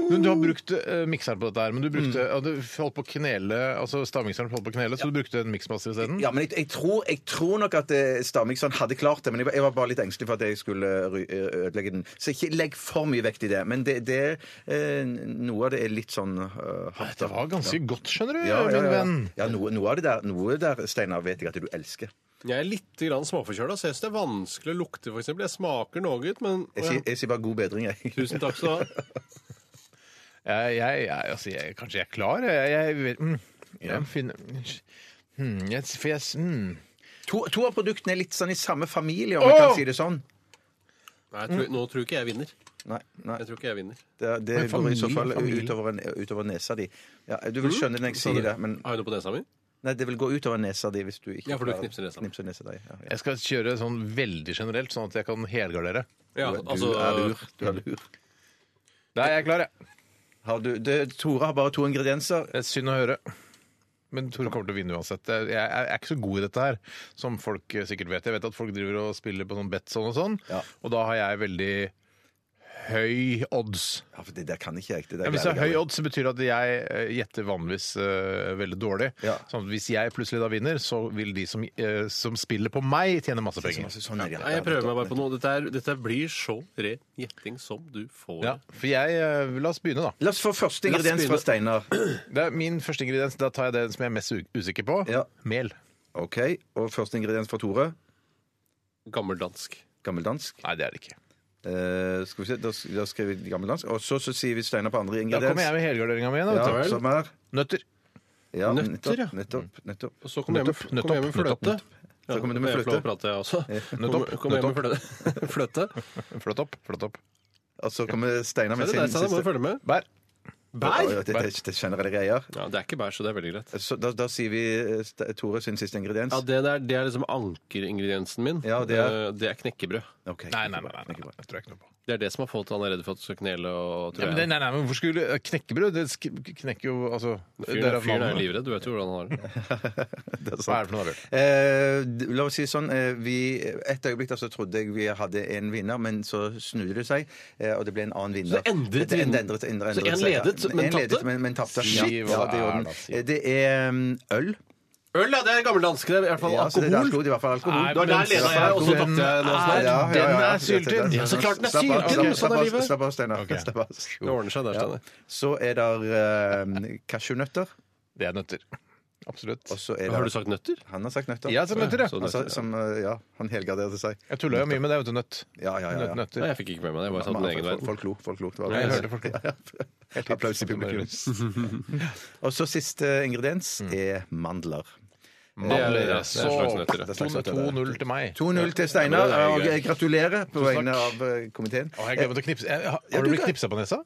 S5: Men
S6: Oh.
S5: du har brukt eh, mikseren på dette her, men du
S6: Mm.
S5: brukte ja, du holdt på å knele, altså stavmikseren holdt på å knele, så du brukte en miksmaster isteden?
S6: Ja, men jeg, jeg, tror, jeg tror nok at eh, Stamikson hadde klart det, men jeg, var- jeg var bare litt engstelig for at jeg skulle eh, ry- ødelegge den. Så ikke legg for mye vekt i det. Men det, det eh, noe av det er litt sånn eh, hardt.
S5: Det var ganske godt, skjønner du,
S6: ja, ja,
S5: min
S6: ja.
S5: venn.
S6: Ja, noe, noe av det der, noe der, Steinar, vet jeg at du elsker.
S7: Jeg er litt grann småforkjøla, så jeg syns det er vanskelig å lukte, f.eks. Jeg smaker noe, ut, men
S6: Jeg sier, jeg sier bare god bedring, jeg. (laughs)
S7: Tusen takk skal du ha.
S5: Jeg, jeg, jeg, altså, jeg, kanskje jeg er klar? Jeg, jeg, vet- mm, jeg finner mm, jeg, for jeg, mm.
S6: To, to av produktene er litt sånn i samme familie, om jeg kan si det sånn.
S7: Nei, jeg tror, nå tror ikke jeg vinner.
S6: Nei, nei.
S7: Jeg tror ikke jeg vinner.
S6: Det, det
S5: Men
S6: går i så
S5: familie,
S6: fall
S5: familie.
S6: utover, en, utover nesa di. Ja, du
S7: Mm.
S6: vil skjønne det når jeg sier det, men
S7: Har jeg noe på nesa mi?
S6: Nei, det vil gå utover nesa di hvis du ikke
S7: Ja, for du
S6: klarer-
S7: knipser nesa.
S6: knipser nesa di. Ja, ja.
S5: jeg skal kjøre sånn veldig generelt, sånn at jeg kan helgardere.
S7: Ja,
S6: Du,
S7: altså
S6: er lur. Du er lur.
S5: Nei, jeg er klar, jeg.
S6: Har du, det, Tore har bare to ingredienser.
S5: Det er synd å høre. Men Tore kommer til å vinne uansett. Jeg jeg er ikke så god i dette her, som folk eh, sikkert vet. Jeg vet at folk driver og spiller på sånn Betson og sånn,
S6: Ja.
S5: og da har jeg veldig høy odds.
S6: Ja, for det der kan ikke jeg. Det der
S5: Ja, hvis jeg
S6: greier
S5: har
S6: jeg
S5: høy
S6: aldri.
S5: odds, så betyr det at jeg eh, gjetter vanligvis eh, veldig dårlig.
S6: Ja.
S5: Sånn at hvis jeg plutselig da vinner, så vil de som, eh, som spiller på meg, tjene masse penger.
S6: Altså, sånn er det.
S7: Nei, jeg prøver meg bare på noe. Dette, er, dette blir så ren gjetting som du får.
S5: Ja, for jeg, eh, La oss begynne, da.
S6: La oss få første ingrediens fra Steinar.
S5: Det er min første ingrediens. Da tar jeg den som jeg er mest u- usikker på.
S6: Ja.
S5: Mel.
S6: OK. Og første ingrediens fra Tore.
S7: Gammeldansk.
S6: Gammeldansk.
S5: Nei, det er det ikke.
S6: Eh, skal vi se, da, da skriver vi gammeldansk. Og så, så sier vi Steinar på andre
S5: Da
S6: ingrediens.
S5: kommer jeg med helgarderinga mi igjen. da,
S6: Ja,
S5: vet du.
S6: som er
S5: Nøtter.
S6: ja,
S7: Nøtter,
S6: nettopp,
S7: ja.
S6: Nettopp. nettopp.
S7: Og så kom jeg med,
S5: Nettopp,
S7: kom jeg med
S5: nettopp,
S7: fløte. Ja,
S6: Så kommer du med
S7: jeg får lov å
S6: fløte.
S7: prate, jeg også.
S5: Nettopp,
S7: Kom, kom jeg med fløte. (laughs) fløte.
S5: Flott opp. flott opp.
S6: Og så kommer Steinar
S7: Så
S6: med
S7: er det
S6: sin
S7: der, Steinar, må du
S6: siste.
S7: følge med.
S5: Bær.
S6: Å, ja,
S7: Bær!
S6: Det, det, det er generelle greier.
S7: Ja, det er ikke bær, så det er veldig greit.
S6: Så da, da sier vi eh, Ste- Tore sin siste ingrediens.
S7: Ja, Det der, det er liksom ankeringrediensen min.
S6: Ja, det er-
S7: Eh, det er knekkebrød.
S6: Ok.
S5: Nei, nei, nei. nei, nei, nei. Det tror jeg ikke noe på.
S7: Det er det som har fått han er redd for at du skal knele og
S5: Ja,
S7: tror
S5: men, det-
S7: jeg.
S5: nei, nei, men hvor skulle eh, Knekkebrød? Det sk- knekker jo altså
S7: Fyren
S5: derav
S7: er, fyren er
S5: navnet.
S7: livredd. Du vet jo hvordan han har det.
S6: Det er sant.
S5: Hva er det for noe, Bjørn?
S6: Eh, d- la oss si det sånn, eh, vi, Et øyeblikk da så trodde jeg vi hadde en vinner, men så snudde det seg, eh, og det ble en annen vinner.
S7: Så endret
S6: det,
S7: vin-
S6: det endret, endret,
S7: Så
S6: endret
S7: en
S6: seg, ja.
S7: ledet, men
S6: En
S7: tapte?
S6: ledet, men, men tapte.
S5: Si
S6: Ja,
S5: hva
S6: ja, det,
S5: er
S6: gjorde
S5: det,
S6: den.
S5: si.
S6: Eh, det er mm, øl.
S7: (laughs) Øl, ja! Det er gammeldansk. Det er i hvert fall
S6: Ja, så det er
S7: alkohol.
S6: alkohol, i hvert fall alkohol.
S5: Nei,
S7: Det var
S5: men-
S7: der leda jeg, og så tapte jeg nå
S6: Ja,
S5: Den er-
S7: snart.
S6: ja, ja, ja.
S5: Den er syltynn!
S7: Ja, så klart den er
S6: Slapp av,
S7: syltynn,
S6: slapp av,
S7: sånn er
S6: slapp av,
S7: livet.
S6: Slapp av, Steinar.
S5: Ok.
S6: Slapp av.
S7: Det ordner seg der,
S6: Ja.
S7: Steinar.
S6: Så er det eh, cashewnøtter.
S5: Det er nøtter. Absolutt.
S6: Og så er
S7: Har du
S6: det
S7: sagt nøtter?
S6: Han har sagt nøtter.
S5: Jeg har sagt nøtter, ja. Altså,
S7: Så
S6: Han sa-
S7: nøtter, ja.
S6: som, eh, ja, han helgarderte seg.
S5: Jeg tulla jo mye med det, vet du. Nøtt.
S6: Ja, ja, ja.
S5: Nøtt,
S6: ja.
S5: nøtter.
S7: Nei, jeg fikk ikke med meg det. Jeg bare satt min
S6: Folk-
S7: egen
S6: folk-
S7: verden.
S6: Folk lo. folk lo. Det var
S5: Nei, jeg
S6: det.
S5: hørte folk
S6: (laughs)
S5: lo.
S6: Applaus i publikum. (laughs) Og så siste ingrediens
S5: Mm.
S6: er mandler.
S7: Det er- det er
S5: Så
S7: slags nøtter, ja.
S6: Det er slags nøtter, det er.
S5: 2-0 til meg.
S6: 2-0 til Steinar.
S7: Ja, men
S6: Og
S7: det er
S6: jeg gratulerer på vegne
S5: takk.
S6: av eh, komiteen.
S5: Å, jeg glemte å knipse. Jeg- Har
S6: du
S5: har du blitt
S6: kan-
S5: knipsa på nesa?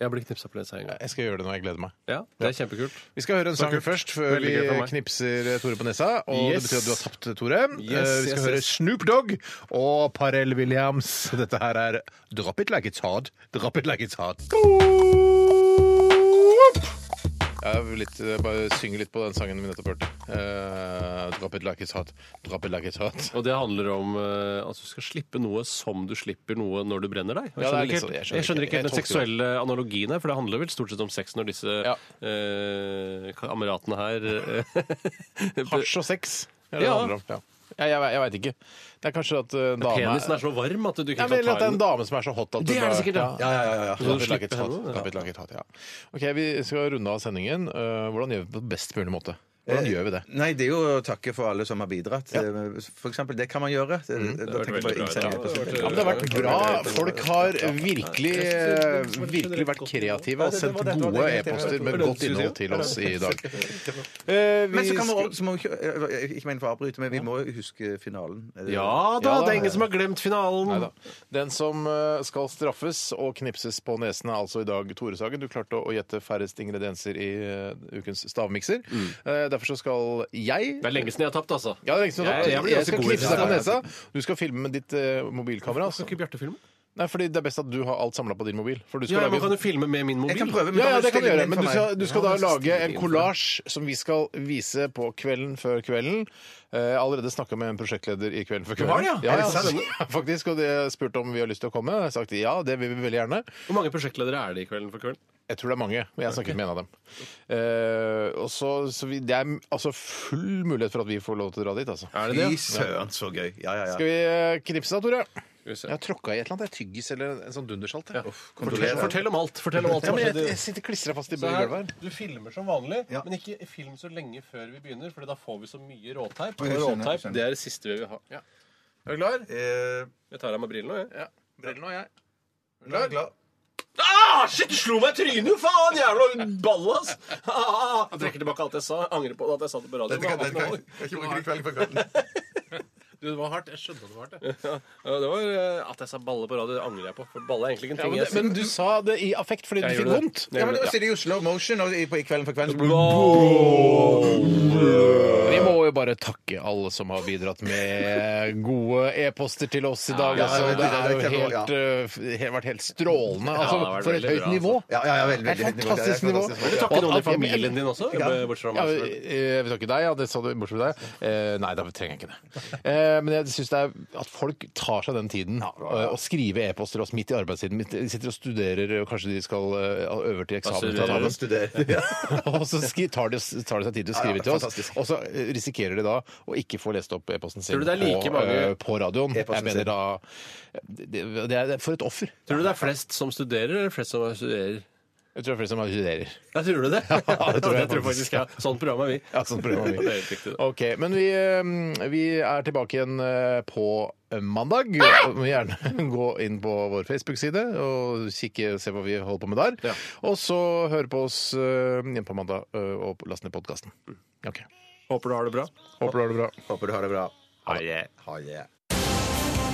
S7: Jeg blir knipsa på nesa en gang.
S5: Jeg skal gjøre det nå. Jeg gleder meg.
S7: Ja, det er kjempekult.
S5: Vi skal høre en sang først, før
S7: Veldig
S5: vi
S7: gøy for meg.
S5: knipser eh, Tore på nesa. Og
S7: Yes.
S5: det betyr at du har tapt, Tore.
S7: Yes,
S5: Eh, vi skal
S7: yes,
S5: høre
S7: yes.
S5: Snoop Dogg og Parell Williams. Dette her er Drop It Like It's Hard. Drop It Like It's Hard. Jeg vil litt, eh, bare synge litt på den sangen vi nettopp hørte. Eh, drop It Like It's Hot. Drop It Like It's Hot.
S7: Og det handler om eh, at du skal slippe noe som du slipper noe når du brenner deg. Og
S5: Ja, det
S7: Jeg
S5: er
S7: skjønner ikke,
S5: litt sånn-
S7: helt-
S5: jeg skjønner
S7: jeg skjønner
S5: ikke-
S7: ikke helt den
S5: jeg tolker
S7: seksuelle analogien her, for det handler vel stort sett om sex når disse
S5: Ja.
S7: eh, kameratene her eh,
S5: Hasj og sex er det
S7: Ja.
S5: det handler om. Ja. Jeg, jeg, jeg veit ikke. Det er kanskje at eh, dame
S7: (laughs) Penisen er så varm at du ikke
S5: Ja,
S7: kan
S5: men Eller
S7: ta
S5: at det er
S7: den.
S5: en dame som er så hot at
S7: Det er det sikkert, ja.
S5: ja, ja, ja, ja.
S7: Så du
S5: Rapid
S7: slipper
S5: Like It's Hot.
S7: henne, ja.
S5: Rapid Like It's Hot, ja. Ok, Vi skal runde av sendingen. Eh, Hvordan gjør vi det på best mulig måte? Hvordan gjør vi det?
S6: Nei, det er jo å takke for alle som har bidratt. Eh, For eksempel, det kan man gjøre.
S5: Mm,
S6: Det, det, da tenker jeg bare innsending på
S5: Ja, men det har vært bra. Folk har virkelig, eh, virkelig vært kreative og sendt gode e-poster med godt innhold til oss i dag. Eh, vi
S6: Men så kan
S5: skal-
S6: man også, så må vi ikke, jeg- ikke meningen for å avbryte, men vi må jo huske finalen. Eh,
S7: Ja da,
S5: Ja da.
S7: det er ingen som har glemt finalen.
S5: Neida. Den som eh, skal straffes og knipses på nesen er altså i dag Tore Sagen. Du klarte å gjette færrest ingredienser i eh, ukens stavmikser. Eh, Derfor så skal jeg
S7: Det er lenge siden jeg har tapt, altså.
S5: ja, det er ikke sånn,
S7: Jeg- jeg
S5: jeg,
S7: blir ganske
S5: skal
S7: god i
S5: knipse
S7: det.
S5: deg på nesa. Du skal filme med ditt eh, mobilkamera. Altså.
S7: Bjarte filme?
S5: Nei, fordi Det er best at du har alt samla på din mobil. For du skal
S7: Ja, man
S5: lage
S7: kan jo filme med min mobil.
S6: Jeg kan prøve, men
S5: ja,
S6: da
S5: ja,
S6: må
S5: det kan du
S6: stille
S5: gjøre.
S6: den
S5: Men
S6: for
S5: du
S6: meg.
S5: skal, du
S6: Ja,
S5: skal da
S6: men så
S5: lage
S6: stille
S5: en
S6: den for meg.
S5: kollasj som vi skal vise på Kvelden før kvelden. Eh, Jeg har allerede snakka med en prosjektleder i Kvelden før
S7: har
S5: kvelden.
S7: det, ja? Er det sant?
S5: (laughs) ja, faktisk, og de spurte om vi har lyst til å komme. Jeg har sagt ja, det vil vi veldig gjerne.
S7: Hvor mange prosjektledere er det i Kvelden for kvelden?
S5: Jeg tror det er mange, men jeg har snakket med en av dem. Eh, og så, så vi, Det er altså full mulighet for at vi får lov til å dra dit, altså.
S7: Er det det?
S6: Fy søren, så gøy. Ja, ja, ja.
S5: Skal vi eh, knipse da, Tore?
S7: vi se.
S5: Jeg har tråkka i et eller annet. Det er tyggis eller en sånn dundersalt. jeg.
S7: Fortell, fortell om alt. Fortell om alt.
S5: Ja,
S7: som
S5: men jeg,
S7: skjedde.
S5: jeg sitter klistra fast i
S7: Så her,
S5: gulvet her.
S7: du filmer som vanlig,
S6: Ja.
S7: men ikke film så lenge før vi begynner, for da får vi så mye råteip.
S6: Oi, jeg
S7: Og
S6: skjønner, jeg
S7: råteip
S6: skjønner.
S7: det er det siste vi vil ha.
S5: Er du klar?
S6: Eh,
S7: Jeg tar av meg brillene. jeg.
S5: Ja. Brillene og jeg.
S7: Ah, shit, du slo meg i trynet, jo faen! Jævla ballas! Ah, jeg trekker tilbake alt jeg sa. Angrer på at jeg sa det på radio.
S6: Dette kan-
S7: Det
S6: dette kan-
S7: var,
S6: jeg ikke bruke kvelden for kvelden.
S5: Du, det var hardt. Jeg skjønte det var hardt.
S7: Ja, det var eh, At jeg sa balle på radio, det angrer jeg på. For balle er egentlig ikke en
S5: Ja,
S7: ting
S5: men,
S7: jeg
S5: det,
S7: sier.
S5: men du sa det i affekt fordi du
S7: Jeg
S5: fikk
S7: gjorde det.
S5: vondt.
S7: Jeg
S6: Ja, men
S7: gjorde
S6: det
S7: det.
S6: er jo slow motion, og i, på, i kvelden for kvelden så
S5: Vi må jo bare takke alle som har bidratt med gode e-poster til oss i dag.
S6: ja,
S5: altså,
S6: ja, ja,
S5: det har
S6: det er
S5: jo
S6: kjempebra,
S5: helt, eh, f- he- vært helt strålende. Altså,
S7: det har vært
S5: for et
S7: veldig
S5: høyt
S7: bra,
S5: nivå.
S6: Ja, ja, ja, veldig,
S5: Det
S6: veldig,
S5: er
S6: veldig, det er
S5: fantastisk nivå.
S6: fantastisk.
S7: Vil du takke noen i familien din også? Bortsett fra
S5: Ja,
S7: meg.
S5: eh,
S7: selvfølgelig.
S5: jeg vil takke deg. Ja, det sa du bortsett fra deg. Eh, Nei, da trenger jeg ikke det. Eh, Men jeg syns det er at folk tar seg den tiden eh, å skrive e-post til oss midt i arbeidstiden. midt- De sitter og studerer, og kanskje de skal eh, over til eksamen.
S7: studerer.
S5: Eksamen.
S6: Studere. Ja.
S5: (laughs) Og så skri, tar, de, tar de seg tid til å skrive
S6: Ja, ja,
S5: til oss,
S6: fantastisk.
S5: og så eh, risikerer de da å ikke få lest opp e-posten sin
S7: Tror du det er like
S5: på,
S7: mange-
S5: eh, på radioen.
S6: E-posten
S5: Jeg mener
S6: sin.
S5: da det, det er det er for et offer.
S7: Tror du det er flest som studerer, eller flest som studerer?
S5: Jeg tror det er flere som studerer.
S7: Jeg tror du det? (laughs) Ja,
S5: det tror jeg faktisk.
S7: faktisk. Ja. Sånn program er vi.
S5: Ja, sånn
S7: (laughs)
S5: prøver
S7: Det er
S5: vi.
S7: helt riktig, det.
S5: Ok, men vi, eh, vi er tilbake igjen eh, på mandag. Du må gjerne (laughs) gå inn på vår Facebook-side og kikke, se hva vi holder på med der.
S7: Ja.
S5: Og så høre på oss eh, igjen på mandag eh, og laste ned podkasten. Ok.
S7: Håper du har det bra.
S5: Håper du har det bra.
S6: Håper du har det bra.
S5: Ha det.
S6: Ha det.